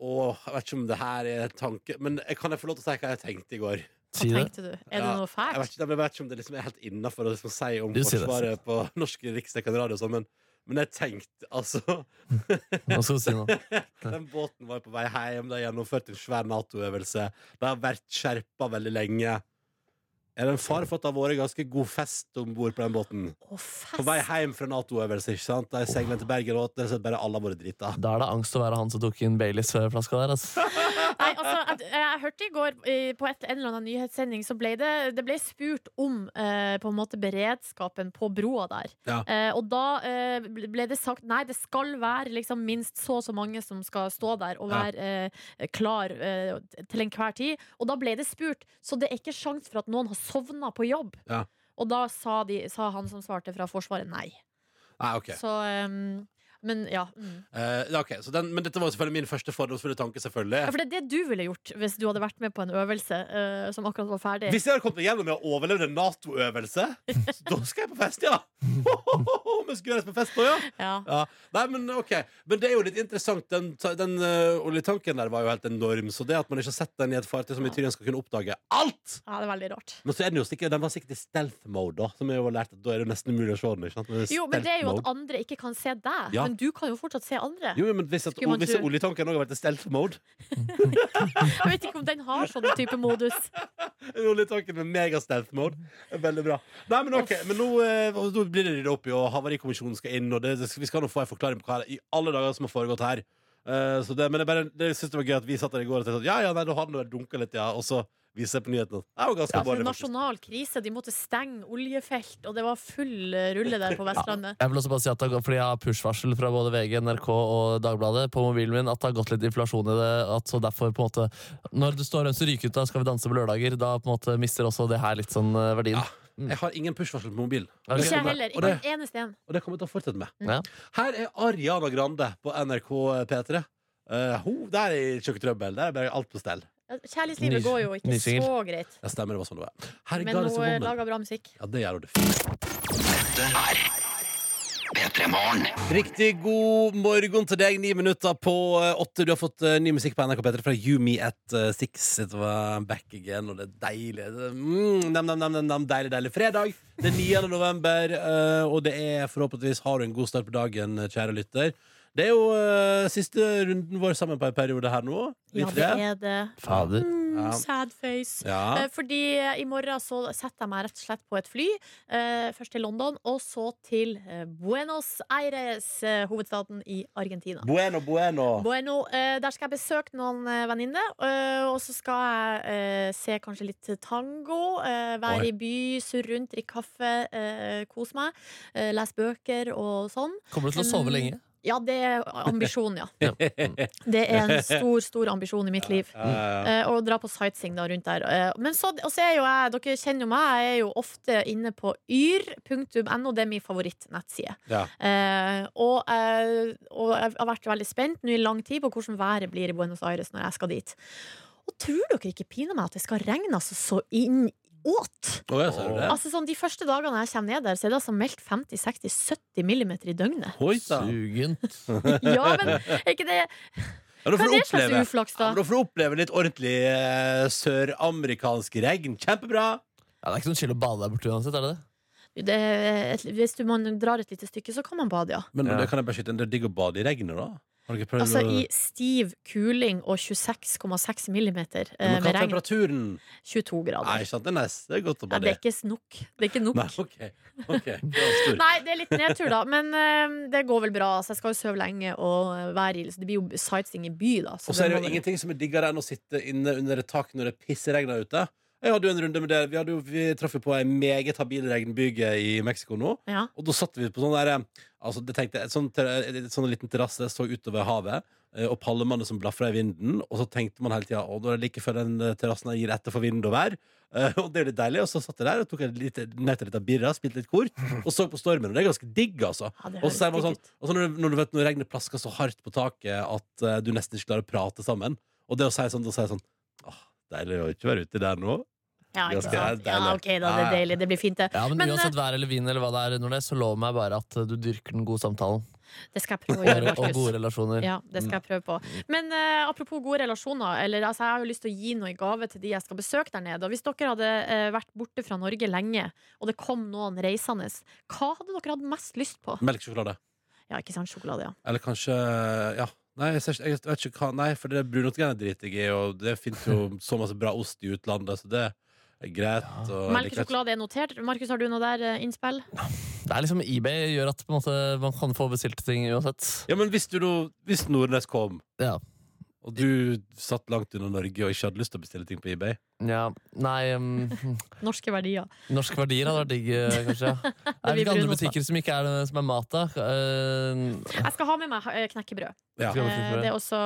S2: Å, jeg vet ikke om det her er tanke Men jeg- kan jeg få lov til å si hva jeg tenkte i går?
S4: Sånn,
S3: Si
S4: hva
S3: det.
S4: tenkte du? Er det
S2: Ja,
S4: noe
S2: Jeg vet
S4: fælt?
S2: ikke, jeg vet ikke om det liksom er helt innafor å liksom si om
S3: Du sier det.
S2: Forsvaret på norsk riksdekkende radio, og sånn, men, men jeg tenkte
S3: [laughs]
S2: altså
S3: Nå skal du si noe.
S2: Den båten var jo på vei hjem. De gjennomførte en svær Nato-øvelse. De har vært skjerpa veldig lenge. er det en fare for at det har vært ganske god fest om bord på den båten. På vei hjem fra Nato-øvelse, ikke sant? Da jeg seilte til Bergen, og det er sånn bare alle har vært drita.
S3: Da er det angst å være han som tok inn Baileys-flaska der. Altså.
S4: Nei, altså, jeg, jeg hørte i går eh, på et, en eller annen nyhetssending så ble det, det ble spurt om eh, på en måte beredskapen på broa der.
S2: Ja.
S4: Eh, og da eh, ble det sagt nei, det skal være liksom, minst så og så mange som skal stå der og
S2: Ja.
S4: være eh, klar eh, til enhver tid. Og da ble det spurt, så det er ikke sjans for at noen har sovna på jobb.
S2: Ja.
S4: Og da sa, de, sa han som svarte fra Forsvaret nei.
S2: Nei, ok.
S4: Så eh, Men ja. Mm.
S2: Eh, ja, ok, så den, men dette var jo selvfølgelig min første fordomsfulle tanke, selvfølgelig.
S4: Ja, for det er det du ville gjort hvis du hadde vært med på en øvelse eh, som akkurat var ferdig.
S2: Hvis jeg hadde kommet meg gjennom med å overleve en
S4: [laughs]
S2: Nato-øvelse, så da skal jeg på fest, ja! Ho-ho-ho, Vi skal gjøres på fest nå, ja.
S4: Ja.
S2: ja! Nei, men ok. Men det er jo litt interessant. Den, ta- den eh, oljetanken der var jo helt enorm, så det at man ikke har sett den i et fartøy som i Tyrien skal kunne oppdage alt!
S4: Ja, det er veldig rart.
S2: Men så er den jo sikkert, den var sikkert i stealth mode, da. Som jeg jo har lært at da er det jo nesten umulig å se den. ikke sant? Men
S4: Jo, men det er jo at
S2: stealth mode.
S4: andre ikke kan se deg.
S2: Ja.
S4: Men du kan jo fortsatt se andre.
S2: Jo, jo, men hvis, at,
S4: Skulle man
S2: hvis
S4: tro.
S2: oljetanken òg har vært i stealth mode
S4: Jeg vet ikke om den har sånn type modus.
S2: [laughs] Oljetanken med mega-stealth mode. Veldig bra. Nei, men ok, men nå, eh, og nå blir det rydda opp i, og Havarikommisjonen skal inn, og det, det, vi skal nå få en forklaring på hva i alle dager som har foregått her. Eh, så det, men jeg bare, det synes det var gøy at vi satt der i går og tenkte at ja, ja, nei, da har den vel dunka litt, ja. Og så viser jeg på nyhetene at det var ganske
S4: Det var
S2: alvorlig.
S4: en
S2: faktisk.
S4: Altså, nasjonal krise. De måtte stenge oljefelt, og det var full eh, rulle der på Vestlandet.
S3: Jeg vil også bare si at det har gått- Fordi jeg har push-varsel fra både VG, NRK og Dagbladet på mobilen min at det har gått litt inflasjon i det. At så derfor på en måte Når du står og ønsker rykegutta, skal vi danse på lørdager, da på en måte mister også det her litt sånn eh, verdien.
S2: Jeg har ingen push-varsel på mobilen. Og
S3: Ja,
S2: det
S3: det
S4: Ikke jeg
S2: kommer-
S4: heller.
S2: og
S4: Ikke
S2: det-
S4: en eneste en.
S2: Og det kommer jeg til å fortsette med.
S3: Ja.
S2: Her er Ariana Grande på NRK P3. Eh, ho, der er ikke noe trøbbel. Der er bare alt på stell.
S4: Kjærlighetslivet
S3: Nys-
S4: går jo ikke
S3: nysingel.
S4: så greit.
S2: Jeg stemmer, det var sånn det var. Her er
S4: Men
S2: Goddess
S4: hun
S2: of
S4: eh,
S2: Woman.
S4: lager bra musikk.
S2: Ja, det gjør hun definitivt. Riktig god morgen til deg. Ni minutter på eh, åtte. Du har fått eh, ny musikk på NRK P3 fra You Me At eh, Six. Det var back again, og det er deilig. Det er, Mm, nam, nam, nam, nam, nam, deilig, deilig fredag. Det er 9. november, eh, og det er forhåpentligvis har du en god start på dagen, eh, kjære lytter. Det er jo eh, siste runden vår sammen på en periode her nå. Vi
S4: Ja, det
S2: tre.
S4: er det.
S3: Fader.
S2: Ja.
S4: Mm, sad face.
S2: Ja.
S4: Eh, Fordi i morgen så setter jeg meg rett og slett på et fly. eh, Først til London, og så til eh, Buenos Aires, eh, hovedstaden i Argentina.
S2: Bueno, bueno. [laughs]
S4: Bueno, eh, Der skal jeg besøke noen eh, venninner, eh, og så skal jeg eh, se kanskje litt tango. eh, Være
S2: Oi.
S4: i by, surre rundt, drikke kaffe, eh, kose meg. eh, Lese bøker og sånn.
S3: Kommer du til å sove lenge?
S4: Ja, det er
S2: [laughs]
S4: ambisjonen, ja.
S3: Ja.
S4: Det er en stor, stor ambisjon i mitt liv.
S2: Ja, ja.
S4: Eh, Og dra på sightseeing da rundt der. Eh, Men så, og så er jo jeg, dere kjenner jo meg, jeg er jo ofte inne på yr.no, det er min favorittnettside.
S2: Ja.
S4: Eh, og, eh, og jeg har vært veldig spent nå i lang tid på hvordan været blir i Buenos Aires når jeg skal dit. Og tror dere ikke piner meg at det skal regne altså så inn åt?
S2: Å, ja, ser du det?
S4: Altså sånn, De første dagene jeg kommer ned der, så er det altså meldt 50-60-70 millimeter i døgnet. [laughs]
S2: Oi, da.
S3: Sugent.
S4: Ja, men er ikke det
S2: Ja, da
S4: Hva
S2: får du
S4: er det slags
S2: oppleve.
S4: uflaks,
S2: Ja,
S4: da?
S2: men da får du oppleve litt ordentlig eh, søramerikansk regn. Kjempebra!
S3: Ja, det er ikke noe chill å bade der borte uansett, er det det?
S4: det er et, hvis du, man drar et lite stykke, så kan man bade, ja.
S2: Men
S3: Ja.
S2: det kan jeg bare skyte inn. Det er digg å bade i regnet, da. Har dere prøvd
S4: Altså
S2: å-
S4: i stiv kuling og 26,6 millimeter
S2: Ja,
S4: eh,
S2: Men hva
S4: med
S2: er
S4: regn.
S2: temperaturen?
S4: 22
S2: Nei,
S4: grader.
S2: ikke sant? Det er nice. Det er godt å
S4: Ja, det
S2: bade
S4: er ikke nok. Det er ikke nok.
S2: Nei, OK.
S4: [laughs]
S2: ok. Det var stor.
S4: Nei, det er litt nedtur, da. Men eh, det går vel bra. Så jeg skal jo sove lenge og eh, være i så Det blir jo sightseeing i by, da.
S2: Og så er det
S4: må
S2: jo
S4: vel-
S2: ingenting som er diggere enn å sitte inne under et tak når det pisseregner ute. Jeg hadde jo en runde med det. Vi, hadde jo, vi traff jo på ei meget habil regnbyge i Mexico nå.
S4: Ja.
S2: Og da satt vi på sånn der eh, altså, det tenkte, jeg, et sånt, ter- et sånn liten terrasse så utover havet, eh, og palmene som blafra i vinden. Og så tenkte man hele tida at det er like før den eh, terrassen her gir etter for vind og vær. Eh, Og det er jo litt deilig. Og så satt jeg der og tok en lite, nøt litt av birra, spilte litt kort, og så på stormen. Og det er ganske digg, altså.
S4: Ja, det
S2: Og så er man
S4: høres
S2: sånn,
S4: digg ut.
S2: og så når, du- når du vet når regnet plasker så hardt på taket at eh, du nesten ikke klarer å prate sammen. Og det å si sånn, da sier jeg sånn Åh, deilig å ikke være ute der nå.
S4: Ja, ikke
S2: Ganske
S4: sant? ja,
S2: deilig.
S4: OK, da. Det
S2: Ja,
S4: er
S2: ja.
S4: deilig. Det blir fint, det.
S3: Ja, men,
S4: Men,
S3: Uansett vær eller vin eller hva det er, når det er, så lov meg bare at eh, du dyrker den gode samtalen.
S4: Det skal jeg prøve å
S3: Og,
S4: gjøre,
S3: og gode
S4: Markus.
S2: [laughs]
S3: relasjoner.
S4: Ja, det skal jeg prøve på. Men eh, apropos gode relasjoner. Eller, altså, jeg har jo lyst til å gi noe i gave til de jeg skal besøke der nede. Og hvis dere hadde eh, vært borte fra Norge lenge, og det kom noen reisende, hva hadde dere hatt mest lyst på?
S2: Melkesjokolade.
S4: Ja, ikke sant, sjokolade, ja.
S2: Eller kanskje Ja. Nei, jeg, ser, ikke- jeg vet ikke hva Nei, for det brunostgreiene driter jeg i, og det fins jo så masse bra ost i utlandet, så det Greit. Og
S4: Melkesjokolade er notert. Markus, har du noe der eh, innspill?
S3: Det er liksom eBay gjør at på en måte, man kan få bestilte ting uansett.
S2: Ja, men hvis, du, nå- hvis Nordnes kom,
S3: Ja.
S2: og du satt langt unna Norge og ikke hadde lyst til å bestille ting på eBay
S3: ja. Nei um,
S4: Norske verdier.
S3: Norske verdier hadde vært digg, eh, kanskje. [laughs] Det er
S4: blir
S3: hvilke andre
S4: brun også.
S3: butikker som ikke er det som er mat, da? Eh,
S4: Jeg skal ha med meg eh, knekkebrød.
S2: Ja.
S4: Eh, Det er også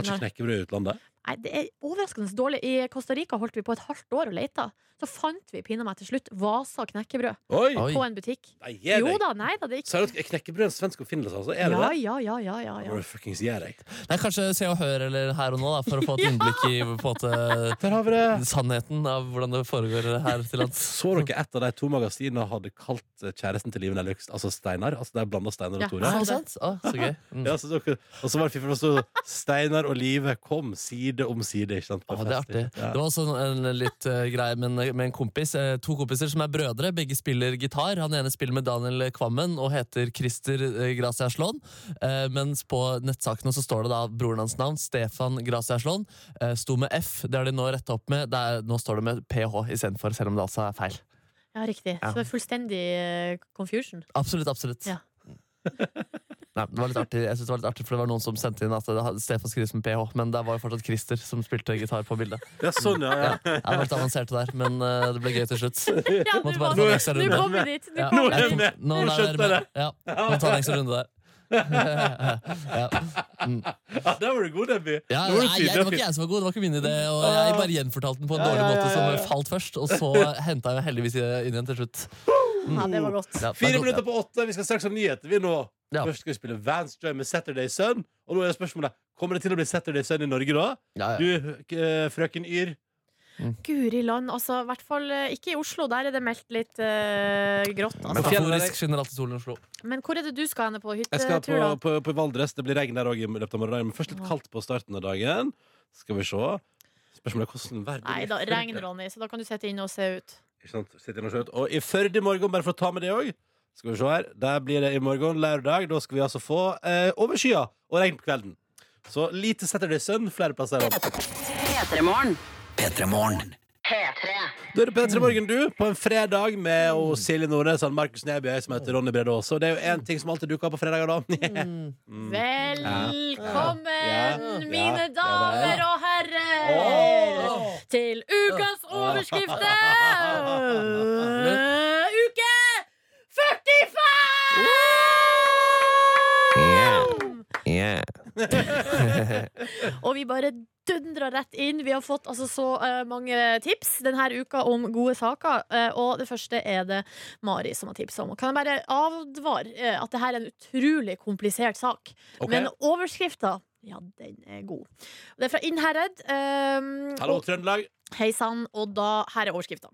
S2: Kanskje knekkebrød i utlandet?
S4: Nei, det er overraskende dårlig. I Costa Rica holdt vi på et halvt år og leita. Så fant vi pinadø til slutt Vasa knekkebrød
S2: Oi!
S4: på en butikk.
S2: Nei, gi deg.
S4: Jo da, nei da, det er ikke
S2: Sier du at knekkebrød er en svensk oppfinnelse, altså? Er det
S4: Ja,
S2: det?
S4: ja, ja, ja, ja,
S2: Må
S4: ja.
S2: du fuckings gi deg.
S3: Nei, kanskje Se og Hør eller Her og Nå, da, for å få [laughs] et innblikk i på en
S2: Der har vi det.
S3: måte, sannheten av hvordan det foregår her til lands.
S2: Så dere et av de to magasinene hadde kalt eh, kjæresten til Liven Elvik altså Steinar? Altså det er blanda Steinar
S4: Ja,
S2: og Tore?
S3: Ah, sant? Ah, så gøy. Mm.
S2: Ja, så dere, og så var det fiffig, for det sto Steinar og Live kom side om side. Ikke sant? på
S3: Ah, det er
S2: fest,
S3: artig.
S2: ikke sant?
S3: Det var også en en litt eh, greie med en, med en kompis. eh, to kompiser som er brødre. Begge spiller gitar. Han ene spiller med Daniel Kvammen og heter Christer eh, Gracia Slån. Eh, mens på nettsakene så står det da broren hans navn, Stefan Gracia Slån. Eh, sto med F. Det har de nå retta opp med. Det er, nå står det med PH istedenfor, selv om det altså er feil.
S4: ja riktig.
S3: Ja.
S4: Så det er fullstendig eh, confusion.
S3: Absolutt, absolutt.
S4: Ja.
S3: Nei, det var litt artig, jeg synes det var litt artig, for det var noen som sendte inn at det hadde- Stefan skrives med PH, men det var jo fortsatt Christer som spilte gitar på bildet.
S2: Ja, sånn, ja, ja.
S3: Jeg var litt avansert der, men eh, det ble gøy
S2: [laughs]
S3: til slutt.
S4: Ja, nå
S3: Måtte bare
S4: var-
S3: ta en ekstra
S4: nå
S3: runde.
S4: kom vi dit! Nå
S3: Ja,
S4: kom
S3: jeg
S4: vi dit.
S3: kom- Nå
S2: Nå
S3: der er
S2: skjønte jeg det.
S3: med- Ja, må ta en ekstra runde
S2: [laughs]
S3: der. ja.
S2: ja Der var du god, Debbie.
S3: Ja,
S2: Nå var du
S3: nei,
S2: tydelig
S3: jeg, det
S2: og
S3: var ikke
S2: fin.
S3: jeg som var god, det var ikke min idé. Og jeg bare gjenfortalte den på en dårlig måte som falt først. Og så henta jeg heldigvis inn igjen til slutt.
S4: Ja, det var godt.
S3: Ja, det er
S2: Fire
S3: godt,
S2: minutter på åtte, vi skal straks ha nyheter. Vi nå
S3: Ja.
S2: Først skal vi spille Vans Joy med Saturday Sun. Og nå er spørsmålet Kommer det til å bli Saturday Sun i Norge da?
S3: Ja,
S2: Du,
S3: ja.
S2: eh, frøken Yr.
S4: Guri land, altså. I hvert fall eh, ikke i Oslo. Der er det meldt litt eh, grått.
S2: Men
S4: Altså.
S2: fjell-
S3: Metaforisk skinner alltid solen i Oslo.
S4: Men hvor er det du skal henne på
S2: Jeg skal
S4: hyttetur,
S2: på,
S4: da?
S2: på, på Valdres. Det blir regn der òg i løpet av morgendagen. Men først litt kaldt på starten av dagen. Skal vi se. Spørsmålet er hvordan verden
S4: Nei da, regn, Ronny, så da kan du sitte inne og se ut.
S2: Ikke sant? Sitter inn og ser ut. Og i Førde i morgen, bare for å ta med det òg Skal vi se her. Der blir det i morgen, lørdag. Da skal vi altså få eh, overskya og regn på kvelden. Så lite Saturday Sun flere plasser. i landet.
S9: P3morgen.
S2: Da er det P3 Morgen, du, på en fredag med og Silje Nordnes og Markus Neby, og jeg som heter Ronny Brede Aase. Og det er jo én ting som alltid dukker opp på fredager, [laughs] da.
S4: Velkommen,
S2: Mm. Ja. Ja.
S4: mine
S2: Ja
S4: damer
S2: vel.
S4: og herrer, til ukas overskrifter! Uke 45! [laughs] Og vi bare dundrer rett inn. Vi har fått altså så eh, mange tips denne uka om gode saker. eh, og det første er det Mari som har tipsa om. Og Kan jeg bare advare eh, at dette er en utrolig komplisert sak.
S2: Ok.
S4: Men overskrifta ja, den er god. Det er fra Innherred. eh,
S2: Hallo,
S4: og-
S2: Trøndelag.
S4: Hei sann, og da Her er overskrifta.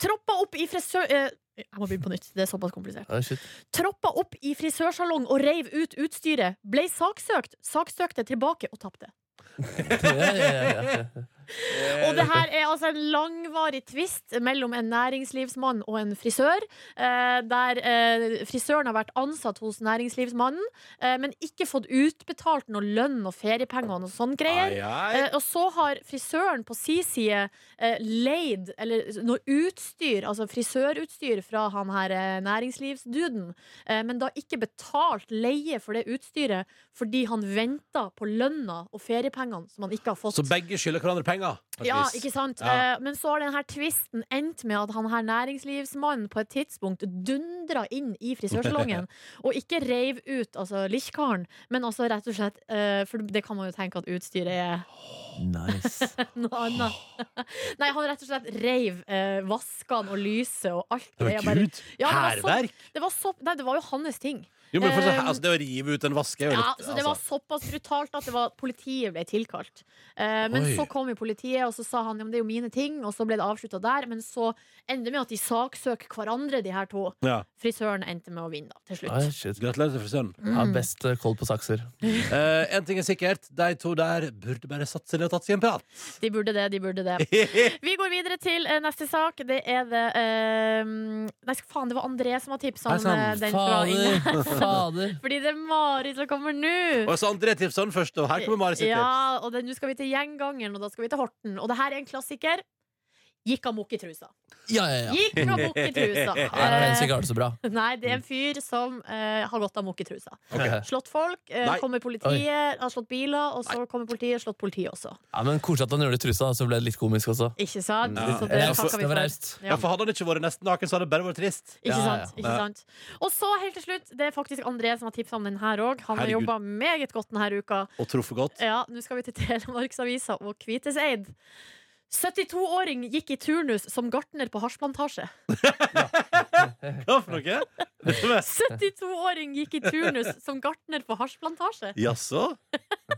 S4: Troppa opp i frisør... eh, jeg må begynne på nytt. Det er såpass komplisert.
S3: Å, shit. [laughs]
S4: Troppa opp i frisørsalong og reiv ut utstyret. Blei saksøkt. Saksøkte tilbake og tapte.
S3: Ja, ja, ja, ja.
S4: Og det her er altså en langvarig tvist mellom en næringslivsmann og en frisør. eh, Der eh, frisøren har vært ansatt hos næringslivsmannen, eh, men ikke fått utbetalt noe lønn og feriepenger og noe sånn greier.
S2: Ai, ai.
S4: Eh, Og så har frisøren på si side eh, leid eller, noe utstyr, altså frisørutstyr fra han her eh, næringslivsduden, eh, men da ikke betalt leie for det utstyret fordi han venta på lønna og feriepengene som han ikke har fått.
S2: Så begge skylder hverandre penger. på et
S4: Ja,
S2: vis.
S4: ikke sant?
S2: Ja.
S4: Eh, Men så har denne tvisten endt med at han her næringslivsmannen på et tidspunkt dundra inn i
S2: [laughs]
S4: frisørsalongen. og ikke reiv ut altså likkaren, men altså rett og slett eh, For det kan man jo tenke at utstyret er
S3: Nice.
S4: noe annet. [laughs] Nei, han rett og slett reiv eh, vaskene og lyset og alt.
S2: Det
S4: Jeg
S2: var
S4: bare-
S2: gud.
S4: Ja, det var så-
S2: Hærverk.
S4: Det var, så, nei, det var jo hans ting.
S2: Jo, men fortsatt,
S4: Um,
S2: altså, det å rive ut en vask er jo
S4: Ja,
S2: litt altså.
S4: så Det var såpass brutalt at det var, politiet ble tilkalt. Eh, men
S2: Oi.
S4: så kom jo politiet, og så sa han ja, men det er jo mine ting, og så ble det avslutta der. Men så endte det med at de saksøker hverandre, de her to.
S2: ja.
S4: Frisøren endte med å vinne, da, til
S3: Oi,
S4: slutt.
S3: shit.
S2: Gratulerer til frisøren.
S3: Ja, best eh, koll på sakser.
S2: Eh, en ting er sikkert, de to der burde bare satt seg ned og tatt seg en
S4: [laughs]
S2: prat.
S4: De burde det, de burde
S2: [laughs]
S4: det. Vi går videre til eh, neste sak. Det er det eh, Nei, faen, det var André som har tipsa om eh, den fra Inge. [laughs]
S3: Fader! Fader.
S4: Fordi det er Mari som kommer nå.
S2: Og så André Tipson først, og her kommer Mari sitt tips.
S4: Ja, og det- nå skal vi til Gjengangeren, og da skal vi til Horten. Og det her er en klassiker. gikk amok i trusa.
S3: Ja, ja, ja.
S4: Gikk amok i
S2: [laughs]
S4: trusa.
S3: Her er den sikkaren så bra.
S4: Nei, det er en fyr som eh, har gått amok i trusa.
S3: Ok.
S4: Slått folk, eh,
S3: Nei.
S4: kommer politiet, har slått biler, og så kommer politiet, slått politiet også.
S3: Ja, men Koselig at han gjorde det i trusa, så ble det litt komisk også.
S4: Ikke sant?
S3: Ja.
S4: Så det
S3: Ja,
S4: takker
S3: for-
S4: vi
S3: det var
S4: for.
S3: raust.
S4: Ja.
S2: For hadde han ikke vært nesten naken, så hadde det bare vært trist.
S4: Ikke sant, ikke sant Og så helt til slutt, det er faktisk André som har tipsa om den her òg. Han har
S2: Herregud.
S4: jobba meget godt denne uka.
S2: Og truffet [laughs] godt.
S4: Ja, nå skal vi til [laughs] Telemarksavisa og Kviteseid. 72-åring gikk i turnus som gartner på hasjplantasje.
S2: Hva for noe?
S4: 72-åring gikk i turnus som gartner på hasjplantasje.
S2: Jaså?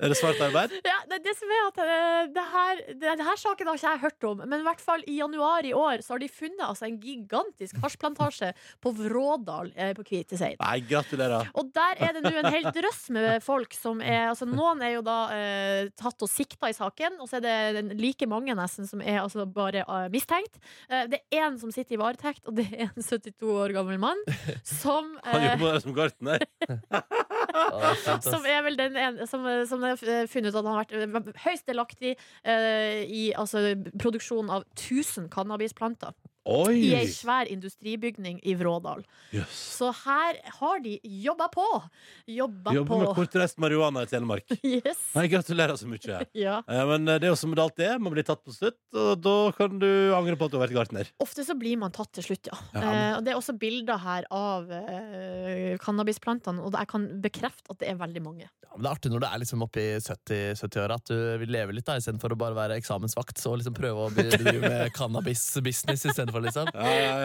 S2: Er det svart arbeid?
S4: Ja, det, det som er at eh, det her, det, det her saken har ikke jeg hørt om, men i hvert fall i januar i år så har de funnet altså, en gigantisk hasjplantasje på Vrådal eh, på Kviteseid.
S2: Nei, gratulerer.
S4: Og der er det nå en hel drøss med folk som er altså Noen er jo da eh, tatt og sikta i saken, og så er det den- like mange nesten som er altså bare eh, mistenkt. Eh, det er én som sitter i varetekt, og det er en 72 år gammel mann som
S2: [laughs] Han
S4: eh,
S2: jobber der som gartner.
S3: altså.
S4: som er vel den ene som, eh, som det er funnet ut at han har vært eh, høyst delaktig eh, i altså, produksjonen av 1000 cannabisplanter. I
S2: Oi!
S4: ei svær industribygning i Vrådal.
S2: Jøss.
S4: Så her har de jobba på! Jobba
S2: Jobber med
S4: på.
S2: kortreist marihuana i Telemark.
S4: [laughs] Yes.
S2: Nei, gratulerer så [laughs] mye.
S4: Ja.
S2: Eh, Men det er jo som det alltid er, man blir tatt på slutt, og da kan du angre på at du har vært gartner.
S4: Ofte så blir man tatt til slutt, ja.
S2: Ja,
S4: Eh, og det er også bilder her av eh, cannabisplantene, og jeg kan bekrefte at det er veldig mange.
S3: Ja, men det er artig når du er liksom oppe i 70 70-åra, at du vil leve litt da, istedenfor å bare være eksamensvakt og liksom prøve å be- drive [laughs] med cannabis-business istedenfor, liksom.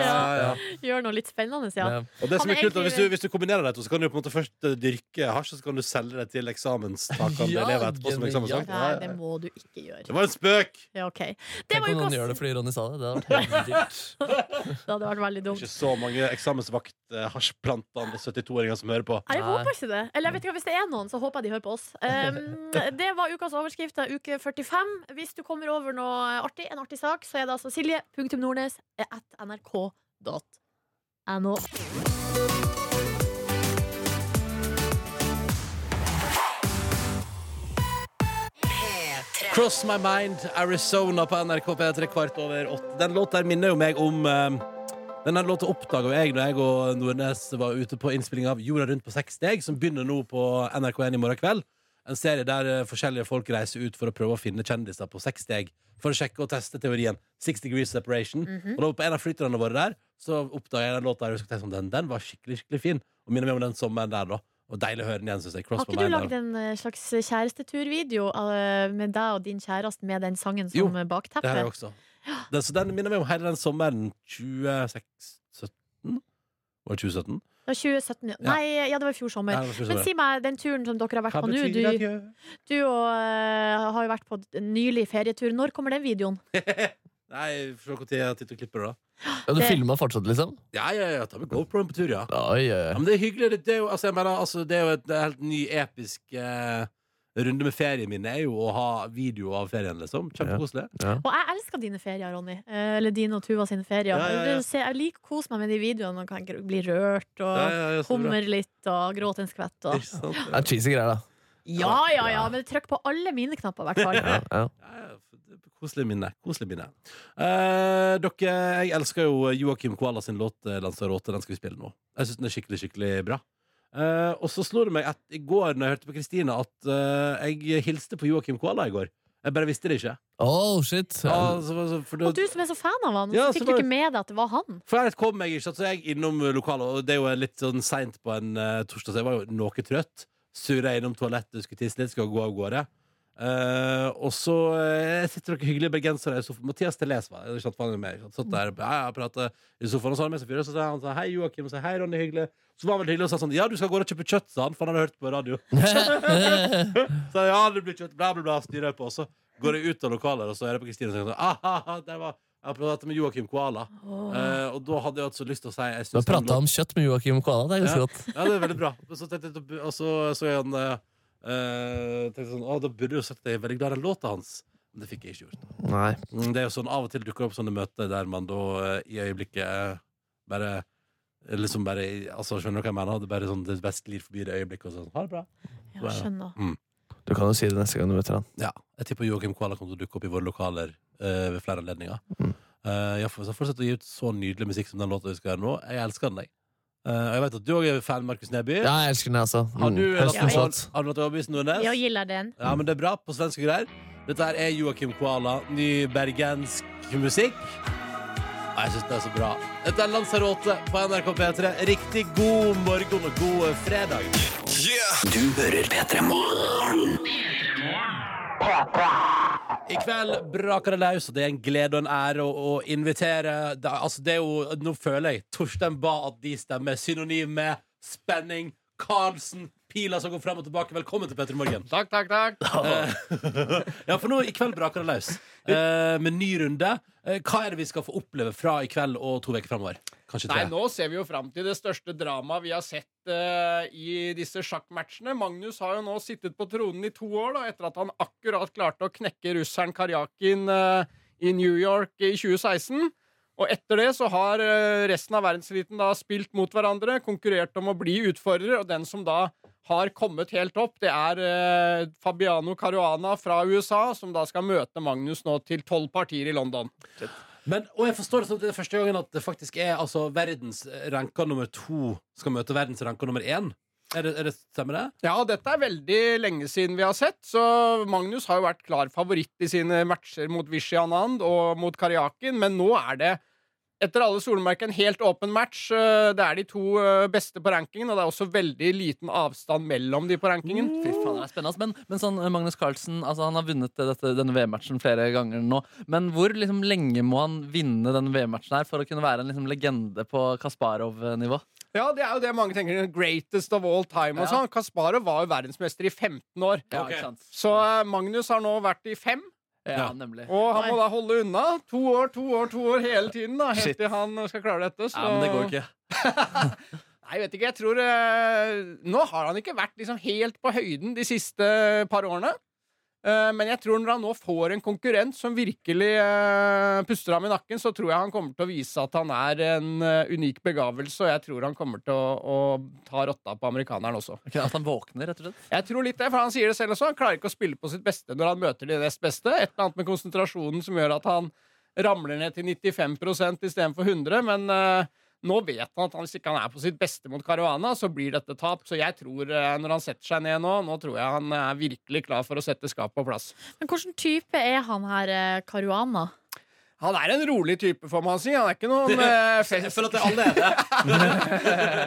S4: [laughs] Gjør noe litt spennende, ja.
S2: Og det som
S4: Han
S2: er kult, da, hvis,
S4: egentlig-
S2: du, hvis du kombinerer de to, så kan du på en måte først eh, dyrke hasj, og så kan du selge det til
S4: [laughs]
S2: eksamenstakende
S3: Ja,
S2: elever etterpå. som
S3: genialt.
S2: eksamensvakt.
S4: Nei,
S2: Ja,
S4: det
S2: ja.
S4: må du ikke gjøre.
S2: Det var en spøk!
S4: Ja, ok. Det
S3: Tenk
S4: var
S3: om
S4: ukas
S3: noen gjør det fordi Ronny sa det. Det hadde vært helt dyrt.
S4: Det hadde vært veldig dumt.
S2: Ikke så mange eksamensvakt-hasjplantende 72-åringer som hører på.
S4: Nei, Jeg håper ikke det. Eller jeg vet ikke, hva, hvis det er noen, så håper jeg de hører på oss. Um, det var ukas overskrift av uke 45. Hvis du kommer over noe artig, en artig sak, så er det altså silje.nordnes eh, at nrk.no.
S2: Cross My Mind, Arizona på NRK P3 kvart over åtte. Den låta her minner jo meg om eh, Denne låta oppdaga jeg da jeg og Nordnes var ute på innspilling av Jorda rundt på seks steg, som begynner nå på NRK1 i morgen kveld. En serie der eh, forskjellige folk reiser ut for å prøve å finne kjendiser på seks steg. For å sjekke og teste teorien. Six degrees separation.
S11: Mhm.
S2: Og da var på en av flytterne våre der, så oppdaga jeg den låta her. og så tenkte jeg sånn, Den, den var skikkelig skikkelig fin. Og minner meg om den sommeren der, da. Og deilig å høre den igjen, synes jeg. Cross
S4: Har
S2: My
S4: ikke du
S2: Mind der.
S4: lagd en eh, slags kjæresteturvideo eh, med deg og din kjæreste med den sangen
S2: Jo,
S4: som eh, bakteppe?
S2: Det har jeg også. Det, så den minner meg om hele den sommeren 2017. Var det 2017?
S4: Det var 2017, ja. Nei, ja, det var i fjor sommer.
S2: Ja, det var i fjor
S4: Men
S2: sommer.
S4: si meg, den turen som dere har vært
S2: Hva
S4: på nå
S2: betyr
S4: Du,
S2: adjø?
S4: du og, eh, har jo vært på en nylig ferietur. Når kommer den videoen?
S2: Nei, se når jeg har tid til å klippe det, da.
S3: Ja, du filma fortsatt, liksom?
S2: Ja, ja, ja. Ta med GoProen på tur, ja.
S3: Oi, oi,
S2: ja
S3: oi.
S2: men det er hyggelig. Det, det er jo, altså, jeg mener, altså, det er jo et helt ny episk eh, runde med ferien min. er jo å ha video av ferien, liksom. Kjempekoselig.
S4: Og jeg elsker dine ferier, Ronny. Eh, Eller dine og Tuva sine ferier.
S2: Ja, ja, ja.
S4: Du ser- Jeg liker å kose meg med de videoene. Man kan gr- bli rørt og
S3: Ja, ja, ja, så bra.
S4: hummer litt og gråte en skvett. Og.
S3: Det er cheesy greier, da.
S4: Ja, ja, ja, men trykk på alle mine knapper, i hvert fall.
S2: Ja,
S3: ja.
S2: Koselig minne. Koselig minne. Eh, dere, jeg elsker jo Joakim Koala sin låt eh, 'Lanzarote'. Den skal vi spille nå. Jeg syns den er skikkelig skikkelig bra. Eh, og så slo det meg at i går når jeg hørte på Kristina, at eh, jeg hilste på Joakim Koala i går. Jeg bare visste det ikke.
S3: Oh, shit.
S2: Ja, så- så- for da-
S4: Og du som er så fan av han,
S2: Ja, så
S4: så fikk du
S2: var-
S4: ikke med deg at det var han.
S2: for her kom jeg ikke, sant, så jeg er innom lokalet, og det er jo litt sånn seint på en eh, torsdag, så jeg var jo noe trøtt. Surra innom toalettet, skulle tisse litt, skulle gå av gårde. Eh, og så eh, sitter dere hyggelige bergensere i sofaen. Mathias Tellez var det. ikke sant, for han er med, ikke sant, Satt der ja, ja, pratet i sofaen, og så har han med seg fyr, og så sa han sånn, hei, Joakim, og så hei, Ronny, hyggelig. Så var han veldig hyggelig og sa sånn ja, du skal gå og kjøpe kjøtt, sa han, for han hadde hørt på radio. [laughs] så ja, det blir kjøtt, bla, bla, bla, styrer jeg på. Og så går jeg ut av lokalet, og så er det på Kristine som sånn, ah, ah, ah, der var jeg har pratet med Joakim Koala. Eh, og da hadde jeg altså lyst til å si jeg
S3: Du har
S2: synes den
S3: prata
S2: lå-
S3: om kjøtt med Joakim Koala. Det er ganske
S2: ja.
S3: godt.
S2: ja, det er veldig bra. Og så tenkte jeg, og så, så jeg han eh, tenkte sånn, å, Da burde jeg jo sagt at jeg er veldig glad i den låta hans. Men det fikk jeg ikke gjort.
S3: Nei.
S2: Mm, Det er jo sånn, Av og til dukker det opp sånne møter der man da eh, i øyeblikket eh, bare Liksom bare altså Skjønner du hva jeg mener? Det er bare sånn, det best glir forbi det øyeblikket. Og sånn, ha det bra
S4: Ja,
S2: Så er det.
S4: skjønner.
S2: Mm.
S3: Du kan jo si det neste gang du møter han. Mm.
S2: Ja, jeg tipper Joakim Koala kommer til å dukke opp i våre lokaler eh, ved flere anledninger.
S10: Eh, ja, for- så fortsett å gi ut så nydelig musikk som den låta vi skal gjøre nå. Jeg elsker den, jeg. Eh, og jeg vet at du òg er fan, Markus Neby.
S12: Ja, jeg elsker den, jeg også. Mm.
S10: Har du har du
S12: Høstens
S10: vært
S12: låt.
S10: overbevist, Nordnes?
S4: Ja, gillar den.
S10: Ja, men det er bra på svenske greier. Dette her er Joakim Koala, ny bergensk musikk. Og jeg syns det er så bra. Dette er Lanzarote på NRK P3. Riktig god morgen og god fredag.
S13: Du hører P3 Morgen.
S10: I kveld braker det løs, og det er en glede og en ære å, å invitere. Det, er- altså, det er jo, nå føler jeg Torstein ba at de stemmer synonym med spenning. Karlsen, pila som går frem og tilbake. Velkommen til P3 Morgen.
S2: Takk, takk, takk.
S10: [laughs] Ja, for nå i kveld braker det løs. Eh, med ny runde. Eh, hva er det vi skal få oppleve fra i kveld og to uker framover? Kanskje
S2: Nei,
S10: tre?
S2: nå ser vi jo fram til det største dramaet vi har sett eh, i disse sjakkmatchene. Magnus har jo nå sittet på tronen i to år, da, etter at han akkurat klarte å knekke russeren Karjakin eh, i New York i 2016. Og etter det så har eh, resten av verdenseliten da spilt mot hverandre, konkurrert om å bli utfordrer, og den som da har kommet helt opp, det er eh, Fabiano Caruana fra USA, som da skal møte Magnus nå til tolv partier i London.
S10: Men, og jeg forstår det sånn at det er første gangen at det faktisk er altså, verdens ranka nummer to skal møte verdens ranka nummer én. Er det, er det, stemmer det?
S2: Ja, dette er veldig lenge siden vi har sett, så Magnus har jo vært klar favoritt i sine matcher mot Vishy Anand og mot Karjakin, men nå er det etter alle solmerker en helt åpen match. Eh, Det er de to eh, beste på rankingen, og det er også veldig liten avstand mellom de på rankingen.
S3: Mm. Fy faen, det er spennende. ass. Men, men sånn, eh, Magnus Carlsen altså, han har vunnet eh, dette, denne VM-matchen flere ganger nå. Men hvor liksom, lenge må han vinne denne VM-matchen her for å kunne være en liksom, legende på Kasparov-nivå?
S2: Ja, det er jo det mange tenker. Greatest of all time. Og sånn. Kasparov var jo verdensmester i 15 år.
S3: Ja, ikke sant.
S2: Så eh, Magnus har nå vært i fem.
S3: Ja, nemlig.
S2: Og han må da holde unna. To år, to år, to år hele tiden. da Helt
S3: Shit.
S2: til han skal klare dette. Så...
S3: Ja, men det går ikke.
S2: Nei, jeg vet ikke. Jeg tror eh, Nå har han ikke vært liksom helt på høyden de siste par årene. Eh, men jeg tror når han nå får en konkurrent som virkelig eh, puster ham i nakken, så tror jeg han kommer til å vise at han er en eh, unik begavelse, og jeg tror han kommer til å, å ta rotta på amerikaneren også.
S3: Ok, at han våkner, rett og slett?
S2: Jeg tror litt det, for Han sier det selv også. Han klarer ikke å spille på sitt beste når han møter de nest beste. Et eller annet med konsentrasjonen som gjør at han ramler ned til 95 istedenfor 100 Men eh, nå vet han at han, hvis ikke han er på sitt beste mot Caruana, så blir dette tap. Så jeg tror, eh, når han setter seg ned nå, nå tror jeg han er virkelig klar for å sette skapet på plass.
S4: Men hvilken type er han her, eh, Caruana?
S2: Han er en rolig type, får man si. Han er ikke noen eh, fest... Jeg føler at alle er det.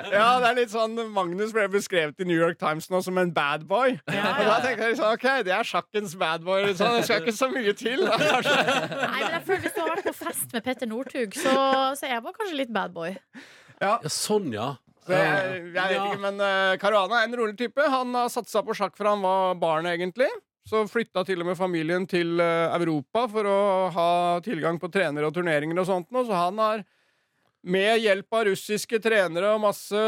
S2: [laughs] ja, det er litt sånn Magnus ble beskrevet i New York Times nå som en bad boy. Og da tenkte jeg sånn, ok, det er sjakkens bad boy. Litt sånn. Det skal ikke så mye til. Da, kanskje.
S4: Nei, men jeg føler Hvis du har vært på fest med Petter Northug, så, så er man kanskje litt bad boy.
S2: Ja.
S10: sånn, ja.
S2: Så jeg, jeg vet ikke, men eh, Caruana er en rolig type. Han har satsa på sjakk fra han var barn, egentlig. Så flytta til og med familien til eh, Europa for å ha tilgang på trenere og turneringer og sånt. nå. Så han har med hjelp av russiske trenere og masse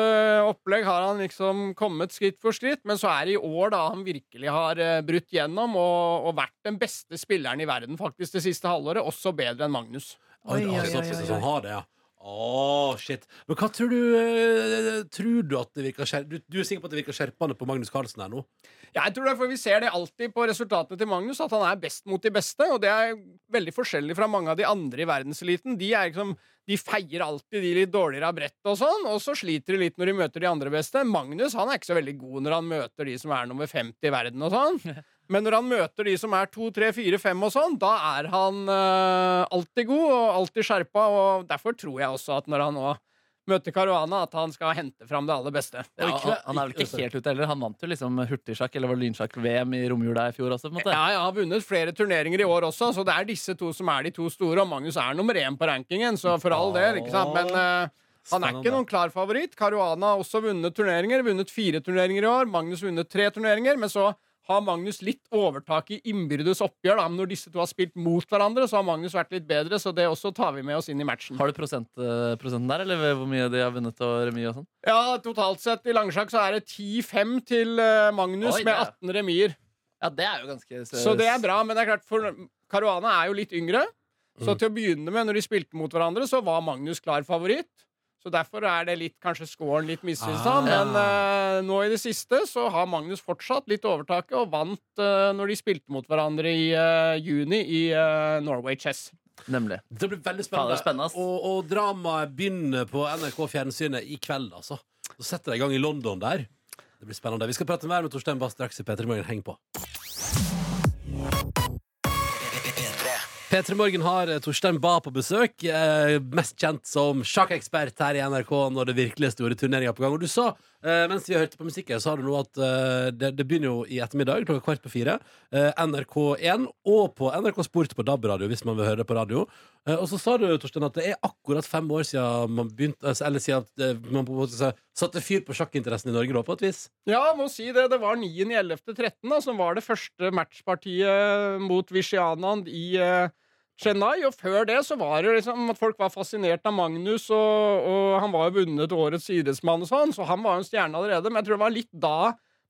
S2: opplegg har han liksom kommet skritt for skritt, men så er det i år da han virkelig har eh, brutt gjennom og, og vært den beste spilleren i verden faktisk det siste halvåret, også bedre enn Magnus.
S10: Oi, altså, Så han har det, ja. Å, shit. Men hva tror du eh, Tror du at det virker skjer... Du, du er sikker på at det virker skjerpende på Magnus Carlsen her nå?
S2: Jeg tror det, for Vi ser det alltid på resultatene til Magnus, at han er best mot de beste. Og det er veldig forskjellig fra mange av de andre i verdenseliten. De, er liksom, de feier alltid de litt dårligere av brettet og sånn, og så sliter de litt når de møter de andre beste. Magnus han er ikke så veldig god når han møter de som er nummer 50 i verden og sånn. Men når han møter de som er 2, 3, 4, 5 og sånn, da er han eh, alltid god og alltid skjerpa, og derfor tror jeg også at når han nå møter Caruana, at han skal hente fram det aller beste.
S3: Ja, han, han er vel ikke helt ute heller. Han vant jo liksom hurtigsjakk eller var det lynsjakk-VM i romjula i fjor også. på en måte.
S2: Ja, jeg har vunnet flere turneringer i år også, så det er disse to som er de to store, og Magnus er nummer én på rankingen, så for all del, ikke sant? Men eh, han er ikke
S3: Spennende.
S2: noen klar favoritt. Caruana har også vunnet turneringer, vunnet fire turneringer i år, Magnus vunnet tre turneringer, men så har Magnus litt overtak i innbyrdes oppgjør, da, men når disse to har spilt mot hverandre, så har Magnus vært litt bedre, så det også tar vi med oss inn i matchen.
S3: Har du prosent, eh, prosenten der, eller hvor mye de har vunnet og remis og sånn?
S2: Ja, totalt sett i langsjakk så er det 10-5 til eh, Magnus
S3: Oi, det
S2: med
S3: er-
S2: 18 remier.
S3: Ja, det er jo ganske
S2: Så det er bra, men det er klart for
S3: Mm.
S2: Caruana er jo litt yngre. Så til å begynne med, når de spilte mot hverandre, så var Magnus klar favoritt. Så derfor er det litt, kanskje scoren litt misvisende.
S3: Ah.
S2: Men eh, nå i det siste så har Magnus fortsatt litt overtaket, og vant eh, når de spilte mot hverandre i eh, juni i eh, Norway Chess.
S3: Nemlig.
S10: Det blir veldig
S3: Fader,
S10: spennende.
S3: spennende, ass.
S10: og, og dramaet begynner på NRK Fjernsynet i kveld, altså. Så setter det i gang i London der. Det blir spennende. Vi skal prate mer med Torstein Bass straks i P3 Morgen. Heng på. P3 Morgen har eh, Torstein Bae på besøk, eh, mest kjent som sjakkekspert her i NRK når det virkelig er store turneringer på gang. Og du sa, eh, mens vi hørte på musikken, så har du nå at eh, det, det begynner jo i ettermiddag klokka kvart på fire. Eh, NRK1 og på NRK Sport på DAB-radio, hvis man vil høre det på radio. Eh, og så sa du, Torstein, at det er akkurat fem år siden man begynte, altså, eller siden at eh, man på en måte sa- satte fyr på sjakkinteressen i Norge, da, på et vis.
S2: Ja, må si det. Det var 9.11.13 da, som var det første matchpartiet mot Vishianand i eh, Chennai. Og før det så var det liksom at folk var fascinert av Magnus, og, og han var jo vunnet årets idrettsmann og sånn, så han var jo en stjerne allerede. Men jeg tror det var litt da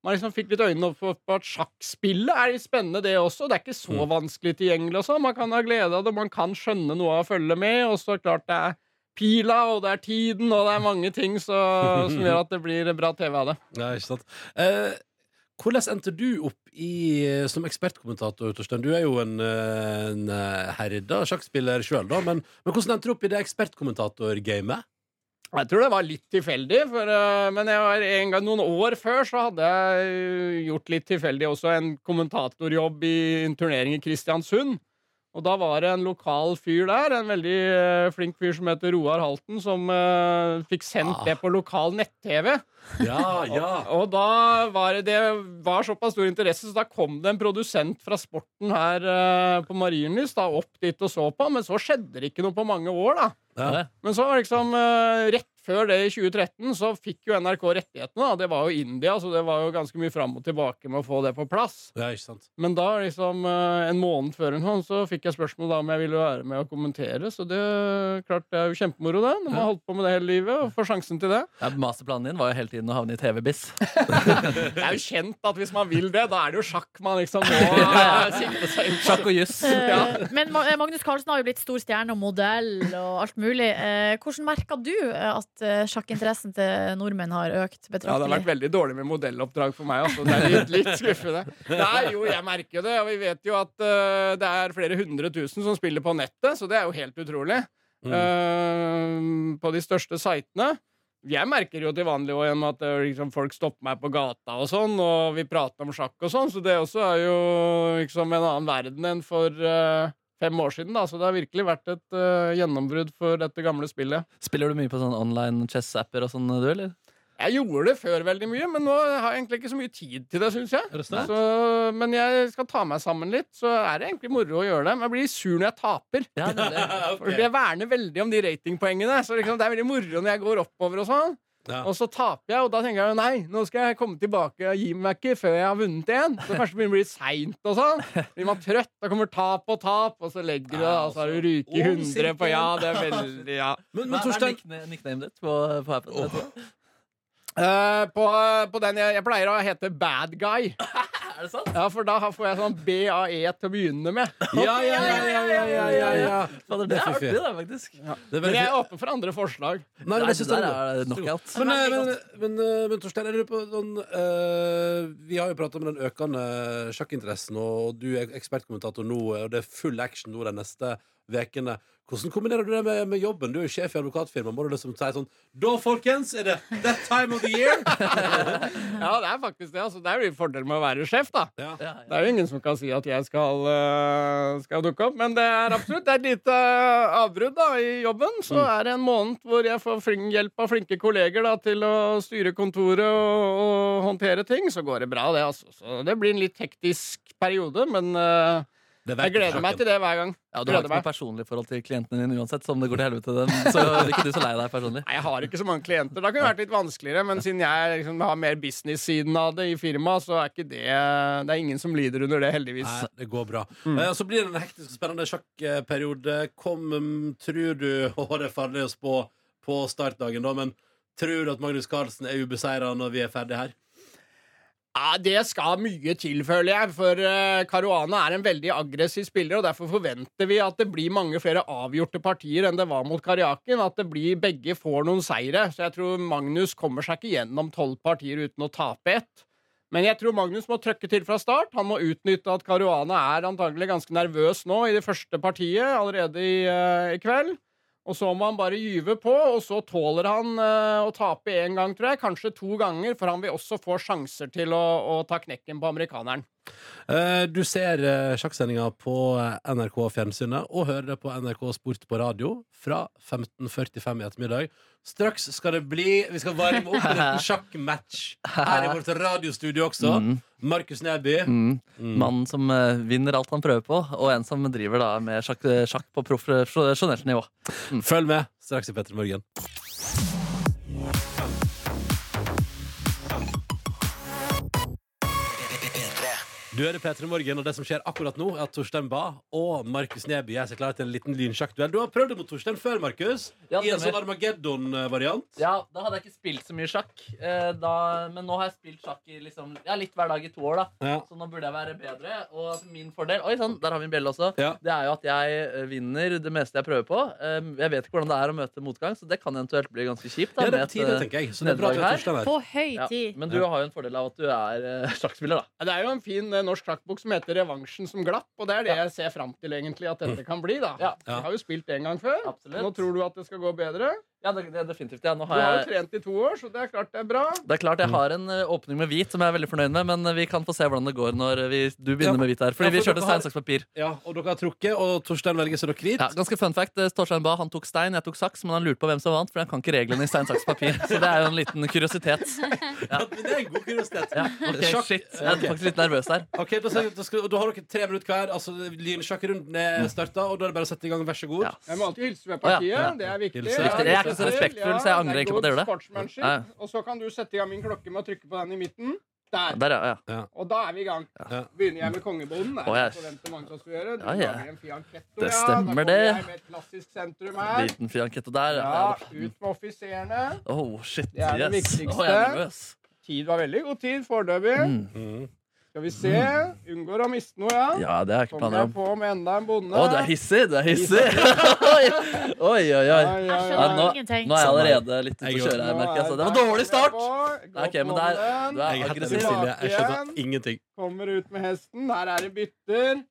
S2: man liksom fikk litt øynene opp for for at sjakkspillet er litt spennende, det også. Det er ikke så vanskelig tilgjengelig og sånn. Man kan ha glede av det, man kan skjønne noe av å følge med, og så er det klart det er pila, og det er tiden, og det er mange ting så, som gjør at det blir bra TV av det.
S10: Ja, ikke sant. Eh, hvordan endte du opp i, eh, som ekspertkommentator, Torstein? Du er jo en, eh, en eh, herda sjakkspiller sjøl, da. Men, men hvordan endte du opp i det ekspertkommentatorgamet?
S2: Jeg tror det var litt tilfeldig, for, eh, men jeg var en gang, noen år før så hadde jeg eh, gjort litt tilfeldig også en kommentatorjobb i en turnering i Kristiansund. Og da var det en lokal fyr der, en veldig eh, flink fyr som heter Roar Halten, som eh, fikk sendt det på lokal nett-TV.
S10: [laughs] Ja, ja.
S2: [laughs] Og, og da var det, det var såpass stor interesse, så da kom det en produsent fra Sporten her eh, på Marienlyst da, opp dit og så på, men så skjedde det ikke noe på mange år, da.
S10: Ja.
S2: Men så liksom eh, rett før det i 2013 så fikk jo NRK rettighetene. da. Det var jo India, så det var jo ganske mye fram og tilbake med å få det på plass.
S10: Ja, ikke sant.
S2: Men da liksom eh, en måned før eller noe, så fikk jeg spørsmål da om jeg ville være med og kommentere. Så det, klart, det er jo kjempemoro, det. Når man har holdt på med det hele livet og får sjansen til det.
S3: Ja, masterplanen din var jo hele tiden å havne i TV-biss.
S2: Det er jo kjent at hvis man vil det, da er det jo sjakk man liksom må eh, sikte seg inn på.
S3: Sjakk og juss.
S2: Ja.
S4: Eh, Men Ma- eh, Magnus Carlsen har jo blitt stor stjerne og modell og alt mulig. Eh, Hvordan merka du eh, at eh, sjakkinteressen til nordmenn har
S2: Ja,
S4: økt
S2: det har vært
S4: betraktelig?
S2: veldig dårlig med modelloppdrag for meg. Altså. Det er litt, litt skuffende. Nei, jo, jeg merker jo det. Og vi vet jo at eh, det er flere hundre tusen som spiller på nettet, så det er jo helt utrolig. Eh, på de største sitene. Jeg merker jo til vanlig også igjen at eh, liksom, folk stopper meg på gata og sånn, og vi prater om sjakk og sånn, så det også er jo liksom en annen verden enn for eh, fem år siden, da. Så det har virkelig vært et eh, gjennombrudd for dette gamle spillet.
S3: Spiller du mye på sånn online chess-apper og sånn, du, eller?
S2: Jeg gjorde det før veldig mye, men nå har jeg egentlig ikke så mye tid til det, syns jeg.
S3: det sant?
S2: Så, men jeg skal ta meg sammen litt, så er det egentlig moro å gjøre det. Men jeg blir sur når jeg taper.
S3: [laughs]
S2: For Jeg verner veldig om de ratingpoengene. Så liksom, det er veldig moro når jeg går oppover og sånn.
S10: Ja.
S2: Og så taper jeg, og da tenker jeg jo nei, nå skal jeg komme tilbake og gi meg ikke før jeg har vunnet igjen. Så kanskje det begynner å bli seint og sånn. Blir man trøtt, da kommer tap og tap, og så legger du deg, og så har du ryket i 100 på ja. Det er veldig ja.
S3: Men, men Torstein Hva er nickna- nicknamet ditt på, på appen? vet du hva?
S2: Eh, på, på den jeg, jeg pleier å hete Bad
S10: [laughs]
S2: Guy.
S3: Er det sant?
S2: Ja, for da har- får jeg sånn BAE til å begynne
S10: [laughs]
S2: med.
S10: Ja, ja, ja, ja, ja, ja, ja, ja.
S3: Fader,
S10: Det
S3: det
S10: er
S3: er
S10: fiffig.
S3: artig, da, faktisk.
S10: Det er
S2: Men
S10: veldig
S2: jeg er åpen for andre forslag.
S10: Nei, men
S3: Nei,
S10: jeg synes
S3: det
S10: det
S3: der
S10: er
S3: er knockout.
S10: Men, eh, men, men, eh, men Torstein, jeg lurer på sånn, eh, Vi har jo prata om den økende eh, sjakkinteressen, og du er ekspertkommentator nå, eh, og det er full action nå de neste ukene. Hvordan kombinerer du det med, med jobben? Du er jo sjef i advokatfirmaet. Må du liksom si sånn Da, folkens, er det that time of the year!
S2: Ja, det er faktisk det. Altså, det er jo en fordel med å være sjef, da.
S10: Ja.
S2: Det er jo ingen som kan si at jeg skal, eh, skal dukke opp, men det er absolutt det er et lite eh, avbrudd da, i jobben.
S10: Mm.
S2: Så er det en måned hvor jeg får flink hjelp av flinke kolleger da, til å styre kontoret og, og håndtere ting. Så går det bra, det. altså. Så det blir en litt hektisk periode, men eh,
S10: Det
S2: jeg gleder meg til det hver gang.
S3: Ja, Du har
S2: Gleder
S3: ikke noe
S2: meg.
S3: personlig forhold til klientene dine uansett, så om det går til helvete, dem, så blir ikke du så lei deg personlig.
S2: Nei, jeg har ikke så mange klienter. Da kunne det vært litt vanskeligere, men siden jeg liksom har mer business-siden av det i firmaet, så er ikke det Det er ingen som lider under det, heldigvis.
S10: Nei, det går bra. Eh, og så blir det en hektisk og spennende sjakkperiode. Kom, mm, tror du [laughs] Og det er farlig å spå på startdagen, da, men tror du at Magnus Carlsen er ubeseira når vi er ferdig her?
S2: Ja, Det skal mye til, føler jeg. For eh, Caruana er en veldig aggressiv spiller, og derfor forventer vi at det blir mange flere avgjorte partier enn det var mot Karjakin. At det blir begge får noen seire. Så jeg tror Magnus kommer seg ikke gjennom tolv partier uten å tape ett. Men jeg tror Magnus må trøkke til fra start. Han må utnytte at Caruana er antagelig ganske nervøs nå i det første partiet allerede i, eh, i kveld. Og så må han bare gyve på, og så tåler han eh, å tape én gang, tror jeg. Kanskje to ganger, for han vil også få sjanser til å, å ta knekken på amerikaneren.
S10: Eh, Du ser eh, sjakksendinga på eh, NRK Fjernsynet og hører det på NRK Sport på radio fra 15.45 i ettermiddag. Straks skal det bli Vi skal varme opp en liten sjakkmatch her i vårt radiostudio også.
S13: Mm.
S10: Markus Neby.
S13: Mm. Mannen som eh, vinner alt han prøver på, og en som driver da med sjakk, sjakk på profesjonelt nivå.
S10: Følg med straks i Petter Morgen. Du er det Petra Morgen, og det som skjer akkurat nå, er at Torstein Ba og Markus Neby gjør seg klare til en liten lynsjakkduell. Du har prøvd det mot Torstein før, Markus.
S13: Ja,
S10: I en sånn
S13: stemmer.
S10: Armageddon-variant.
S13: Ja, da hadde jeg ikke spilt så mye sjakk. eh, Da, men nå har jeg spilt sjakk i liksom, ja, litt hver dag i to år, da.
S10: Ja.
S13: Så nå burde jeg være bedre. Og min fordel Oi sann, der har vi en bjelle også. Det er jo at jeg eh, vinner det meste jeg prøver på. Eh, Jeg vet ikke hvordan det er å møte motgang, så det kan eventuelt bli ganske kjipt. Da, med
S10: Ja, det er på
S13: et,
S10: tide,
S13: eh,
S10: tenker jeg. Så det er bra at
S13: nederlag
S10: du er
S13: her.
S10: Torstein her. På
S4: høy tid.
S13: Men du
S10: Ja.
S13: har jo en fordel av at du er eh, sjakkspiller, da.
S2: Ja, Det er jo en fin eh, norsk sjakkbok som heter 'Revansjen som glapp', og det er det jeg ser fram til egentlig at
S10: Mm.
S2: dette kan bli. da Jeg har jo spilt en gang før. Nå tror du at det skal gå bedre.
S13: Ja, det, det er definitivt. Ja, nå
S2: Du
S13: har
S2: har jo
S13: jeg
S2: trent i to år, så det er klart det er bra.
S13: det er
S10: Mm.
S13: klart Jeg har en eh, åpning med hvit som jeg er veldig fornøyd med, men eh, vi kan få se hvordan det går når eh, vi, du begynner med hvit her. Fordi
S10: Ja, for
S13: vi kjørte
S10: dere har-
S13: stein, saks, papir.
S10: Ja, og dere har trukket, og Torstein velger så dere hvit.
S13: Ja, ganske fun fact, eh, Torstein Bae han tok stein, jeg tok saks, men han lurte på hvem som vant, for han kan ikke reglene i stein, saks, papir. Så det er jo en liten kuriositet. Ja.
S10: Det er en god kuriositet.
S13: Ja, ok,
S10: Sjakk-
S13: shit. Jeg er
S10: Ok.
S13: faktisk litt nervøs der.
S10: Ok, da, ser vi- da, skal, da har dere tre minutter hver. Altså, Lynsjakkrunden er starta, og da er det bare å sette i gang. Vær så god.
S2: Jeg må alltid hilse med partiet.
S10: Å, ja.
S2: Det er viktig.
S10: Hilse. Riktig. Jeg er ikke så respektfull, så jeg angrer egentlig på at jeg gjorde det.
S2: sportsmanship.
S10: Ja.
S2: Og så kan du sette i gang min klokke med å trykke på den i midten. Der.
S13: Der, ja. ja.
S2: Og da er vi i gang. Begynner jeg med kongebonden?
S13: Å,
S2: Er det
S13: jeg-
S2: forventer mange som skal gjøre. Du
S13: Ja, ja.
S2: lager en fianchetto,
S13: Det
S2: ja.
S13: stemmer
S2: da kommer
S13: det.
S2: jeg med et klassisk sentrum her.
S13: Liten fiankette der.
S2: Ja,
S13: Ja.
S2: ut med offiserene.
S13: Oh, shit.
S2: Det er det
S13: yes.
S2: viktigste.
S13: Å, jeg er nervøs.
S2: Tid var veldig god tid foreløpig. Skal vi se. Unngår å miste noe, ja.
S13: Mm. Ja, det har jeg ikke
S2: Kommer
S13: planer om.
S2: jeg på med enda en bonde.
S13: Å, det er hissig! Det er hissig! oi, [laughs] oi, oi. oi.
S2: Ai, ai,
S13: Ja,
S2: ai.
S13: eh, nå, nå
S2: Ingenting.
S13: er jeg allerede litt ute å
S10: Jeg
S13: kjøre her,
S10: også.
S13: merker jeg. Så det var dårlig start!
S2: Gå
S13: Ok, men
S2: på
S13: der,
S2: den.
S13: du er aggressiv.
S10: Jeg skjønner ingenting.
S2: Kommer ut med hesten. Her er det bytter.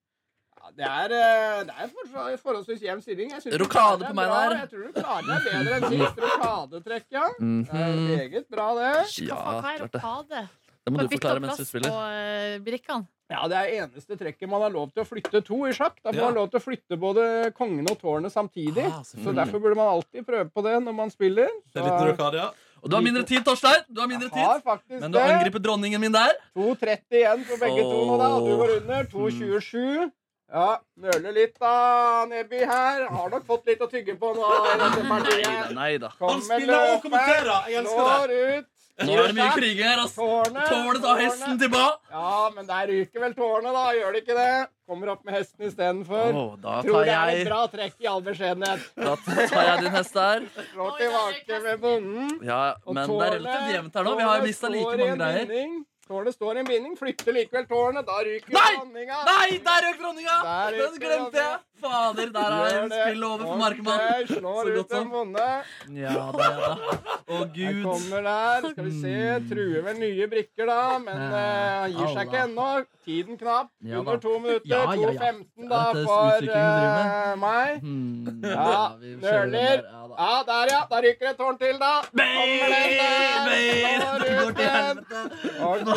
S2: Ja, det er, eh, det er for, forholdsvis jevn stilling. Jeg synes du
S13: Rokade
S2: klarer deg
S13: på meg
S2: bra.
S13: der.
S2: Jeg tror du klarer deg bedre enn sist. Rokadetrekk, ja. Det er
S13: Mhm.
S2: meget bra, det.
S13: Ja,
S4: Hva er
S13: klart det.
S4: rokade?
S13: Det må
S4: Bare
S13: du
S4: bytte
S13: forklare mens
S4: plass
S13: vi spiller.
S4: På eh, brikkene.
S2: Ja, Det er eneste trekket man har lov til å flytte to i sjakk. Da får
S13: Ja.
S2: man lov til å flytte både kongen og tårnet samtidig. så
S13: selvfølgelig.
S2: Derfor burde man alltid prøve på det når man spiller.
S13: Mm. Det er litt rokade, Og du har mindre tid, Torstein! Du har mindre
S2: har
S13: tid.
S2: faktisk
S13: Men du har
S2: det.
S13: angrepet dronningen min der.
S2: 2,30 igjen for begge to nå, da. Du går
S13: Åh.
S2: under. 2,27. Ja, nøler litt, da, Neby her. Har nok fått litt å tygge på nå. i dette partiet.
S13: Nei da.
S2: Kom med
S10: spiller
S2: løperen.
S10: og kommenterer. Jeg elsker
S2: Slår ut.
S13: Nå er det mye kriging her, ass.
S2: Tårnet.
S13: Tårnet tar hesten
S2: tårnet.
S13: tilbake.
S2: Ja, men der ryker vel tårnet, da. Gjør det ikke det? Kommer opp med hesten istedenfor.
S13: Åh, da
S2: Tror
S13: tar
S2: det er
S13: jeg-
S2: et bra trekk i all beskjedenhet.
S13: Da tar jeg din hest der.
S2: Slår tilbake med bonden.
S13: Ja, men det er relativt jevnt her nå. Vi har mista like mange greier.
S2: Tårnet står i en binding, flytter likevel tårnet. Da ryker Nei! dronninga.
S13: Nei, der røk dronninga!
S2: Der
S13: Den
S2: ryker
S13: glemte jeg! Fader, der
S2: Gjør
S13: er
S2: det.
S13: spillet over for
S2: Ok,
S13: Markmann.
S2: Slår
S13: Så
S2: ut
S13: godt
S2: en
S13: som.
S2: bonde.
S13: Ja, det er det. Å,
S2: Jeg
S13: gud.
S2: kommer der. Skal vi se. Truer med nye brikker, da. Men eh, han gir seg ikke ennå. Tiden knapp.
S13: Ja, da.
S2: Under to minutter.
S13: Ja, ja, ja.
S2: 2.15 da
S13: Ja, dette er
S2: for
S13: utviklingen vi driver
S2: eh, meg. Ja,
S13: Ja, Hmm, vi kjører den
S2: nøler.
S13: der.
S2: Ja, der, ja. Der ryker et tårn til, da. Kommer den der. Slår ut den. Ok.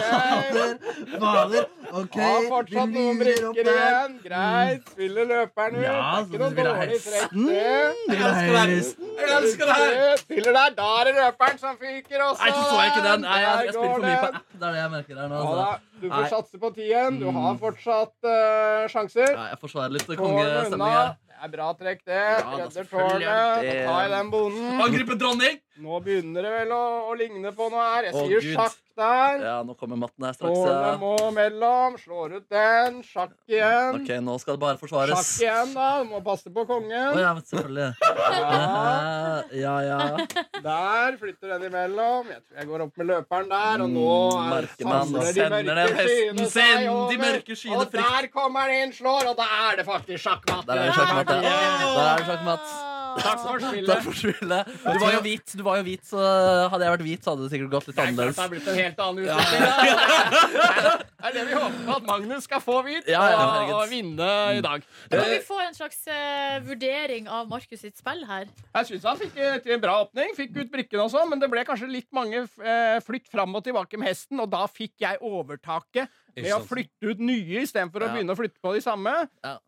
S14: Fader, OK.
S2: Har fortsatt noen brikker igjen. Greit. Spiller løperen ut.
S14: Ja,
S2: Det er
S14: så du vil ha
S2: ikke noe dårlig trekk,
S14: hesten?
S2: det.
S14: Du vil ha hesten?
S2: Jeg elsker det her! Spiller der. Da er det løperen som fyker også.
S13: Nei, så så jeg ikke den. Nei, jeg,
S2: Der
S13: jeg spiller
S2: går
S13: for mye på
S2: den.
S13: app. Det er det jeg merker her nå.
S2: Ja, da,
S13: Altså.
S2: du får
S13: Nei. Mm.
S2: satse på tien. Du har fortsatt eh, sjanser.
S13: Ja, jeg forsvarer litt
S2: Tårnet
S13: kongestemning her.
S2: Det er bra trekk, det.
S13: da,
S2: Redder
S13: selvfølgelig er
S2: tårnet.
S13: det-
S2: Da tar jeg den bonden.
S13: Angriper dronning!
S2: Nå begynner det vel å, å ligne på noe her. Jeg
S13: Å,
S2: sier
S13: Gud.
S2: sjakk
S11: der.
S13: Ja, nå kommer matten her straks.
S11: Tårnet
S13: Ja.
S11: må mellom. Slår ut den. Sjakk igjen.
S13: Ok, nå skal det bare
S11: Sjakk
S13: forsvares.
S11: igjen, da. Du må passe på kongen.
S13: Å ja, men selvfølgelig. [laughs] Ja, ja.
S11: Der flytter den imellom. Jeg tror jeg går opp med løperen der, og nå er
S13: merker man,
S11: samler
S13: Mm,
S11: de
S13: sender ned
S11: mørke
S13: hesten
S11: skyene
S13: sin,
S11: seg
S13: de
S11: over.
S13: mørke skyene
S11: Og
S13: frykt.
S11: der kommer den inn, slår, og da er det faktisk sjakkmatt.
S13: Der er det sjakkmatt, ja. Der er det sjakkmatt.
S11: Takk for spillet.
S13: Takk for spillet. Du var jo hvit, du var jo hvit, så hadde jeg vært hvit, så hadde det sikkert gått litt
S11: klart
S13: annerledes.
S11: det har blitt en helt annen
S13: [laughs]
S11: utvikling. da. Det er det vi håper at Magnus skal få vite,
S13: Ja, ja,
S11: og-
S13: herregud.
S11: og vinne i dag.
S4: Kan vi få en slags eh, vurdering av Markus sitt spill her?
S11: Jeg syns han fikk eh, til en bra åpning, fikk ut brikkene også, men det ble kanskje litt mange eh, flytt fram og tilbake med hesten, og da fikk jeg overtaket
S13: Ikke
S11: med å
S13: sant.
S11: flytte ut nye istedenfor å
S13: Ja.
S11: begynne å flytte på de samme.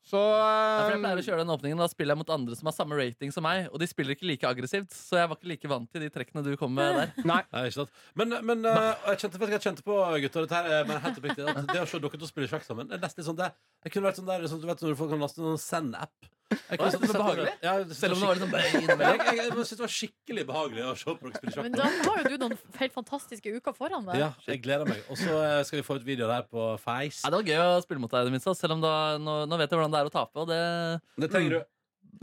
S11: Så
S13: Ja, for
S11: eh,
S13: jeg pleier å kjøre den åpningen, da spiller jeg mot andre som har samme rating som meg, og de spiller ikke like aggressivt, så jeg var ikke like vant til de trekkene du kom med der.
S2: Nei, ikke sant. Men, men eh, jeg kjente, vet du hva jeg kjente på, gutter, dette her, er- men helt oppriktig, at det å se dere to spille sjakk sammen det er nesten litt sånn det, det kunne vært sånn der sånn, du vet, når folk kan laste en Send-app. Jeg kunne
S13: Oi,
S2: sånn
S13: så
S2: sett-
S13: behagelig.
S2: Ja, jeg synes
S13: Selv om det var litt sånn
S2: skikkelig- Jeg, jeg, jeg, synes det var skikkelig behagelig å se på dere spille sjakk.
S4: Men da har jo du noen helt fantastiske uker foran deg.
S2: Ja, jeg gleder meg. Og så eh, skal vi få ut video der på Face.
S13: Ja, det var gøy å spille mot deg i det minste, selv om da, nå, nå vet jeg hvordan det er å tape, og det
S2: Det trenger du.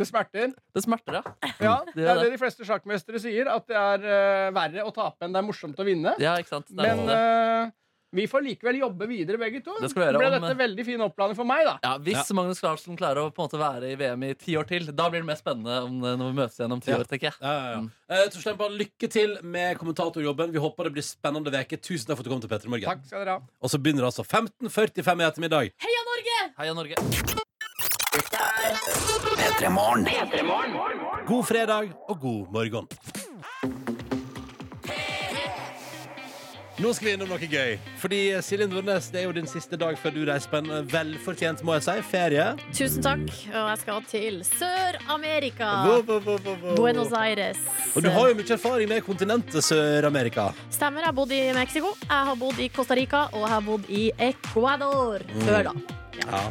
S11: Det smerter.
S13: Det smerter, ja.
S11: ja,
S13: [laughs] Det
S11: det
S13: gjør
S11: er det
S13: det.
S11: de fleste sjakkmestere sier, at det er eh, verre å tape enn det er morsomt å vinne.
S13: Ja, ikke sant? Det er
S11: Men
S13: det.
S11: eh, vi får likevel jobbe videre, begge to.
S13: Det skal vi gjøre,
S11: Ble
S13: om- eh,
S11: dette veldig fin oppladning for meg, da.
S13: Ja, hvis Magnus Carlsen klarer å på en måte være i VM i ti år til, da blir det mer spennende om, eh, når vi møtes igjen om ti
S2: Ja.
S13: år, tenker jeg. Mm.
S2: Eh, Torstein Bae, lykke til med kommentatorjobben. Vi håper det blir spennende veke Tusen takk for at du kom til Petter i
S11: Takk
S2: morgen.
S11: skal dere ha.
S2: Og så begynner det altså 15.45 i ettermiddag.
S4: Heia Norge!
S13: Heia Norge.
S2: God fredag og god morgen. Nå skal vi innom noe gøy. Fordi eh, Silje Nordnes, det er jo din siste dag før du reiser på en eh, velfortjent må jeg si, ferie.
S4: Tusen takk, og jeg skal til Sør-Amerika.
S2: Wo, wo, wo, wo, wo.
S4: Buenos Aires.
S2: Og du har jo mye erfaring med kontinentet Sør-Amerika.
S4: Stemmer, jeg har bodd i Mexico, jeg har bodd i Costa Rica, og jeg har bodd i Ecuador
S2: Mm.
S4: før, da.
S2: Ja.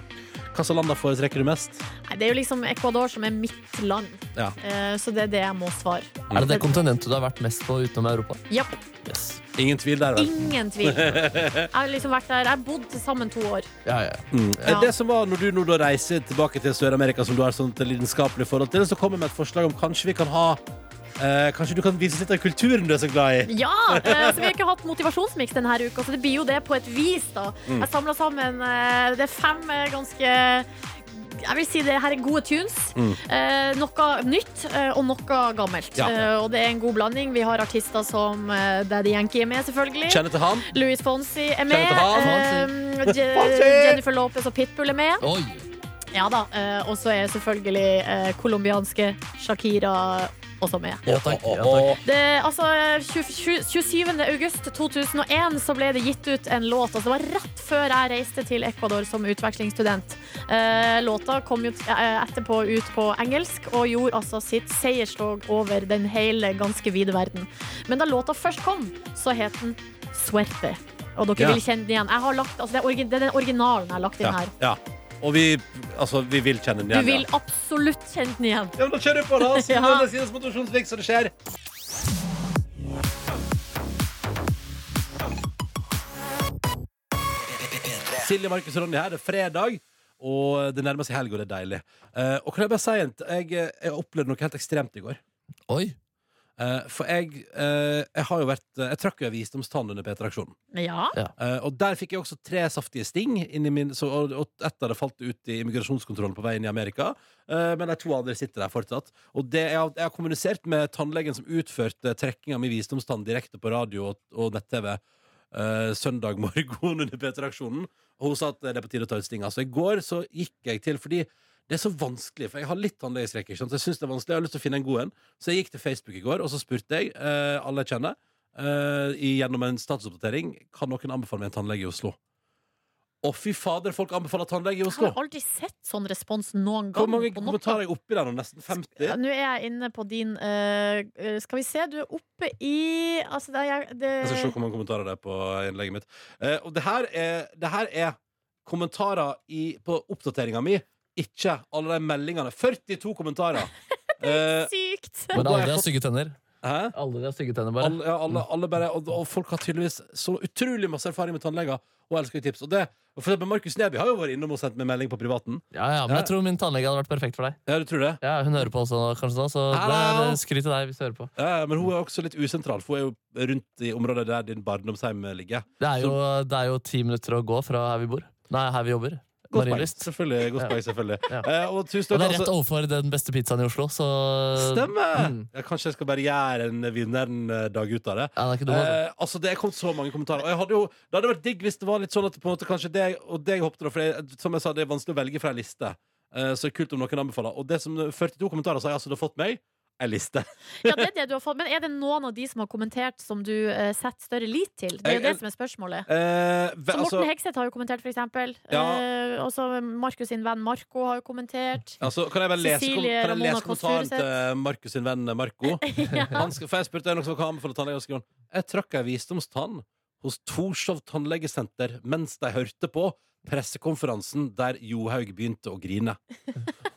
S2: Hva slags land foretrekker du mest?
S4: Nei, det er jo liksom Ecuador som er mitt land,
S2: Ja.
S4: Eh, så det er det jeg må svare.
S3: Er det det kontinentet du har vært mest på utenom Europa?
S4: Ja,
S2: Ingen tvil der, vel?
S4: ingen
S2: [laughs]
S4: tvil. Jeg har liksom vært der, jeg har bodd til sammen to år.
S2: Ja, ja. Mm.
S4: Ja.
S2: Det som var når du nå da reiser tilbake til Sør-Amerika, som du har sånt lidenskapelig forhold til, så kommer jeg med et forslag om kanskje vi kan ha eh, Kanskje du kan vise litt av kulturen du er så glad i?
S4: Ja, eh, så vi har ikke hatt motivasjonsmiks denne uka, så det blir jo det på et vis, da.
S2: Mm.
S4: Jeg samla sammen eh, Det er fem eh, ganske jeg vil si det her er gode tunes.
S15: Mm.
S4: Eh, noe nytt eh, og noe gammelt.
S15: Ja.
S4: Eh, og det er en god blanding. Vi har artister som eh, Daddy Yankee er med, selvfølgelig.
S2: Kjenner til han.
S4: Louis Fonsi er med.
S2: Kjenner til han.
S4: Eh,
S2: Fonsi.
S4: Je-
S2: Fonsi!
S4: Jennifer Lopez og Pitbull er med.
S3: Oi.
S4: Ja da. Eh, og så er selvfølgelig eh, colombianske Shakira også med.
S3: Ja, takk. Ja, takk.
S4: Det, altså, 20 27. august 2001 så ble det gitt ut en låt. Altså, det var rett før jeg reiste til Ecuador som utvekslingsstudent. Eh, låta kom jo eh, etterpå ut på engelsk og gjorde altså sitt seierslag over den hele ganske vide verden. Men da låta først kom, så het den Suerte. Og dere
S2: Ja.
S4: vil kjenne den igjen. Jeg har lagt, altså, det, er orgi- det er den originalen jeg har lagt inn
S2: Ja.
S4: her.
S2: ja. Og vi, altså, vi vil kjenne den
S4: Du
S2: igjen.
S4: vil
S2: ja.
S4: absolutt kjenne den igjen.
S2: Ja, men da kjører vi på, da. Så
S4: Ja.
S2: når det sies motivasjonsvik, så det skjer. Silje, Markus og Ronny her. Det er fredag, og det nærmer seg helg, og det er deilig. Eh, og kan jeg bare si en t- jeg, eh, jeg opplevde noe helt ekstremt i går.
S3: Oi.
S2: Eh, for jeg, eh, jeg har jo vært Jeg trakk jo en visdomstann under P3-aksjonen.
S4: Ja.
S2: Eh, og der fikk jeg også tre saftige sting, inn i min, så, og, og ett av det falt ut i immigrasjonskontrollen på vei inn i Amerika. Eh, men de to andre sitter der fortsatt. Og det, jeg, har, jeg har kommunisert med tannlegen som utførte trekkinga mi visdomstann direkte på radio og, og nett-TV eh, søndag morgen [laughs] under P3-aksjonen. Og hun sa at det er på tide å ta ut stinga. Så i går så gikk jeg til fordi det er så vanskelig, for jeg har litt tannlegeskrekk. ikke sant? Så jeg synes det er vanskelig, jeg har lyst til å finne en god en. Så jeg gikk til Facebook i går, og så spurte jeg eh, alle jeg kjenner, eh, i- gjennom en statusoppdatering, kan noen anbefale meg en tannlege i Oslo. Å, fy fader, folk anbefaler tannlege i
S4: Jeg har
S2: Oslo!
S4: aldri sett sånn respons noen gang.
S2: Hvor mange
S4: på noe.
S2: kommentarer er jeg oppi der nå? Nesten 50?
S4: Ja, Nå er jeg inne på din eh, eh, Skal vi se, du er oppe i altså, det, er- det,
S2: Jeg skal se hvor mange kommentarer det er på innlegget mitt. Eh, og det her er, det her er kommentarer i, på oppdateringa mi, ikke alle de meldingene. 42 kommentarer! Eh,
S4: Sykt!
S2: Og
S3: Men
S2: da har
S3: aldri
S2: jeg
S3: har
S2: fått-
S3: stygge tenner. Alle de har stygge tenner, bare.
S2: Alle, ja, alle, alle bare og, og folk har tydeligvis så utrolig masse erfaring med tannleger og elsker jo tips. Og det, og for eksempel Markus Neby har jo vært innom og sendt meg melding på privaten.
S3: Ja, ja, men jeg tror min tannlege hadde vært perfekt for deg.
S2: Ja, du tror det?
S3: Ja, Hun hører på også nå, kanskje nå, så det er
S2: Hallo!
S3: skryt til deg hvis du hører på.
S2: Ja, men hun er også litt usentral, for hun er jo rundt i området der din barndomshjem ligger.
S3: Det er, jo, det er jo ti minutter å gå fra her vi bor. Nei, her vi jobber.
S2: Godt poeng,
S3: Marienlyst.
S2: selvfølgelig. Godt
S3: Ja.
S2: poeng, selvfølgelig.
S3: Ja.
S2: Eh, og tusen
S3: Og
S2: takk,
S3: det er rett
S2: altså.
S3: overfor den beste pizzaen i Oslo, så
S2: Stemmer!
S3: Mm.
S2: Ja, kanskje jeg skal bare gjøre en vinneren-dag ut av det.
S3: Ja, det er ikke dumt, altså.
S2: eh, altså, det er kommet så mange kommentarer. Og jeg hadde jo, det hadde vært digg hvis det var litt sånn at på en måte kanskje det, og det jeg håpte da, for jeg, som jeg sa, det er vanskelig å velge fra ei liste. Eh, så kult om noen anbefaler. Og det som 42 kommentarer sa, jeg altså, du har fått meg ei liste.
S4: Ja, det er det du har fått. Men er det noen av de som har kommentert som du eh, setter større lit til? Det
S2: Jeg-
S4: er jo det som er spørsmålet.
S2: Eh, ve-
S4: Så Morten
S2: altså-
S4: Hegseth har jo kommentert, for eksempel.
S2: Ja.
S4: Eh, og så Markus sin venn Marco har jo
S2: [laughs]
S4: kommentert.
S2: Altså, kan jeg bare lese, kom,
S4: Cecilie
S2: kan jeg
S4: Ramona
S2: lese
S4: Kåss
S2: kommentaren
S4: Furuseth.
S2: til Markus sin venn Marco? [laughs] Han skal, for jeg spurte noen som kan anbefale tannlege. og skrev han, Jeg trakk ei visdomstann hos Torshov tannlegesenter mens de hørte på pressekonferansen der Johaug begynte å grine.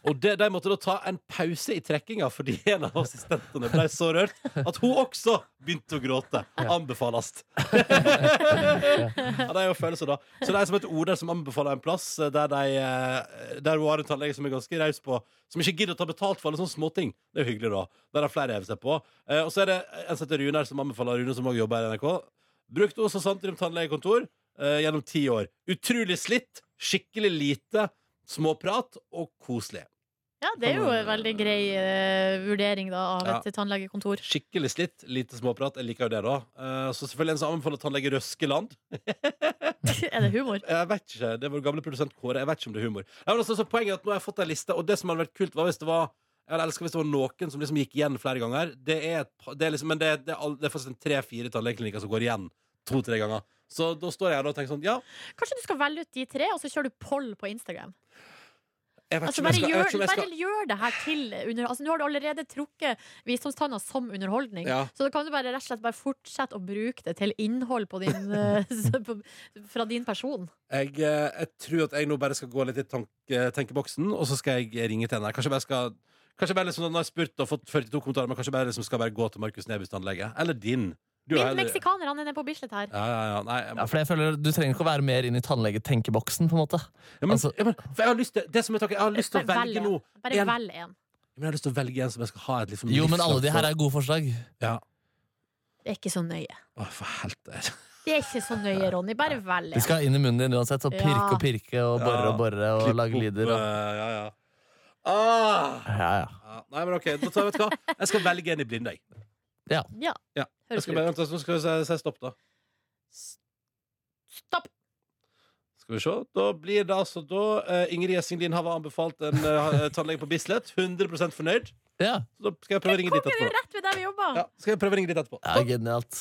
S2: Og det, de måtte da ta en pause i trekkinga fordi en av assistentene ble så rørt at hun også begynte å gråte. Anbefales. Ja, det er jo følelser, da. Så det er som et ord der som anbefaler en plass eh, der, de, eh, der hun har en tannlege som er ganske raus på Som ikke gidder å ta betalt for alle sånne småting. Det er jo hyggelig, da. Der har flere hevet seg på. Eh, Og så er det en som heter Rune her, som anbefaler Rune, som også jobber i NRK. Brukte hos Santrum tannlegekontor eh, gjennom ti år. Utrolig slitt, skikkelig lite småprat og koselig.
S4: Ja, det er jo en veldig grei eh, vurdering da, av et
S2: Ja.
S4: tannlegekontor.
S2: Skikkelig slitt, lite småprat. Jeg liker jo det, da. Eh, Så selvfølgelig en som anbefaler tannlege Røskeland.
S4: [laughs] er det humor?
S2: Jeg vet ikke. Det er vår gamle produsent Kåre. Jeg vet ikke om det er humor. Ja, men altså, så poenget er at Nå har jeg fått ei liste, og det som hadde vært kult, var hvis det var jeg hadde elsket hvis det var noen som liksom gikk igjen flere ganger. Det er, et, pa- det er liksom, men det, er- det er, all- det er faktisk en tre-fire tannlegeklinikker som går igjen to-tre ganger. Så da står jeg her og tenker sånn Ja,
S4: Kanskje du skal velge ut de tre, og så kjører du poll på Instagram.
S2: jeg vet
S4: Altså,
S2: ikke om
S4: bare,
S2: jeg skal, jeg vet ikke
S4: gjør,
S2: om jeg
S4: bare
S2: skal
S4: gjør det her til under, altså, Nå har du allerede trukket visdomstanna som underholdning,
S2: Ja.
S4: så da kan du bare, rett og slett bare fortsette å bruke det til innhold på din, eh, [laughs] på, fra din person.
S2: jeg, eh, jeg tror at jeg nå bare skal gå litt i tanke, tenkeboksen, og så skal jeg ringe til henne. Kanskje jeg bare skal Kanskje bare liksom, Nå har jeg spurt og fått 42 kommentarer, men kanskje jeg bare liksom skal bare gå til Markus Nebys tannlege. Eller din. Du er
S4: Min
S2: heller-
S4: meksikaner, han er nede på Bislett her.
S2: Ja, ja, ja. Nei, jeg må-
S3: Ja, for jeg føler Du trenger ikke å være mer inn i tannlegetenkeboksen. på en måte altså,
S2: For jeg har lyst til, det som er tanken, jeg har lyst til å
S4: Bare
S2: velge
S4: en.
S2: noe.
S4: Bare
S2: En-
S4: velg en.
S2: Men jeg har lyst til å velge en som jeg skal ha et liksom
S3: Jo, men
S2: livslangt
S3: alle de her
S2: forhold.
S3: er gode forslag.
S2: Ja.
S4: Det er ikke så nøye.
S2: Å, for helvete.
S4: Det er ikke så nøye, Ronny. Bare velg
S3: De
S4: en.
S3: skal inn i munnen din uansett og
S4: Ja.
S3: pirke og pirke og
S2: Ja.
S3: bore og bore [laughs] og
S2: Klipp
S3: lage
S2: opp,
S3: lyder. Og...
S2: eh, Ja, ja. Ah!
S3: Ja, ja.
S2: Ja, Nei, men ok, da tar jeg, vet du hva? Jeg skal velge en i blinde, jeg.
S3: Ja.
S4: Ja.
S2: Ja.
S4: Høres
S2: Jeg skal bare
S4: lurt.
S2: vente, så skal vi si- si stopp, da.
S4: Stopp!
S2: Skal vi se. Da blir det altså da eh, Ingrid Gjessing Lien har anbefalt en eh, tannlege på Bislett. 100 fornøyd. Så da skal jeg prøve å ringe dit
S4: Kommer jo
S2: etterpå.
S4: rett ved der vi jobber!
S2: Ja, skal jeg prøve å ringe dit etterpå.
S3: Ja, genialt.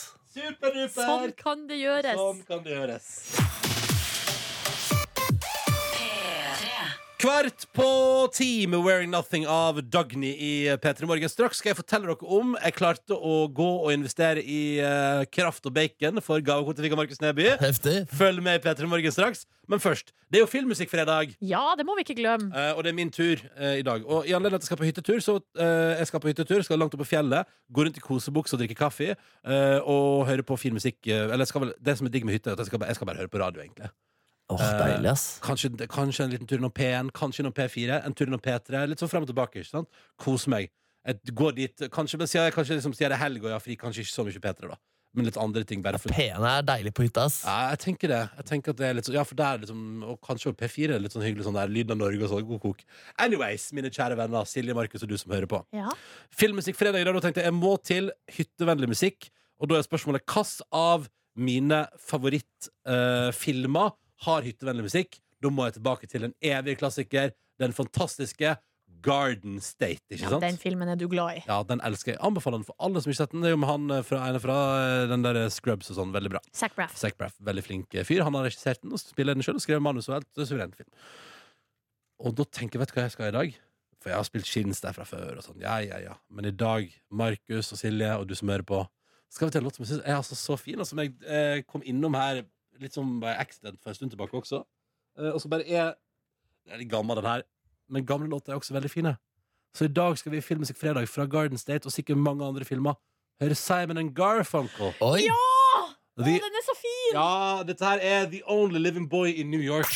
S4: Sånn kan det gjøres.
S2: Sånn kan det gjøres. Kvart på ti med Wearing Nothing av Dagny i P3 Morgen. Straks skal jeg fortelle dere om jeg klarte å gå og investere i eh, kraft og bacon for gavekort til Vigga Markus Neby.
S3: [laughs]
S2: Følg med i P3 Morgen straks. Men først, det er jo filmmusikkfredag.
S4: Ja, det må vi ikke glemme.
S2: Eh, og det er min tur eh, i dag. Og i anledning til at jeg skal på hyttetur, så eh, jeg skal på hyttetur, skal langt opp på fjellet, gå rundt i kosebukse og drikke kaffe eh, og høre på fin musikk. eh, eller jeg skal vel, det som er digg med hytte, er at jeg skal, bare- jeg skal bare høre på radio, egentlig. Eh,
S3: deilig, ass.
S2: kanskje, kanskje en liten tur innom P1, kanskje innom P4, en tur innom P3. Litt sånn frem og tilbake. ikke sant? Kose meg. Jeg går dit, kanskje, men siden jeg kanskje liksom, sier det er helg og jeg har fri, kanskje ikke så mye P3, da. Men litt andre ting. bare for...
S3: P1 er deilig på hytta, ass.
S2: Ja, jeg tenker det. Jeg tenker at det er litt sånn, ja, for der er liksom, Og kanskje også P4 er litt sånn hyggelig sånn der. Lyden av Norge og sånn. God kok. Anyways, mine kjære venner, Silje, Markus og du som hører på.
S4: Ja.
S2: Filmmusikkfredag i dag, da tenkte jeg jeg må til hyttevennlig musikk. Og da er spørsmålet hvilke av mine favorittfilmer har hyttevennlig musikk? Da må jeg tilbake til den evige klassiker, den fantastiske Garden State. ikke
S4: Ja,
S2: sant?
S4: den filmen er du glad i.
S2: Ja, den elsker jeg. Anbefaler den for alle som ikke har sett den. Det er jo med han eh, fra, ene fra eh, den der eh, Scrubs og sånn. Veldig bra.
S4: Zac Braff.
S2: Zac Braff, veldig flink eh, fyr. Han har regissert den og spiller den sjøl og skrevet manus og alt. Det er suveren film. Og da tenker jeg, vet du hva jeg skal i dag? For jeg har spilt Skins der fra før og sånn. Ja, ja, ja. Men i dag, Markus og Silje og du som hører på, skal vi til en låt som jeg synes er altså så fin, og som jeg eh, kom innom her litt som by accident for en stund tilbake også. Eh, og så bare er Det er litt gammel, den her. Men gamle låter er også veldig fine. Så i dag skal vi i Filmmusikk fredag fra Garden State og sikkert mange andre filmer Her er Simon and Garfunkel.
S4: Ja! Å,
S2: The,
S4: den er så fin!
S2: ja, dette her er The Only Living Boy in New York.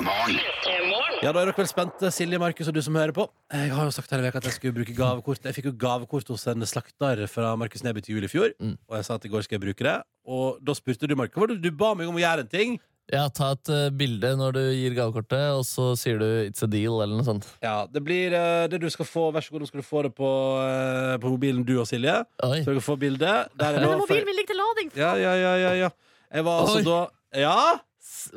S2: Ja, da er dere vel spente, Silje, Markus og du som hører på. Jeg har jo sagt hele veka at jeg skulle bruke gavekort. Jeg fikk jo gavekort hos en slakter fra Markus Neby til jul i fjor, og jeg sa at i går skal jeg bruke det. Og da spurte du, Markus, hva var det du ba meg om å gjøre en ting.
S3: Ja, ta et eh, bilde når du gir gavekortet, og så sier du 'it's a deal' eller noe sånt.
S2: Ja, det blir eh, det du skal få. Vær så god, nå skal du få det på, eh, på mobilen du og Silje. Så dere får bilde. Der
S4: Men
S2: nå
S4: den mobilen min ligger til lading!
S2: Ja, ja, ja, ja, ja. Jeg var altså
S3: Oi.
S2: da Ja!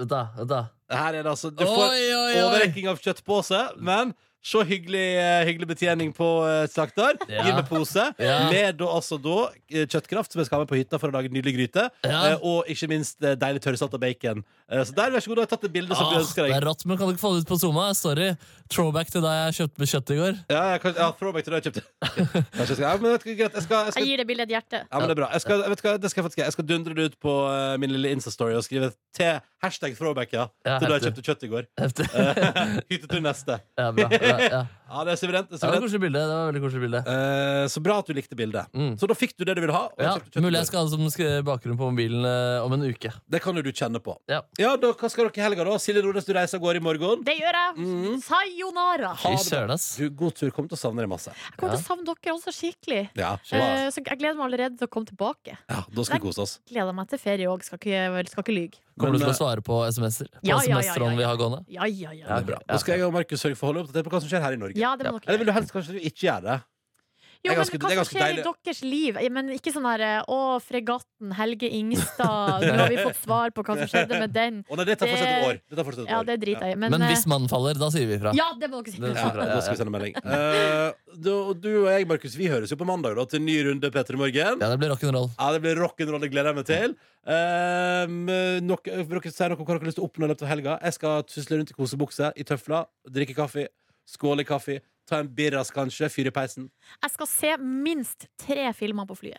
S3: Da, da.
S2: Her er det altså Du
S3: Oi,
S2: får
S3: oi, oi.
S2: overrekking av kjøttpose, men så hyggelig, eh, hyggelig betjening på eh, slakter.
S3: Ja.
S2: Gi meg pose.
S3: Ja.
S2: Med da, altså, da eh, kjøttkraft, som jeg skal ha med på hytta for å lage nydelig gryte.
S3: Ja.
S2: Eh, og ikke minst eh, deilig tørrsatt av bacon. Eh, så der, vær så god, da har jeg tatt et bilde som du
S3: Åh,
S2: ønsker
S3: Ah, det
S2: deg.
S3: er rått, men kan du ikke få det ut på Zoma? Sorry. Throwback til da jeg kjøpte kjøtt i går. [laughs]
S2: Ja, jeg kan, ja, throwback til det jeg kjøpte. Kanskje jeg skal, ja, men vet du hva, greit, jeg skal, jeg skal
S4: Jeg gir det bildet et hjerte.
S2: Ja, men det er bra. Jeg skal, vet du hva, det skal jeg faktisk gjøre. Jeg skal dundre det ut på eh, min lille Insta-story og skrive til hashtag throwback, ja.
S3: Ja,
S2: til da jeg
S3: heftig.
S2: kjøpte kjøtt i går.
S3: Heftig.
S2: Eh, [laughs] Hyttetur neste.
S3: Ja, bra. Ja, ja.
S2: Ja, det er suverent. Det er
S3: Det var et
S2: suverent.
S3: koselig bilde. Det var et veldig koselig bilde. Mm.
S2: Eh, så bra at du likte bildet. Så da fikk du det du ville ha. og
S3: Ja,
S2: kjøpte kjøtt i
S3: mulig
S2: går.
S3: jeg skal ha det som sk- bakgrunn på mobilen eh, om en uke.
S2: Det kan jo du kjenne på.
S3: Ja.
S2: da, hva skal dere i helga, da? Silje Nordnes, du reiser av gårde i morgen.
S4: Det gjør jeg. Sayonara.
S2: Ha det
S4: Jeg
S2: bra. Du, god tur. Kommer til å savne deg masse.
S4: kommer til å savne dere også skikkelig.
S2: Ja,
S4: Eh, Så jeg gleder meg allerede til å komme tilbake.
S2: ja, Da skal vi kose oss.
S4: Gleder meg til ferie òg, skal, ikke- skal ikke lyge.
S3: Kommer du til
S2: Men, eh,
S3: å svare på SMS-er? På
S4: Ja, ja, ja, ja,
S3: SMS-tråden vi har gående?
S4: Ja, ja, ja.
S2: Ja, det er bra. Da skal jeg og Markus sørge for å holde oppdatert på hva som skjer her i Norge.
S4: Ja, det må dere
S2: Eller vil du helst kanskje du ikke gjøre det?
S4: Jo,
S2: Det er
S4: men
S2: ganske- det er
S4: hva som
S2: ganske
S4: skjer i
S2: deilig.
S4: deres liv? Eh, Men ikke sånn her eh, 'Å, fregatten Helge Ingstad', nå har vi fått svar på hva som skjedde med den.
S2: Å, nei, det tar fortsatt et år. Det tar fortsatt et
S4: Ja,
S2: år.
S4: det driter jeg i. Men,
S3: Men
S4: eh,
S3: hvis mannen faller, da sier vi ifra.
S4: Ja, det må dere si.
S3: Det
S2: Ja,
S3: sånn sier vi ifra,
S2: da skal vi sende melding. Eh, du, du og jeg, Markus, vi høres jo på mandag da, til en ny runde Petter i morgen.
S3: Ja, det blir rock'n'roll.
S2: Ja, det blir rock'n'roll. Det gleder jeg meg til. Eh, men nok, vil dere si noe om hva dere har lyst til å oppnå i løpet av helga? Jeg skal tusle rundt i kosebukse, i tøfler, drikke kaffe, skåle i kaffe, ta en birras kanskje, fyre i peisen.
S4: Jeg skal se minst tre filmer på flyet.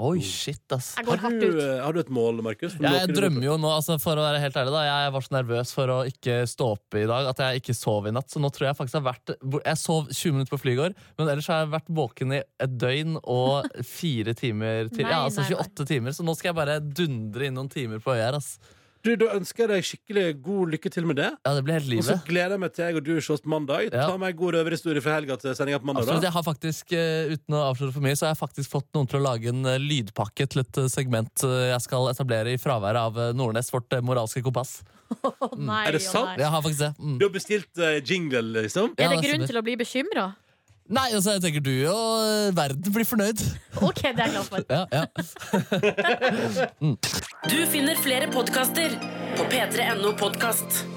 S3: Oi, shit, ass.
S4: Jeg går
S2: Har
S4: hardt
S2: du,
S4: ut.
S2: har du et mål, Markus? For
S3: Ja,
S2: noe
S3: jeg
S2: du-
S3: drømmer jo nå, altså for å være helt ærlig da Jeg var så nervøs for å ikke stå opp i dag At jeg ikke sov i natt Så nå tror jeg faktisk jeg har vært Jeg sov 20 minutter på fly i går Men ellers har jeg vært våken i et døgn
S4: [laughs]
S3: Og fire timer til Ja,
S4: Nei,
S3: altså
S4: nei, nei.
S3: 28 timer Så nå skal jeg bare dundre inn noen timer på øyer ass.
S2: Du, Da ønsker jeg deg skikkelig god lykke til med det.
S3: Ja, det blir helt
S2: Og så
S3: livet
S2: gleder jeg meg til jeg og du ses på mandag.
S3: Ja.
S2: Ta meg en god røverhistorie fra helga til sendinga på mandag.
S3: Absolutt,
S2: da.
S3: jeg har faktisk, eh, uten å avsløre for mye Så har jeg faktisk fått noen til å lage en eh, lydpakke Til et eh, segment eh, jeg skal etablere I fraværet av eh, Nordnes, vårt eh, moralske kompass
S4: Å, nei,
S2: Er det
S4: å,
S2: sant?
S4: nei.
S3: Jeg har faktisk det mm.
S2: Du har bestilt eh, jingle, liksom?
S4: Er det
S3: Ja, det
S4: grunn
S3: stemmer.
S4: til å bli bekymra?
S3: Nei, altså jeg tenker du og eh, verden blir fornøyd
S4: OK, det er jeg glad for.
S3: Ja, ja
S1: Du finner flere podkaster på p3.no podkast.